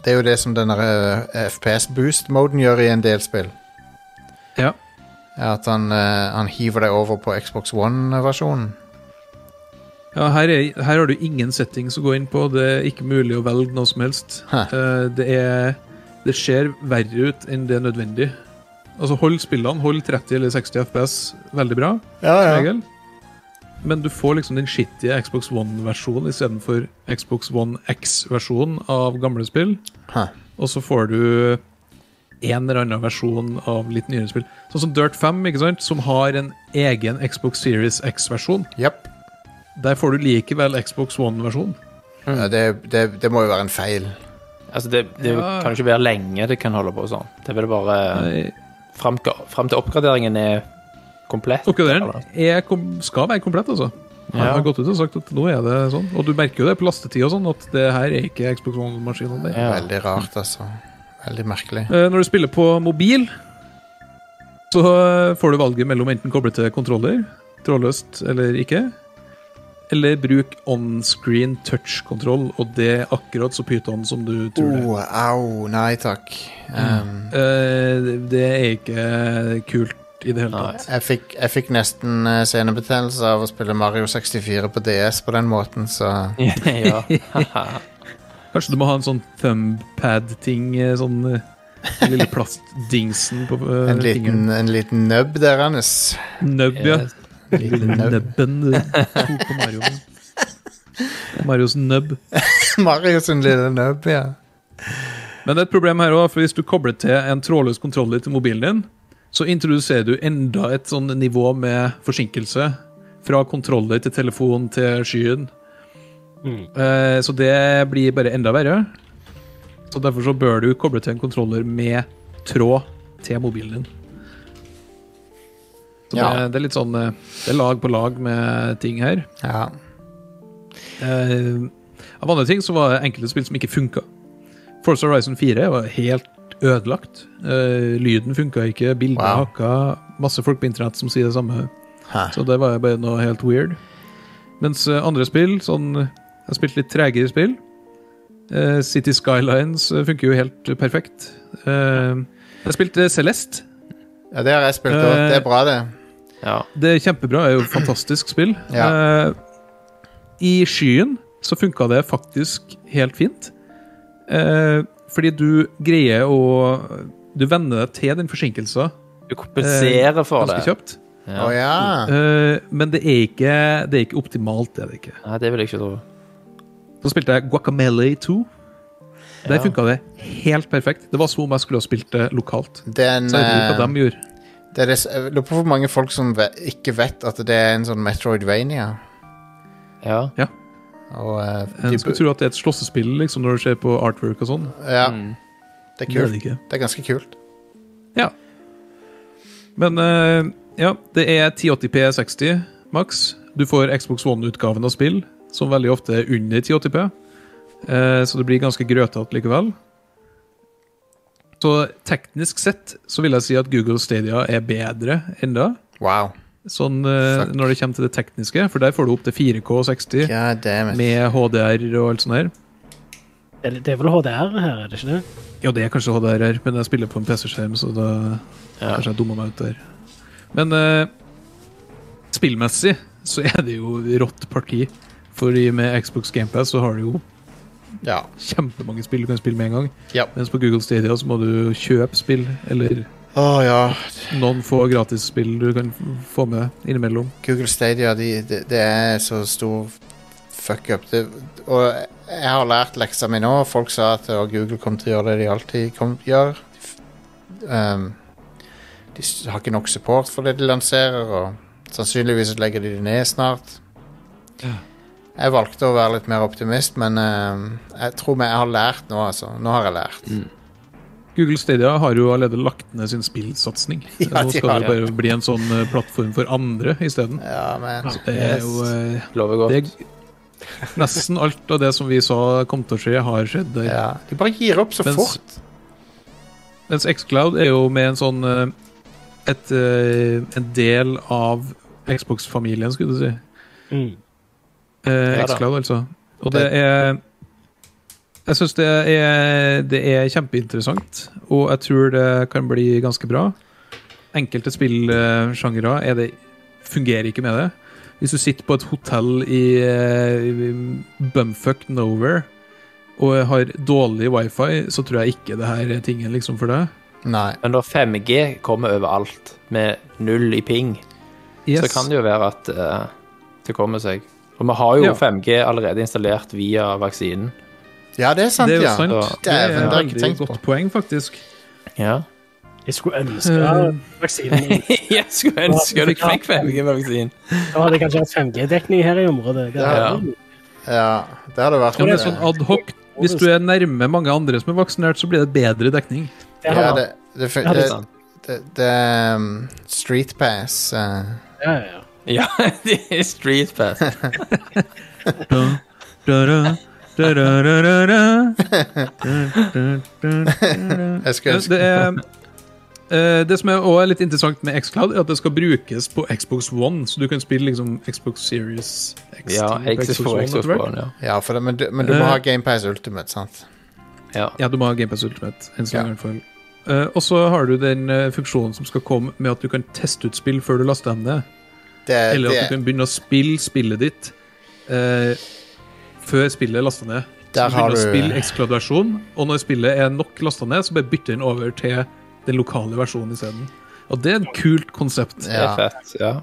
Det er jo det som den eh, FPS-boost-moden gjør i en del spill. Ja. Er At han, eh, han hiver deg over på Xbox One-versjonen. Ja, her, er, her har du ingen settings å gå inn på. Det er ikke mulig å velge noe som helst. Hæ. Eh, det er Det ser verre ut enn det er nødvendig. Altså, hold spillene. Hold 30 eller 60 FPS veldig bra. som regel. Men du får liksom den skittige Xbox One-versjonen istedenfor Xbox One X-versjonen av gamle spill. Hæ. Og så får du en eller annen versjon av litt nyere spill. Sånn som Dirt 5, ikke sant? som har en egen Xbox Series X-versjon. Japp. Der får du likevel Xbox One-versjon. Ja, det, det, det må jo være en feil. Altså, det, det Ja. kan ikke være lenge det kan holde på sånn. Det er vel bare Fram fram til oppgraderingen er komplett. Oppgraderen eller? er kom- skal være komplett, altså. Jeg har Ja. gått ut og sagt at nå er det sånn. Og du merker jo det på lastetid og sånn, at det her er ikke Xbox One-maskinen. Ja. Veldig rart, altså. Veldig merkelig. Eh, Når du spiller på mobil, så eh, får du valget mellom enten koble til kontroller, trådløst eller ikke, eller bruk onscreen touch-kontroll, og det er akkurat så pyton som du tror det. Oh, au, nei takk. Um, Eh, Det er ikke kult i det hele Nei. tatt. jeg, fikk, jeg fikk nesten eh, senebetennelse av å spille Mario 64 på DS på den måten, så ja. Kanskje du må ha en sånn thumbpad-ting, eh, sånn eh, den lille plastdingsen på eh, En fingeren. liten, en liten nubb der, Hannes. Nubb, ja. Yes. En liten nubb. Nubben du tok på Mario. Marios nubb. Mario sin lille nubb, ja. Men det er et problem her også, for hvis du kobler til en trådløs kontroller til mobilen din, så introduserer du enda et sånn nivå med forsinkelse. Fra kontroller til telefon til skyen. Eh, så det blir bare enda verre. Så derfor så bør du koble til en kontroller med tråd til mobilen din. Så Ja. det, det er litt sånn eh, Det er lag på lag med ting her. ja. Eh, av andre ting så var det enkelte spill som ikke funka. Forza Horizon 4 var helt ødelagt. Eh, lyden funka ikke, bildene Wow. hakka. Masse folk på internett som sier det samme. Hæ. Så det var bare noe helt weird. Mens eh, andre spill, sånn Jeg har spilt litt tregere spill. Eh, City Skylines eh, funker jo helt perfekt. Eh, jeg spilte Celeste. ja. Det har jeg spilt òg. Det er bra, det. ja. Det er kjempebra. Det er jo et fantastisk spill. Eh, I skyen så funka det faktisk helt fint. Eh, fordi du greier å Du venner deg til den forsinkelsen Du kompenserer for Eh, ganske det. kjapt. Å Ja. ja. Eh, men det er, ikke, det er ikke optimalt, det er det ikke. Nei, det vil jeg ikke tro. Så spilte jeg Guacamele 2. Der Ja. funka det helt perfekt. Det var som om jeg skulle ha spilt det lokalt. Det er en Så jeg vet ikke hva eh, de gjorde. det er det, s- Jeg lurer på hvor mange folk som ve ikke vet at det er en sånn Metroidvania. Ja. Og eh, En de, skulle bu- tro at det er et slåssespill liksom, når du ser på artwork og sånn. Ja, Mm. det er Det er kult. det ikke. Det er ganske kult. Men eh, ja, det er 1080p 60 maks. Du får Xbox One-utgaven av spill, som veldig ofte er under 1080p. Eh, så det blir ganske grøtete likevel. Så teknisk sett så vil jeg si at Google Stadia er bedre enda. Wow. Sånn eh, Fuck. når det kommer til det tekniske, for der får du opp til 4K 60 God damn it. med HDR og alt sånt her. Det, det er vel HDR her, er det ikke det? Ja, det er kanskje HDR her, men jeg spiller på en PC-skjerm, så da Ja. kanskje jeg dummer meg ut der. Men eh, spillmessig så er det jo rått parti. Fordi med Xbox GamePass så har du jo Ja. kjempemange spill du kan spille med en gang. Ja. Mens på Google Stadia så må du kjøpe spill, eller Å ja. noen få gratisspill du kan f- få med innimellom. Google Stadia, de, de, det er så stor fuck up. Det, og jeg har lært leksa mi nå. Folk sa at «Å, Google kom til å gjøre det de alltid kom, gjør. Um, De f- ehm, de s- har ikke nok support for det de lanserer, og Sannsynligvis legger de det ned snart. Jeg valgte å være litt mer optimist, men eh, jeg tror jeg har lært nå, altså. Nå har jeg lært. Google Stadia har jo allerede lagt ned sin spillsatsing. Ja, Nå de skal har det bare bli en sånn eh, plattform for andre isteden. Ja, men Så Det er jo eh, Lover godt. det er- Nesten alt av det som vi sa kom til å skje, har skjedd. der. ja. De bare gir opp så Mens- fort. Mens Xcloud er jo med en sånn eh, et, eh, En del av Xbox-familien, skulle du si. Mm. Eh, Ja da. Xcloud, altså. Og det er Jeg syns det er Det er kjempeinteressant, og jeg tror det kan bli ganske bra. Enkelte spillsjangere er det fungerer ikke med det. Hvis du sitter på et hotell i, eh, i bumfuck nowhere og har dårlig wifi, så tror jeg ikke det her er tingen liksom for deg. Nei. Men når 5G kommer overalt, med null i ping, så kan det jo være at eh, det kommer seg. Og vi har jo Ja. 5G allerede installert via vaksinen. Ja, det er sant, det er jo ja. sant. Ja. Det er Dæven, det har jeg ikke et tenkt veldig på. godt poeng, faktisk. Ja. Jeg skulle ønske at vaksinen Jeg skulle ønske du fikk 5G-vaksinen. Da hadde jeg kanskje hatt 5G-dekning her i området. Det Ja. er, Ja, det hadde vært Ja, men det er sånn ad hoc. Hvis du er nærme mange andre som er vaksinert, så blir det bedre dekning. det ja, har det, det. det, fin- Ja, det er det, sant. det, det er, um, Street Pass eh, Ja, ja, ja. Ja, det er street pass. Da, da, da, da, da, da, da, da. Da, da, da. Jeg skulle Det ønske er eh, det som er også er litt interessant med Xcloud, er at det skal brukes på Xbox One. Så du kan spille liksom Xbox Series X Ja, til Xbox One, Xbox etter hvert. One, ja. Ja, for det, men, du, men du må Eh. ha GamePass Ultimate, sant? ja. Ja, du må ha GPS Ultimate. Enn så Ja. lenge, i hvert fall. Eh, og så har du den eh, funksjonen som skal komme med at du kan teste ut spill før du laster dem ned. Det, Eller det, at du kan begynne å spille spillet ditt eh, før spillet er lasta ned. Der så har du begynner å du- spille X-Cloud-versjon, og når spillet er nok lasta ned, så bare bytter den over til den lokale versjonen isteden. Og det er et kult konsept. Det er Ja. fett. Ja.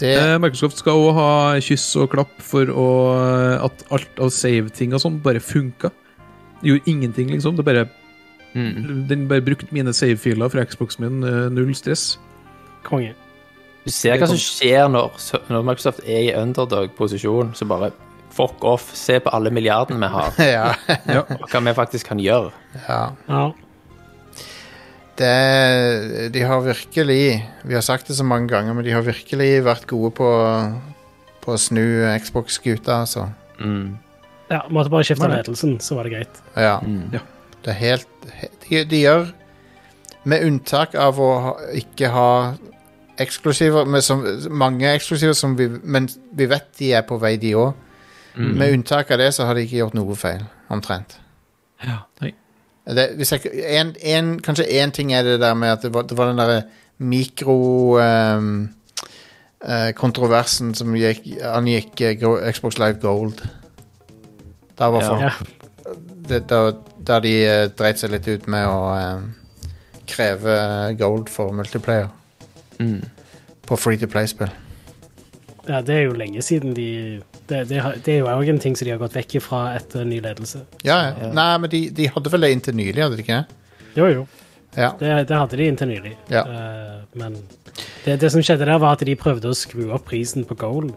det, Eh, Microsoft skal òg ha kyss og klapp for å, eh, at alt av save-ting og sånn bare funka. Det Gjorde ingenting, liksom. Det bare, Mm. den bare brukte mine save-filer fra Xboxen min. eh, null stress. Konge. Du ser hva som skjer når, når Microsoft er i underdog-posisjon, så bare fuck off, se på alle milliardene vi har, ja, og hva vi faktisk kan gjøre. ja. Ja. det, de har virkelig Vi har sagt det så mange ganger, men de har virkelig vært gode på, på å snu Xbox-skuta, altså. Mm. ja, Måtte bare skifte Nei. ledelsen, så var det greit. Ja. Mm. Det er helt he- De, de gjør Med unntak av å ha, ikke ha eksklusiver, men som, mange eksklusiver, som vi, men vi vet de er på vei, de òg. Mm. Med unntak av det så har de ikke gjort noe feil, omtrent. Nei. Det, hvis jeg, ikke- en, en, kanskje én ting er det der med at det var, det var den derre mikrokontroversen eh, kontroversen som gikk, angikk eh, Go- Xbox Live Gold. Der var Ja. folk Ja. det, da, da de eh, dreit seg litt ut med å eh, kreve gold for multiplayer Mm. på free to play-spill. Ja, det er jo lenge siden de Det, det, har- det er jo òg en ting som de har gått vekk ifra etter ny ledelse. Ja, ja. Nei, men de, de hadde vel det inntil nylig, hadde de ikke det? Jo, jo. Ja. Det, det hadde de inntil nylig. Ja. Eh, men det, det som skjedde der, var at de prøvde å skru opp prisen på gold.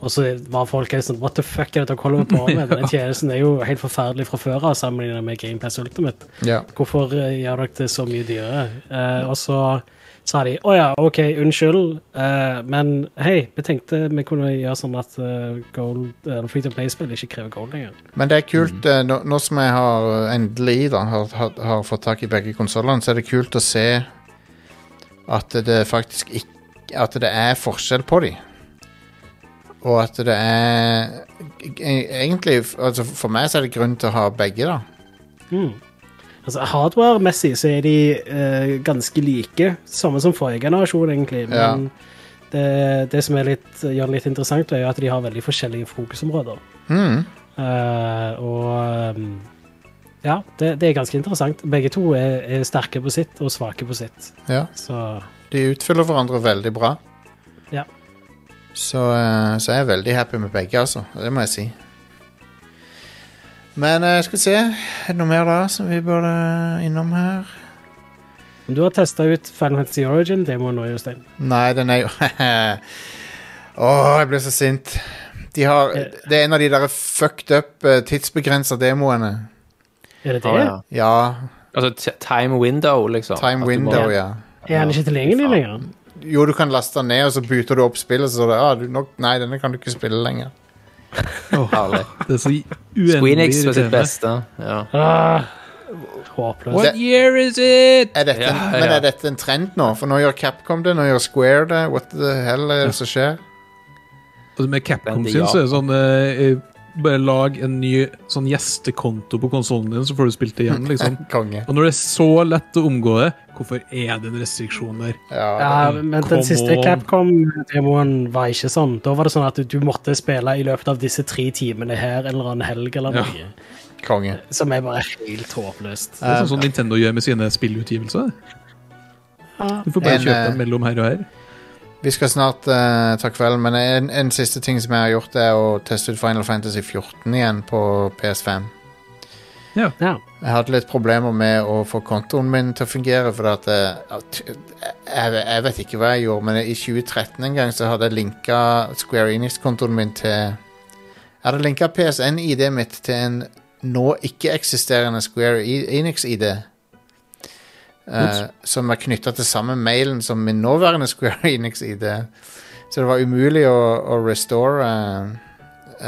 Og så var folk helt sånn What the fuck er det dere holder på med? Denne tjenesten er jo helt forferdelig fra før av sammenlignet med GamePlass Ultimate. ja. Hvorfor eh, gjør dere det så mye dyrere? Eh, og så sa de å ja, OK, unnskyld, eh, men hei, vi tenkte vi kunne gjøre sånn at eh, gold, eller Free to Play-spill ikke krever gold lenger. Men det er kult, eh, nå, nå som jeg har eh, endelig da, har, har, har fått tak i begge konsollene, så er det kult å se at det faktisk ikke At det er forskjell på dem. Og at det er Egentlig, altså for meg så er det grunn til å ha begge, da. Mm. Altså, Hardware-messig så er de eh, ganske like, samme som forrige generasjon, egentlig. Men det, det som er litt, gjør det litt interessant, er jo at de har veldig forskjellige fokusområder. Mm. Eh, og um, ja, det, det er ganske interessant. Begge to er, er sterke på sitt og svake på sitt. Ja. Så De utfyller hverandre veldig bra. Ja. Så, eh, så jeg er veldig happy med begge, altså. Det må jeg si. Men eh, skal vi se Er det noe mer da som vi burde innom her? Om du har testa ut Final Fantasy Origin, det må nå, Jostein. Nei, den er jo Åh, jeg blir så sint. De har, det er en av de der fucked up eh, tidsbegrensa demoene. Er det det? Å, ja. Ja. Altså t- time window, liksom. Time At du window, bare- ja. Er han ikke tilgjengelig lenger? Jo, du kan laste den ned, og så booter du opp spillet, så står det ah, du, nok, Nei, denne kan du ikke spille lenger. Herlig. Det er så uendelig Squeenix med sitt irriterende. beste. Ja. Ah, håpløst. What year is it? Er dette, en- Ja, Men ja. er dette en trend nå? For nå gjør Capcom det, nå gjør Square det. What the hell er det som skjer? Altså med Capcom Den til sin så er Japan. det sånn eh, eh, Bare lag en ny sånn gjestekonto på konsollen din, så får du spilt det igjen, liksom. Konge. Og når det er så lett å omgå det, hvorfor er det en restriksjon der? Ja, Ja, men Come den siste on. Capcom-demoen var ikke sånn. Da var det sånn at du, du måtte spille i løpet av disse tre timene her en eller annen helg eller Ja. noe. konge. Som er bare helt håpløst. Det er sånn Eh, som Nintendo gjør med sine spillutgivelser. Du får bare En, kjøpe eh, dem mellom her og her. Vi skal snart eh, ta kvelden, men en, en siste ting som jeg har gjort, er å teste ut Final Fantasy 14 igjen på PS5. Ja. Jeg hadde litt problemer med å få kontoen min til å fungere, for at eh, at- jeg, jeg vet ikke hva jeg gjorde, men i 2013 en gang så hadde jeg linka Square Enix-kontoen min til Jeg hadde linka PSN-ID-et mitt til en nå ikke-eksisterende Square E- Enix-ID. eh, som er knytta til samme mailen som min nåværende Square Enix-ID. Så det var umulig å, å restore eh,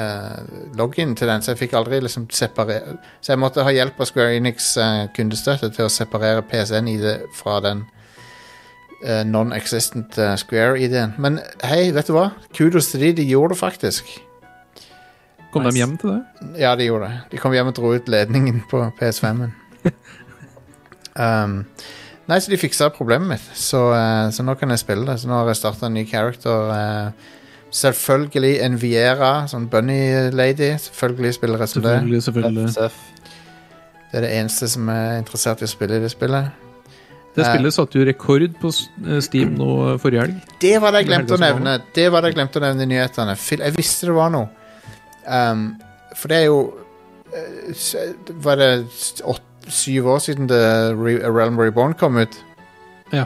eh, login til den, så jeg fikk aldri liksom separert så jeg måtte ha hjelp av Square Enix eh, kundestøtte til å separere PSN-ID fra den eh, non-existent eh, Square-ID-en. Men hei, vet du hva? Kudos til de, de gjorde det faktisk. Kom nice. de hjem til det? Ja, de gjorde det. De kom hjem og dro ut ledningen på PS5-en. um, nei, så de fiksa problemet mitt, så, eh, så nå kan jeg spille det. Så nå har jeg starta en ny character. eh, selvfølgelig en Viera, sånn bunny-lady. Selvfølgelig spiller jeg som det. Selvfølgelig, selvfølgelig. Seff. Det er det eneste som er interessert i å spille i det spillet. Det Eh. spillet satte jo rekord på s- eh, Steam nå eh, forrige helg. Det var det jeg Eller glemte å helgesmål. nevne Det var det jeg glemte å nevne i nyhetene Fil- Jeg visste det var noe um, For det er jo eh, s- Var det s- åt- syv år siden The Re Realm Reborn kom ut? Ja,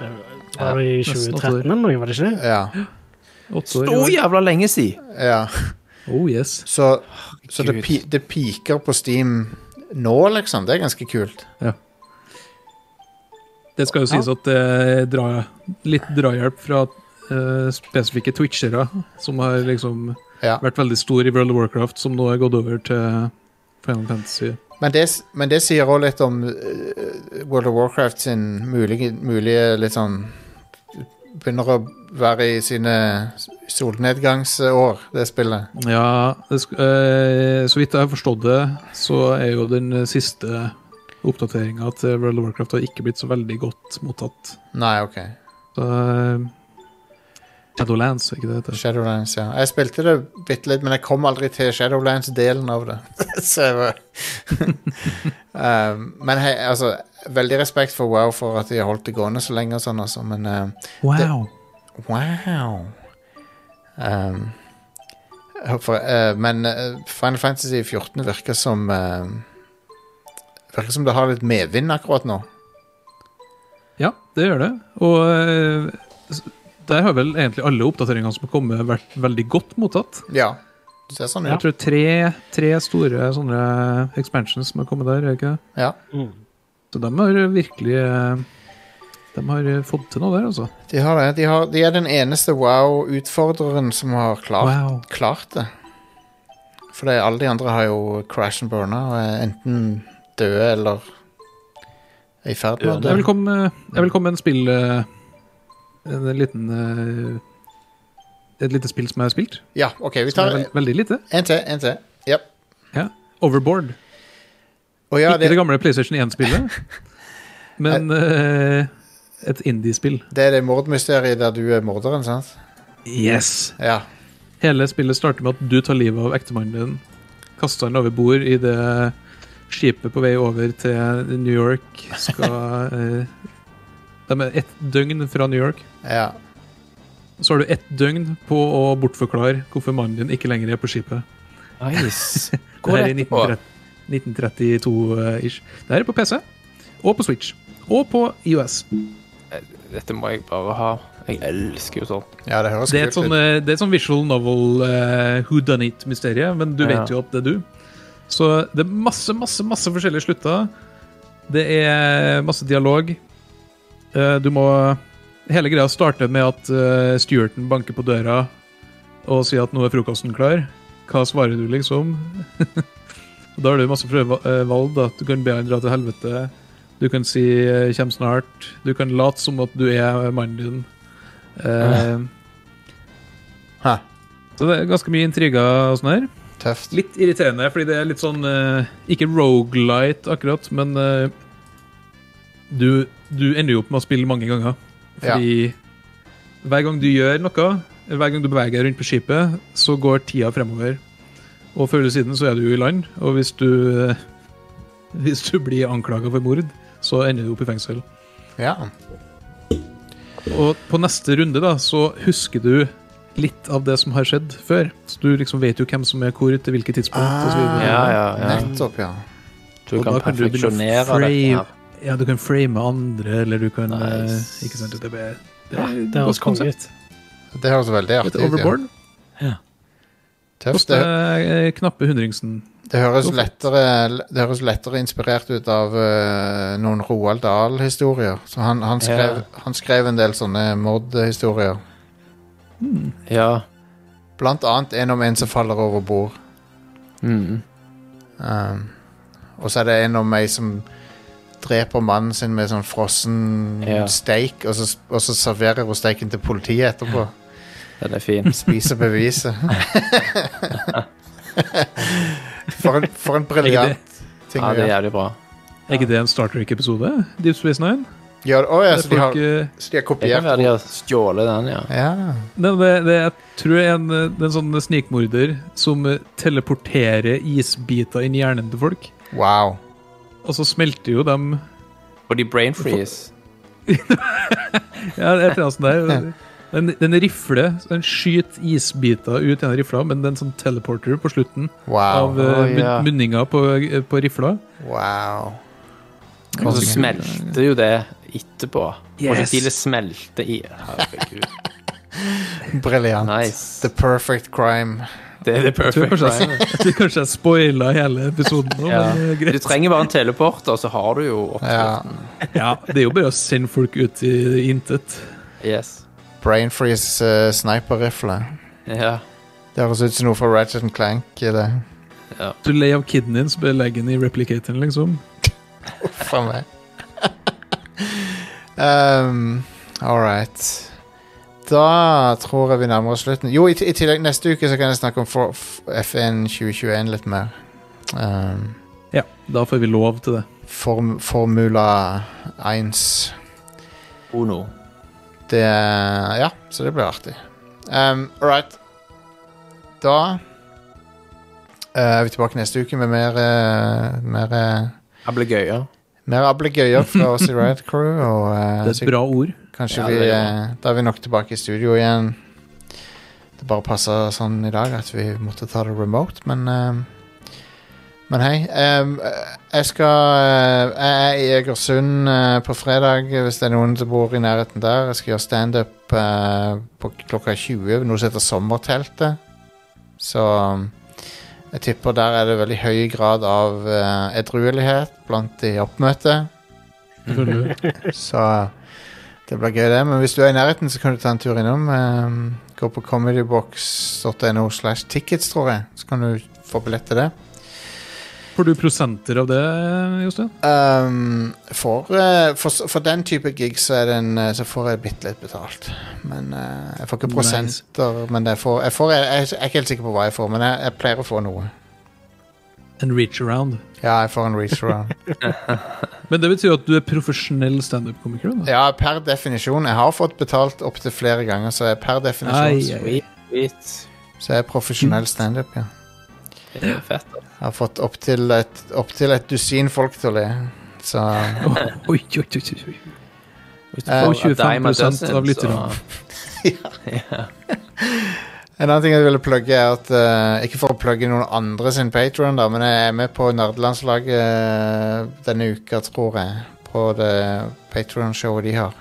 Var det i nesten 2013 eller noe, var det ikke? det? Ja, åtte år. i Stor år. jævla lenge si! ja. Oh yes. Så, så det, Gud. pi det piker på Steam nå liksom Det er ganske kult Det skal jo sies at det er dra, litt drahjelp fra eh, spesifikke twitchere som har liksom ja. vært veldig stor i World of Warcraft, som nå har gått over til Final Fantasy. men, det, s- men det sier også litt om eh, World of Warcraft sin mulige, mulige litt sånn Begynner å være i sine solnedgangsår Det spillet Ja, det sk eh, så vidt jeg har forstått det, så er jo den siste oppdateringa til World of Warcraft har ikke blitt så veldig godt mottatt. Nei, ok. Så eh, Shadowlands, er ikke det det heter? Shadowlands, ja. Jeg spilte det bitte litt, men jeg kom aldri til Shadowlands-delen av det. Så jeg var um, Men hei, altså, veldig respekt for WoW for at de har holdt det gående så lenge og sånn, altså, men um, Wow! Wow. Um, for, eh, men eh, Final Fantasy 14 virker som eh, Virker som det har litt medvind akkurat nå. Ja, det gjør det. Og eh, s- der har vel egentlig alle oppdateringene som har kommet, vært veldig godt mottatt. Ja. Det ser sånn Jeg ut. tror tre, tre store sånne expansions som har kommet der, er det ikke det? Ja. Mm. Så de har virkelig eh, De har fått til noe der, altså. De har det. De, har, de er den eneste wow-utfordreren som har klart Wow. klart det. For det, alle de andre har jo crash and burna og er enten døde eller er i ferd med å Jeg dø. vil komme, jeg vil komme med en spill eh, En liten eh, Et lite spill som jeg har spilt. Ja, OK, vi Som tar er veld, veldig lite. en til. En til. Yep. Overboard. Og ja, Ikke det det, gamle PlayStation 1-spillet, men eh, et indie-spill. det er det mordmysteriet der du er morderen, sant? Yes! Ja. Hele spillet starter med at du tar livet av ektemannen din. Kaster han over bord i det skipet på vei over til New York skal eh, De er ett døgn fra New York. ja. Så har du ett døgn på å bortforklare hvorfor mannen din ikke lenger er på skipet. Nice. Det Går her er rett på. 1932-ish. Det her er på PC og på Switch og på IOS. Dette må jeg bare ha. Jeg elsker jo sånt. Ja, det høres Det er et kult sånn, ut. eh, det er et sånn visual novel uh, who done it-mysterie, men du Ja. vet jo at det er du. Så det er masse, masse, masse forskjellige slutter. Det er masse dialog. Eh, du må Hele greia starter med at uh, Stewarten banker på døra og sier at nå er frokosten klar. Hva svarer du, liksom? Og da har du masse prøvevalg. da. Du kan be han dra til helvete. Du kan si eh, 'kjem snart'. Du kan late som at du er mannen din. Eh, Hæ, så det er ganske mye intriger og sånn her. tøft. Litt irriterende, fordi det er litt sånn eh, Ikke roguelite akkurat, men eh, du, du ender jo opp med å spille mange ganger. Fordi hver gang du gjør noe, hver gang du beveger deg rundt på skipet, så går tida fremover. Og før eller siden så er du jo i land, og hvis du eh, Hvis du blir anklaga for mord, så ender du opp i fengsel. Ja. Og på neste runde da, så husker du litt av det som har skjedd før. Så du liksom vet jo hvem som er hvor til hvilket tidspunkt. og så videre. Ah, Ja, ja, ja. Nettopp, ja. Du Og kan da kan du begynne å perfeksjonere dette frame- her. ja, du kan frame andre, eller du kan eh, Nice. Ikke sant, det er, det er et Det godt høres konge konsept. ut. Det høres veldig Litt artig ut. Ja. overboard. Tøft. Koster Det, eh, knappe hundringsen. det, høres Hvorfor? lettere, det høres lettere inspirert ut av eh, noen Roald Dahl-historier. Så han, han, skrev, han skrev en del sånne Mod-historier. Ja. Blant annet en om en som faller over bord. Mm. Um, og så er det en om ei som dreper mannen sin med sånn frossen Ja. steik, og så, og så serverer hun steiken til politiet etterpå. Den er fin. Spiser beviset. for en, for en briljant ting Ja, å det er gjøre. jævlig bra. Er ikke det en Star Trek-episode? Deep Space Nine? Ja, å ja, Det så de er folk, har, eh, så de har Det kan kopiert være de har stjålet den, ja. Ja. Nei, det, det, jeg tror det er en, eh, det er en sånn snikmorder som eh, teleporterer isbiter inn i hjernen til folk. Wow. Og så smelter jo dem Og de brain freeze. Ja, det er et eller annet sånt der. Den, den rifler, så den skyter isbiter ut gjennom rifla, men det er en sånn teleporter på slutten av Wow. eh, Å, ja. mun- munninga på, eh, på rifla. wow. Og så smelter jo det etterpå. Og så tidlig smelter i Herregud. Briljant. Nice. The perfect crime. Det er det Jeg tror perfect kanskje crime. jeg, jeg, tror kanskje jeg spoila hele episoden nå, Ja. men eh, Du greit. trenger bare en teleporter, så har du jo Ja. oppskriften. Ja, det er jo bare å sende folk ut i intet. Yes. Brain freeze uh, sniper-rifle. Ja. Det høres ut som noe fra Ratchet and Clank. i Det. Du er lei av kiden din, så bare legg den i replicatoren, liksom. For meg. um, All right. Da tror jeg vi nærmer oss slutten. Jo, i, i tillegg neste uke så kan jeg snakke om for, f- F1 2021 litt mer. Um, Ja, da får vi lov til det. form, Formula 1. Ono. Det Ja, så det blir artig. Um, all right. Da eh, er vi tilbake neste uke med mer, eh, mer, eh, Det blir gøy, ja. mer ablegøyer fra oss i Riot Crew. Og, eh, Det er et bra ord. Kanskje Ja, vi, det er bra. eh, Da er vi nok tilbake i studio igjen. Det bare passa sånn i dag at vi måtte ta det remote, men eh, Men hei. eh, jeg skal eh, Jeg er i Egersund eh, på fredag, hvis det er noen som bor i nærheten der. Jeg skal gjøre standup uh, på klokka 20, noe som heter Sommerteltet. Så eh, jeg tipper der er det veldig høy grad av eh, edruelighet blant de oppmøtte. selvfølgelig. Så det blir gøy, det. Men hvis du er i nærheten, så kan du ta en tur innom. Ehm, gå på comedybox.no slash tickets, tror jeg. Så kan du få billett til det. Får du prosenter av det, Jostein? Ehm, for, eh, for, s- for den type gig så, er det en, eh, så får jeg bitte litt betalt. Men eh, jeg får ikke prosenter. Men jeg, får, jeg, får, jeg, jeg, er ikke helt sikker på hva jeg får, men jeg, jeg pleier å få noe. En reach around. Ja, jeg får en reach around. Men det betyr jo at du er profesjonell standup-komiker? da? Ja, per definisjon. Jeg har fått betalt opptil flere ganger, så jeg, per definisjon Ai, ai. Sweet. Sweet. så jeg er profesjonell standup, ja. Det er fett. da. Jeg har fått opptil et, opp til et dusin folk til å le. Så Oi, oi, oi, oi, oi. Hvis du Eh, får og 25% a dime a av lytterne. dozen, En annen ting jeg ville plugge, er at eh, Ikke for å plugge noen andre sin Patron, men jeg er med på nerdelandslaget eh, denne uka, tror jeg. på det Patreon-showet de har.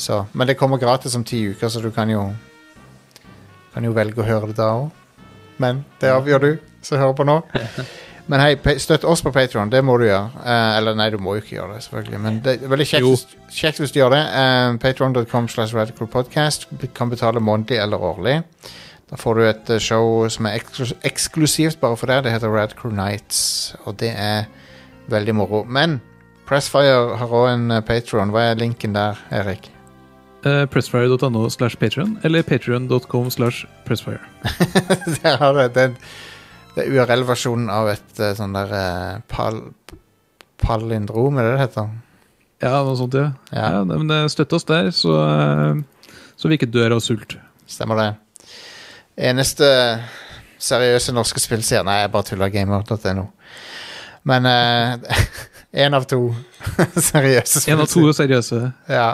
Så, men det kommer gratis om ti uker, så du kan jo Kan jo velge å høre det da òg. Men det avgjør du som hører på nå. Men hei, pa- støtt oss på Patreon. Det må du gjøre. Eh, eller nei, du må jo ikke gjøre det, selvfølgelig. Men det er veldig kjekt, Jo. hvis- kjekt hvis du gjør det. Eh, Patreon.com slash radicalpodcast. Du kan betale månedlig eller årlig. Da får du et eh, show som er eksklus eksklusivt bare for deg. Det heter Radcrew Nights, og det er veldig moro. Men Pressfire har òg en eh, Patreon. Hva er linken der, Erik? Eh, pressfire.no slash patrion eller patrion.com slash pressfire. Der har du den Det er URL-versjonen av et eh, sånn der eh, pal palindrom, er det det heter? Ja, noe sånt, ja. Ja. ja. nei, men eh, støtt oss der, så, eh, så vi ikke dør av sult. Stemmer det. Eneste seriøse norske spillseer Nei, jeg bare tuller. Gamer.no. Men én av to seriøse En av to spillserier. seriøse. Ja.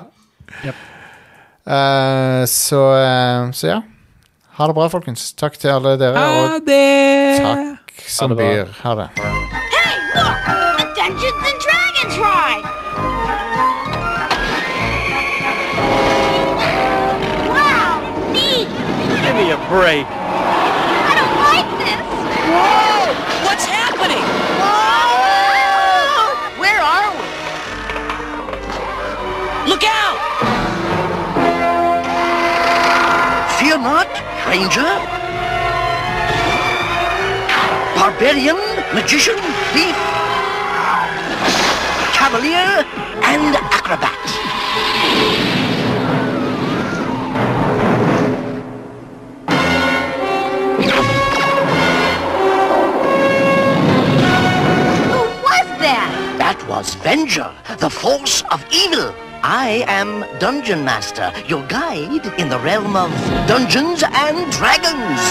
Jep. Eh, så, eh, så ja. Ha det bra, folkens. Takk til alle dere, og det! takk som Ha det bra. byr. Ha det. Hey, look! A Dungeons and Dragons ride! Wow! Neat! Give me a break. I don't like this! What's happening? Whoa! Where are we? Look out! Fear not, ranger. Barbarian, magician, thief, cavalier, and acrobat. Who was that? That was Venger, the force of evil. I am Dungeon Master, your guide in the realm of Dungeons and Dragons.